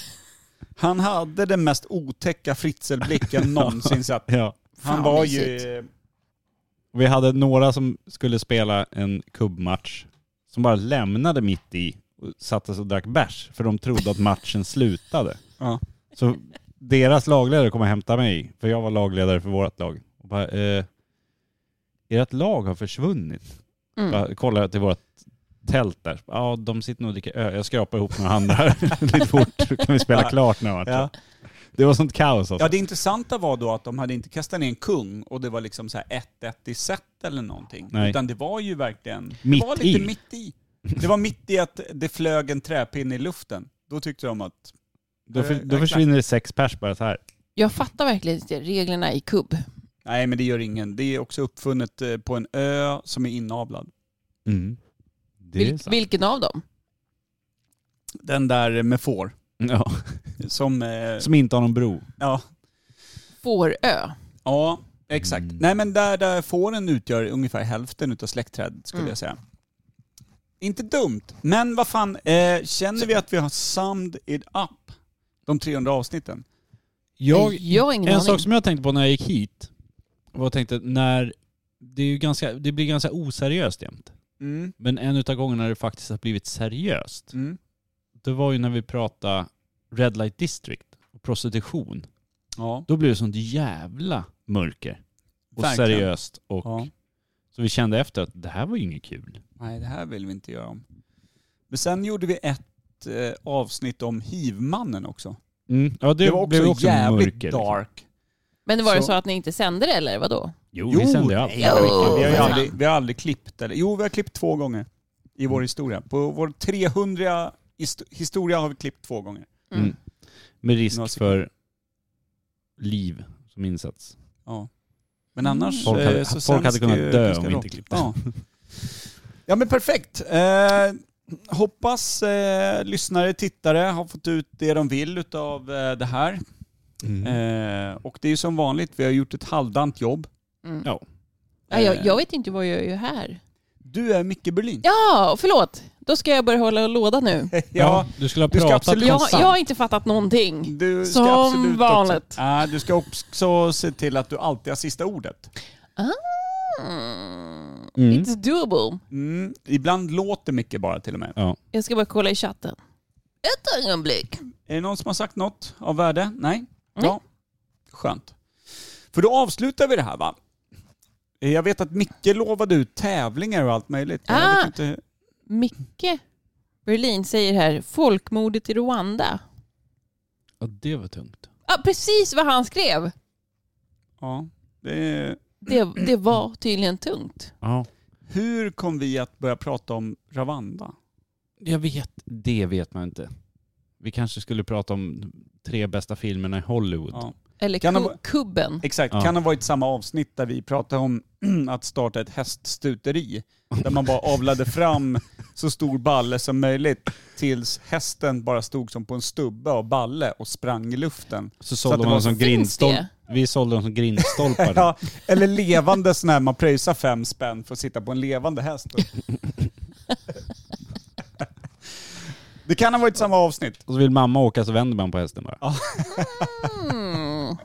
[SPEAKER 2] Han hade den mest otäcka fritzelblicken någonsin sett.
[SPEAKER 1] Ja.
[SPEAKER 2] Han
[SPEAKER 1] Fan,
[SPEAKER 2] var
[SPEAKER 1] mysigt.
[SPEAKER 2] ju...
[SPEAKER 1] Och Vi hade några som skulle spela en kubbmatch som bara lämnade mitt i och satte sig och drack bärs för de trodde att matchen slutade.
[SPEAKER 2] Ja.
[SPEAKER 1] Så deras lagledare kom och hämtade mig, för jag var lagledare för vårt lag. Och bara, eh, ert lag har försvunnit.
[SPEAKER 3] Mm.
[SPEAKER 1] Bara, kollade till vårt tält där. Ja, de sitter nog och dricker öl. Jag skrapar ihop några handlar lite fort, så kan vi spela
[SPEAKER 2] Ja.
[SPEAKER 1] klart nu matchen.
[SPEAKER 2] Ja.
[SPEAKER 1] Det var sånt kaos alltså.
[SPEAKER 2] Ja, det intressanta var då att de hade inte kastat ner en kung och det var liksom så här 1-1 i set eller någonting.
[SPEAKER 1] Nej.
[SPEAKER 2] Utan det var ju verkligen...
[SPEAKER 1] Mitt
[SPEAKER 2] det var lite
[SPEAKER 1] i.
[SPEAKER 2] mitt i. Det var mitt i att det flög en träpinne i luften. Då tyckte de att...
[SPEAKER 1] Då, för,
[SPEAKER 2] Eh,
[SPEAKER 1] då försvinner det sex pers bara så här.
[SPEAKER 3] Jag fattar verkligen inte reglerna i kubb.
[SPEAKER 2] Nej, men det gör ingen. Det är också uppfunnet eh, på en ö som är inavlad.
[SPEAKER 1] Det
[SPEAKER 3] Vil- vilken av dem?
[SPEAKER 2] Den där med får.
[SPEAKER 1] Ja.
[SPEAKER 2] Som... eh,
[SPEAKER 1] Som inte har någon bro.
[SPEAKER 2] Ja,
[SPEAKER 3] Fårö.
[SPEAKER 2] ja exakt.
[SPEAKER 1] Mm.
[SPEAKER 2] Nej, men där, där fåren utgör ungefär hälften av släktträdet skulle
[SPEAKER 3] Mm.
[SPEAKER 2] jag säga. Inte dumt, men vad fan, eh, känner vi att vi har summed it up? De 300 avsnitten.
[SPEAKER 1] Jag,
[SPEAKER 3] Jag har ingen
[SPEAKER 1] en
[SPEAKER 3] aning.
[SPEAKER 1] sak som jag tänkte på när jag gick hit var jag tänkte att när det, är ju ganska, det blir ganska oseriöst jämt.
[SPEAKER 2] Mm.
[SPEAKER 1] Men en utav gångerna det faktiskt har blivit seriöst,
[SPEAKER 2] Mm.
[SPEAKER 1] det var ju när vi pratade Red Light District och prostitution.
[SPEAKER 2] Ja.
[SPEAKER 1] Då blev det sånt jävla mörker. Och
[SPEAKER 2] Verkligen.
[SPEAKER 1] seriöst. Och,
[SPEAKER 2] Ja.
[SPEAKER 1] Så vi kände efter att det här var ju inget kul.
[SPEAKER 2] Nej, det här vill vi inte göra om. Men sen gjorde vi ett eh, avsnitt om hivmannen också.
[SPEAKER 1] Ja, det,
[SPEAKER 2] det var också,
[SPEAKER 1] blev också
[SPEAKER 2] jävligt
[SPEAKER 1] mörker. liksom.
[SPEAKER 2] dark.
[SPEAKER 3] Men var det
[SPEAKER 2] Så-
[SPEAKER 3] så att ni inte sände det eller vadå?
[SPEAKER 1] Jo, vi sände ju allt.
[SPEAKER 2] nej, det har vi inte. Vi har ju
[SPEAKER 3] Jo.
[SPEAKER 1] Oh.
[SPEAKER 2] aldrig, vi har aldrig klippt. Eller, jo, vi har klippt två gånger i
[SPEAKER 1] Mm.
[SPEAKER 2] vår historia. På vår 300 histo- historia har vi klippt två gånger.
[SPEAKER 1] Mm. Med
[SPEAKER 2] Några
[SPEAKER 1] risk för liv som insats.
[SPEAKER 2] Ja. Men annars...
[SPEAKER 1] Folk hade-
[SPEAKER 2] eh, så
[SPEAKER 1] folk hade
[SPEAKER 2] sänds
[SPEAKER 1] kunnat
[SPEAKER 2] det
[SPEAKER 1] dö
[SPEAKER 2] ganska
[SPEAKER 1] om vi inte
[SPEAKER 2] rakt.
[SPEAKER 1] klippte.
[SPEAKER 2] Ja. ja, men perfekt. Eh, hoppas eh, lyssnare, tittare har fått ut det de vill av eh, det här.
[SPEAKER 1] Mm.
[SPEAKER 2] Eh, och det är ju som vanligt, vi har gjort ett halvdant jobb.
[SPEAKER 3] Mm.
[SPEAKER 1] Ja.
[SPEAKER 3] Ja, jag, jag vet inte vad jag gör här.
[SPEAKER 2] Du är Micke Berlin.
[SPEAKER 3] Ja, förlåt. Då ska jag börja hålla låda nu.
[SPEAKER 2] Ja,
[SPEAKER 1] du skulle ha
[SPEAKER 2] du ska
[SPEAKER 1] pratat
[SPEAKER 2] absolut-
[SPEAKER 1] konstant.
[SPEAKER 3] Jag, jag har inte fattat någonting.
[SPEAKER 2] Du ska
[SPEAKER 3] Som
[SPEAKER 2] absolut också-
[SPEAKER 3] vanligt.
[SPEAKER 2] Nej, du ska också se till att du alltid har sista ordet.
[SPEAKER 3] Ah. Mm.
[SPEAKER 1] Mm.
[SPEAKER 3] It's doable.
[SPEAKER 2] Mm. Ibland låter mycket bara till och med.
[SPEAKER 1] Ja.
[SPEAKER 3] Jag ska bara kolla i chatten. Ett ögonblick.
[SPEAKER 2] Är det någon som har sagt något av värde? Nej?
[SPEAKER 3] Nej.
[SPEAKER 2] Ja. Skönt. För då avslutar vi det här va? Eh, Jag vet att Micke lovade ut tävlingar och allt möjligt. men Jag vet
[SPEAKER 3] Ah.
[SPEAKER 2] inte.
[SPEAKER 3] Micke Berlin säger här, folkmordet i Rwanda.
[SPEAKER 1] Ja, det var tungt.
[SPEAKER 3] Ah, precis vad han skrev.
[SPEAKER 2] Ja. Det...
[SPEAKER 3] Det, det var tydligen tungt.
[SPEAKER 1] Ja.
[SPEAKER 2] Hur kom vi att börja prata om Ravanda?
[SPEAKER 1] Jag vet. Det vet man inte. Vi kanske skulle prata om de tre bästa filmerna i Hollywood.
[SPEAKER 2] Ja.
[SPEAKER 3] Eller
[SPEAKER 2] Kan
[SPEAKER 3] ku-
[SPEAKER 2] de-
[SPEAKER 3] kubben.
[SPEAKER 2] Exakt,
[SPEAKER 1] Ja.
[SPEAKER 2] kan ha varit samma avsnitt där vi pratade om att starta ett häststuteri. Där man bara avlade fram så stor balle som möjligt tills hästen bara stod som på en stubbe av balle och sprang i luften.
[SPEAKER 1] Så sålde
[SPEAKER 2] att det
[SPEAKER 1] man
[SPEAKER 2] var-
[SPEAKER 1] dem som grindstolpar. Vi sålde dem som grindstolpar.
[SPEAKER 2] ja, eller levande sån här, man pröjsar fem spänn för att sitta på en levande häst. Det kan ha varit samma avsnitt.
[SPEAKER 1] Och så vill mamma åka så vänder man på hästen bara.
[SPEAKER 3] Mm.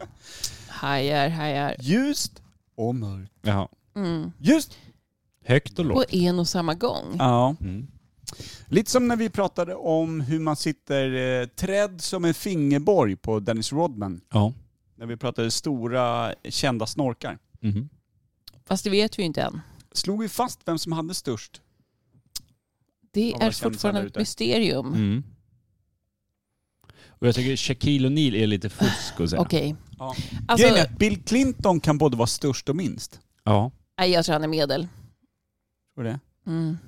[SPEAKER 3] Hajar, hajar.
[SPEAKER 2] Ljust och mörkt.
[SPEAKER 1] Jaha.
[SPEAKER 3] Mm.
[SPEAKER 2] Ljust
[SPEAKER 1] Högt och Mm.
[SPEAKER 3] På en och samma gång.
[SPEAKER 2] Ja. Lite som när vi pratade om hur man sitter eh, trädd som en fingerborg på Dennis Rodman.
[SPEAKER 1] Ja.
[SPEAKER 2] När vi pratade stora kända snorkar.
[SPEAKER 1] Mm-hmm.
[SPEAKER 3] Fast det vet vi ju inte än.
[SPEAKER 2] Slog vi fast vem som hade störst?
[SPEAKER 3] Det
[SPEAKER 2] Ja, vad
[SPEAKER 3] är
[SPEAKER 2] känns han där
[SPEAKER 3] fortfarande ett
[SPEAKER 2] ute?
[SPEAKER 3] mysterium.
[SPEAKER 1] Mm. Och jag tycker Shaquille O'Neal är lite fusk att säga.
[SPEAKER 3] Okej.
[SPEAKER 2] Ja.
[SPEAKER 3] Alltså-
[SPEAKER 2] Grejen är att Bill Clinton kan både vara störst och minst.
[SPEAKER 1] Ja.
[SPEAKER 3] Nej, jag tror han är medel.
[SPEAKER 2] Tror du det?
[SPEAKER 3] Mm.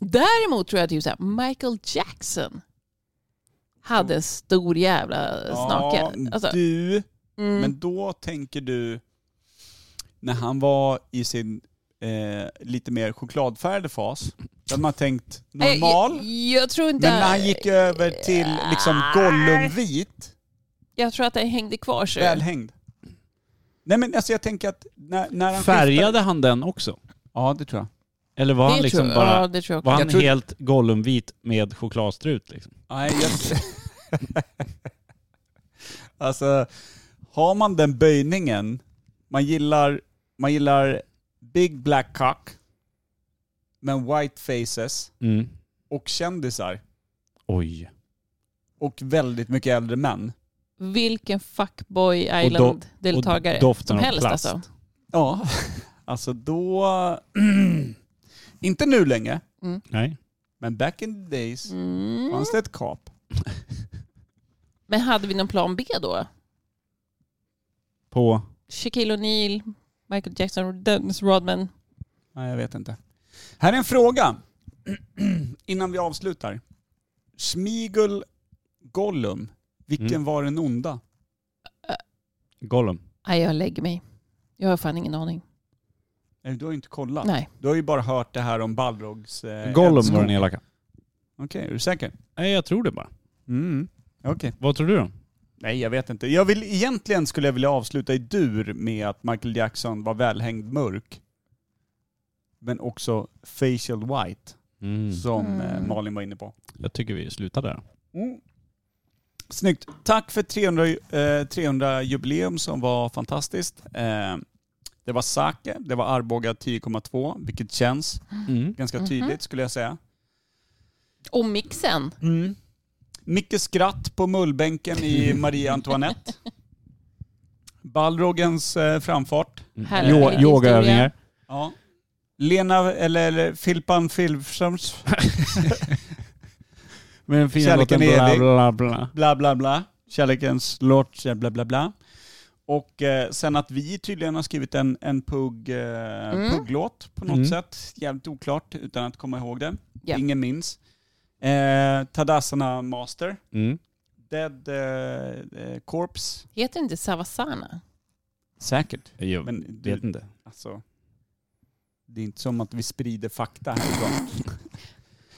[SPEAKER 3] Däremot tror jag typ så här, Michael Jackson hade en stor jävla snake. Alltså,
[SPEAKER 2] du.
[SPEAKER 3] Mm.
[SPEAKER 2] Men då tänker du, när han var i sin eh, lite mer chokladfärgade fas, då hade man tänkt
[SPEAKER 3] nej,
[SPEAKER 2] normal.
[SPEAKER 3] Eh, Jag, jag tror inte... Eh,
[SPEAKER 2] Men när han gick över till liksom Gollumvit,
[SPEAKER 3] Jag tror att den hängde kvar. så.
[SPEAKER 2] välhängd. Nej men alltså jag tänker att när, när han
[SPEAKER 1] Färgade han den också?
[SPEAKER 2] Ja, det tror jag.
[SPEAKER 1] Eller var
[SPEAKER 2] Det
[SPEAKER 1] han liksom
[SPEAKER 2] tror jag.
[SPEAKER 1] bara...
[SPEAKER 2] Ja, det tror jag också.
[SPEAKER 1] var han
[SPEAKER 2] Jag tror-
[SPEAKER 1] helt Gollumvit med chokladstrut liksom?
[SPEAKER 2] Nej, jag... alltså, har man den böjningen, man gillar, man gillar big black cock, men white faces
[SPEAKER 1] Mm.
[SPEAKER 2] och kändisar
[SPEAKER 1] Oj.
[SPEAKER 2] och väldigt mycket äldre män.
[SPEAKER 3] Vilken fuckboy
[SPEAKER 2] Och do-
[SPEAKER 3] island-deltagare
[SPEAKER 2] och doften
[SPEAKER 3] som
[SPEAKER 2] av
[SPEAKER 3] helst
[SPEAKER 2] plast.
[SPEAKER 3] alltså.
[SPEAKER 2] Ja, alltså då... inte nu längre,
[SPEAKER 3] Mm.
[SPEAKER 1] Nej.
[SPEAKER 2] men back in the days fanns det ett kap.
[SPEAKER 3] Men hade vi någon plan B då?
[SPEAKER 1] På...
[SPEAKER 3] Shaquille O'Neal, Michael Jackson, Dennis Rodman.
[SPEAKER 2] Nej, jag vet inte. Här är en fråga innan vi avslutar. Smigel Gollum, vilken
[SPEAKER 1] Mm.
[SPEAKER 2] var den onda?
[SPEAKER 1] Gollum.
[SPEAKER 3] Nej, jag lägger mig. Jag har fan ingen aning.
[SPEAKER 2] Nej, du har ju inte kollat.
[SPEAKER 3] Nej.
[SPEAKER 2] Du har ju bara hört det här om Balrogs... Eh,
[SPEAKER 1] Gollum
[SPEAKER 2] älskog.
[SPEAKER 1] var den elaka.
[SPEAKER 2] Okej, är du säker?
[SPEAKER 1] Nej, jag tror det bara.
[SPEAKER 2] Mm. Okej.
[SPEAKER 1] Vad tror du då?
[SPEAKER 2] Nej, jag vet inte. Jag vill, egentligen skulle jag vilja avsluta i dur med att Michael Jackson var välhängd mörk. Men också facial white,
[SPEAKER 1] Mm.
[SPEAKER 2] som eh,
[SPEAKER 1] Mm.
[SPEAKER 2] Malin var inne på. Mm.
[SPEAKER 1] Jag tycker vi slutar där.
[SPEAKER 2] Snyggt. Tack för 300, eh, 300 jubileum som var fantastiskt. Eh, det var Sake, det var Arboga 10,2, vilket känns
[SPEAKER 1] Mm.
[SPEAKER 2] ganska tydligt
[SPEAKER 3] Mhm.
[SPEAKER 2] skulle jag säga.
[SPEAKER 3] Och mixen.
[SPEAKER 2] Mm. Mycket skratt på mullbänken i Marie Antoinette. Balrogens eh, framfart.
[SPEAKER 1] Härlig Mm. Jo- historia. yogaövningar.
[SPEAKER 2] Ja. Lena, eller, eller Filpan Filfsons.
[SPEAKER 1] Med den fina
[SPEAKER 2] Kärleken
[SPEAKER 1] låten
[SPEAKER 2] är
[SPEAKER 1] bla,
[SPEAKER 2] evig.
[SPEAKER 1] bla, bla.
[SPEAKER 2] bla bla bla. Kärlekens lort, bla bla bla. Och eh, sen att vi tydligen har skrivit en, en pugg, eh, pugglåt på något
[SPEAKER 1] Mm.
[SPEAKER 2] sätt. Jävligt oklart utan att komma ihåg det.
[SPEAKER 3] Ja.
[SPEAKER 2] Ingen minns. Eh, Tadasana Master.
[SPEAKER 1] Mm.
[SPEAKER 2] Dead eh, eh, Corpse.
[SPEAKER 3] Heter inte Savasana?
[SPEAKER 2] Säkert.
[SPEAKER 1] Jag
[SPEAKER 2] Men
[SPEAKER 1] vet inte.
[SPEAKER 2] Alltså, det är inte som att vi sprider fakta härifrån.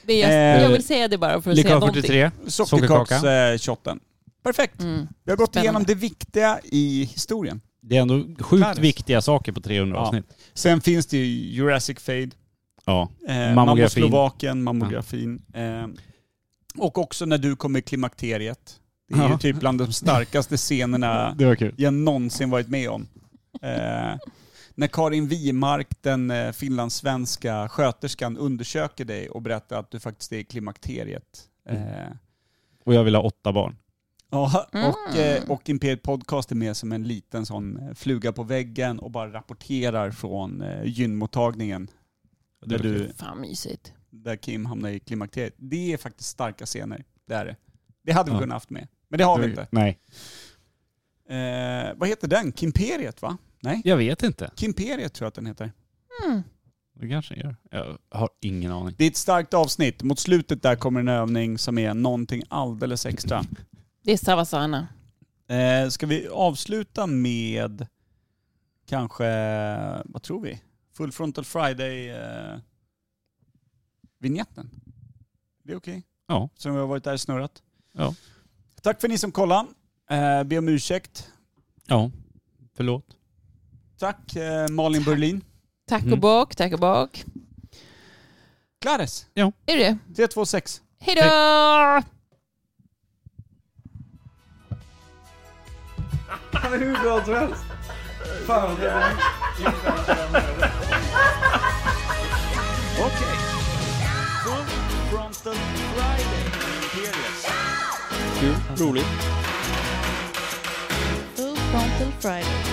[SPEAKER 3] Det är- jag vill säga det bara för att säga någonting.
[SPEAKER 2] Sockerkaks-shotten. Perfekt. Vi har gått
[SPEAKER 3] Mm. Spännande.
[SPEAKER 2] igenom det viktiga i historien.
[SPEAKER 1] Det är ändå sjukt
[SPEAKER 2] Clarence.
[SPEAKER 1] viktiga saker på 300
[SPEAKER 2] Ja.
[SPEAKER 1] avsnitt.
[SPEAKER 2] Sen finns det ju Jurassic Fade,
[SPEAKER 1] Ja.
[SPEAKER 2] eh,
[SPEAKER 1] Mammografin.
[SPEAKER 2] Mammoslovakien, mammografin. Eh, och också när du kom i klimakteriet. Det är ju
[SPEAKER 1] Ja.
[SPEAKER 2] typ bland de starkaste scenerna
[SPEAKER 1] Det var kul.
[SPEAKER 2] jag någonsin varit med om. Eh, när Karin Wimark, den eh, finlandssvenska sköterskan, undersöker dig och berättar att du faktiskt är i klimakteriet.
[SPEAKER 1] Mm.
[SPEAKER 2] Eh,
[SPEAKER 1] Och jag vill ha åtta barn.
[SPEAKER 2] Ja,
[SPEAKER 1] Mm.
[SPEAKER 2] och, eh, och Imperiet Podcast är med som en liten sån eh, fluga på väggen och bara rapporterar från eh, gynmottagningen.
[SPEAKER 1] Det
[SPEAKER 2] Där,
[SPEAKER 1] var
[SPEAKER 2] du,
[SPEAKER 1] kul.
[SPEAKER 3] Fan mysigt.
[SPEAKER 2] där Kim hamnar i klimakteriet. Det är faktiskt starka scener. Det är det. Det hade vi
[SPEAKER 1] Ja.
[SPEAKER 2] kunnat haft med. Men det har vi
[SPEAKER 1] Det-
[SPEAKER 2] inte.
[SPEAKER 1] Nej.
[SPEAKER 2] Eh, vad heter den? Kimperiet va? Nej?
[SPEAKER 1] Jag vet inte.
[SPEAKER 2] Kimperiet tror jag att den heter.
[SPEAKER 3] Mm.
[SPEAKER 1] Det kanske jag gör. Jag har ingen aning.
[SPEAKER 2] Det är ett starkt avsnitt. Mot slutet där kommer en övning som är någonting alldeles extra.
[SPEAKER 3] Det är Savasana.
[SPEAKER 2] Eh, ska vi avsluta med kanske, vad tror vi? Full Frontal Friday eh, vignetten. Det är okej.
[SPEAKER 1] Ja.
[SPEAKER 2] Så vi har varit där och snurrat.
[SPEAKER 1] Ja.
[SPEAKER 2] Tack för ni som kollade. Eh, be om ursäkt.
[SPEAKER 1] Ja, förlåt.
[SPEAKER 2] Tack eh, Malin Berlin.
[SPEAKER 3] Tack och bock, tack och bock.
[SPEAKER 2] Klares.
[SPEAKER 1] Ja.
[SPEAKER 3] Är det
[SPEAKER 2] det? 326.
[SPEAKER 3] Hej då!
[SPEAKER 9] Han är hur bra som helst. Fan, det var...
[SPEAKER 2] Okej. Full Frontal Friday. Imperius.
[SPEAKER 12] Kul, roligt.
[SPEAKER 3] Full frontal Friday.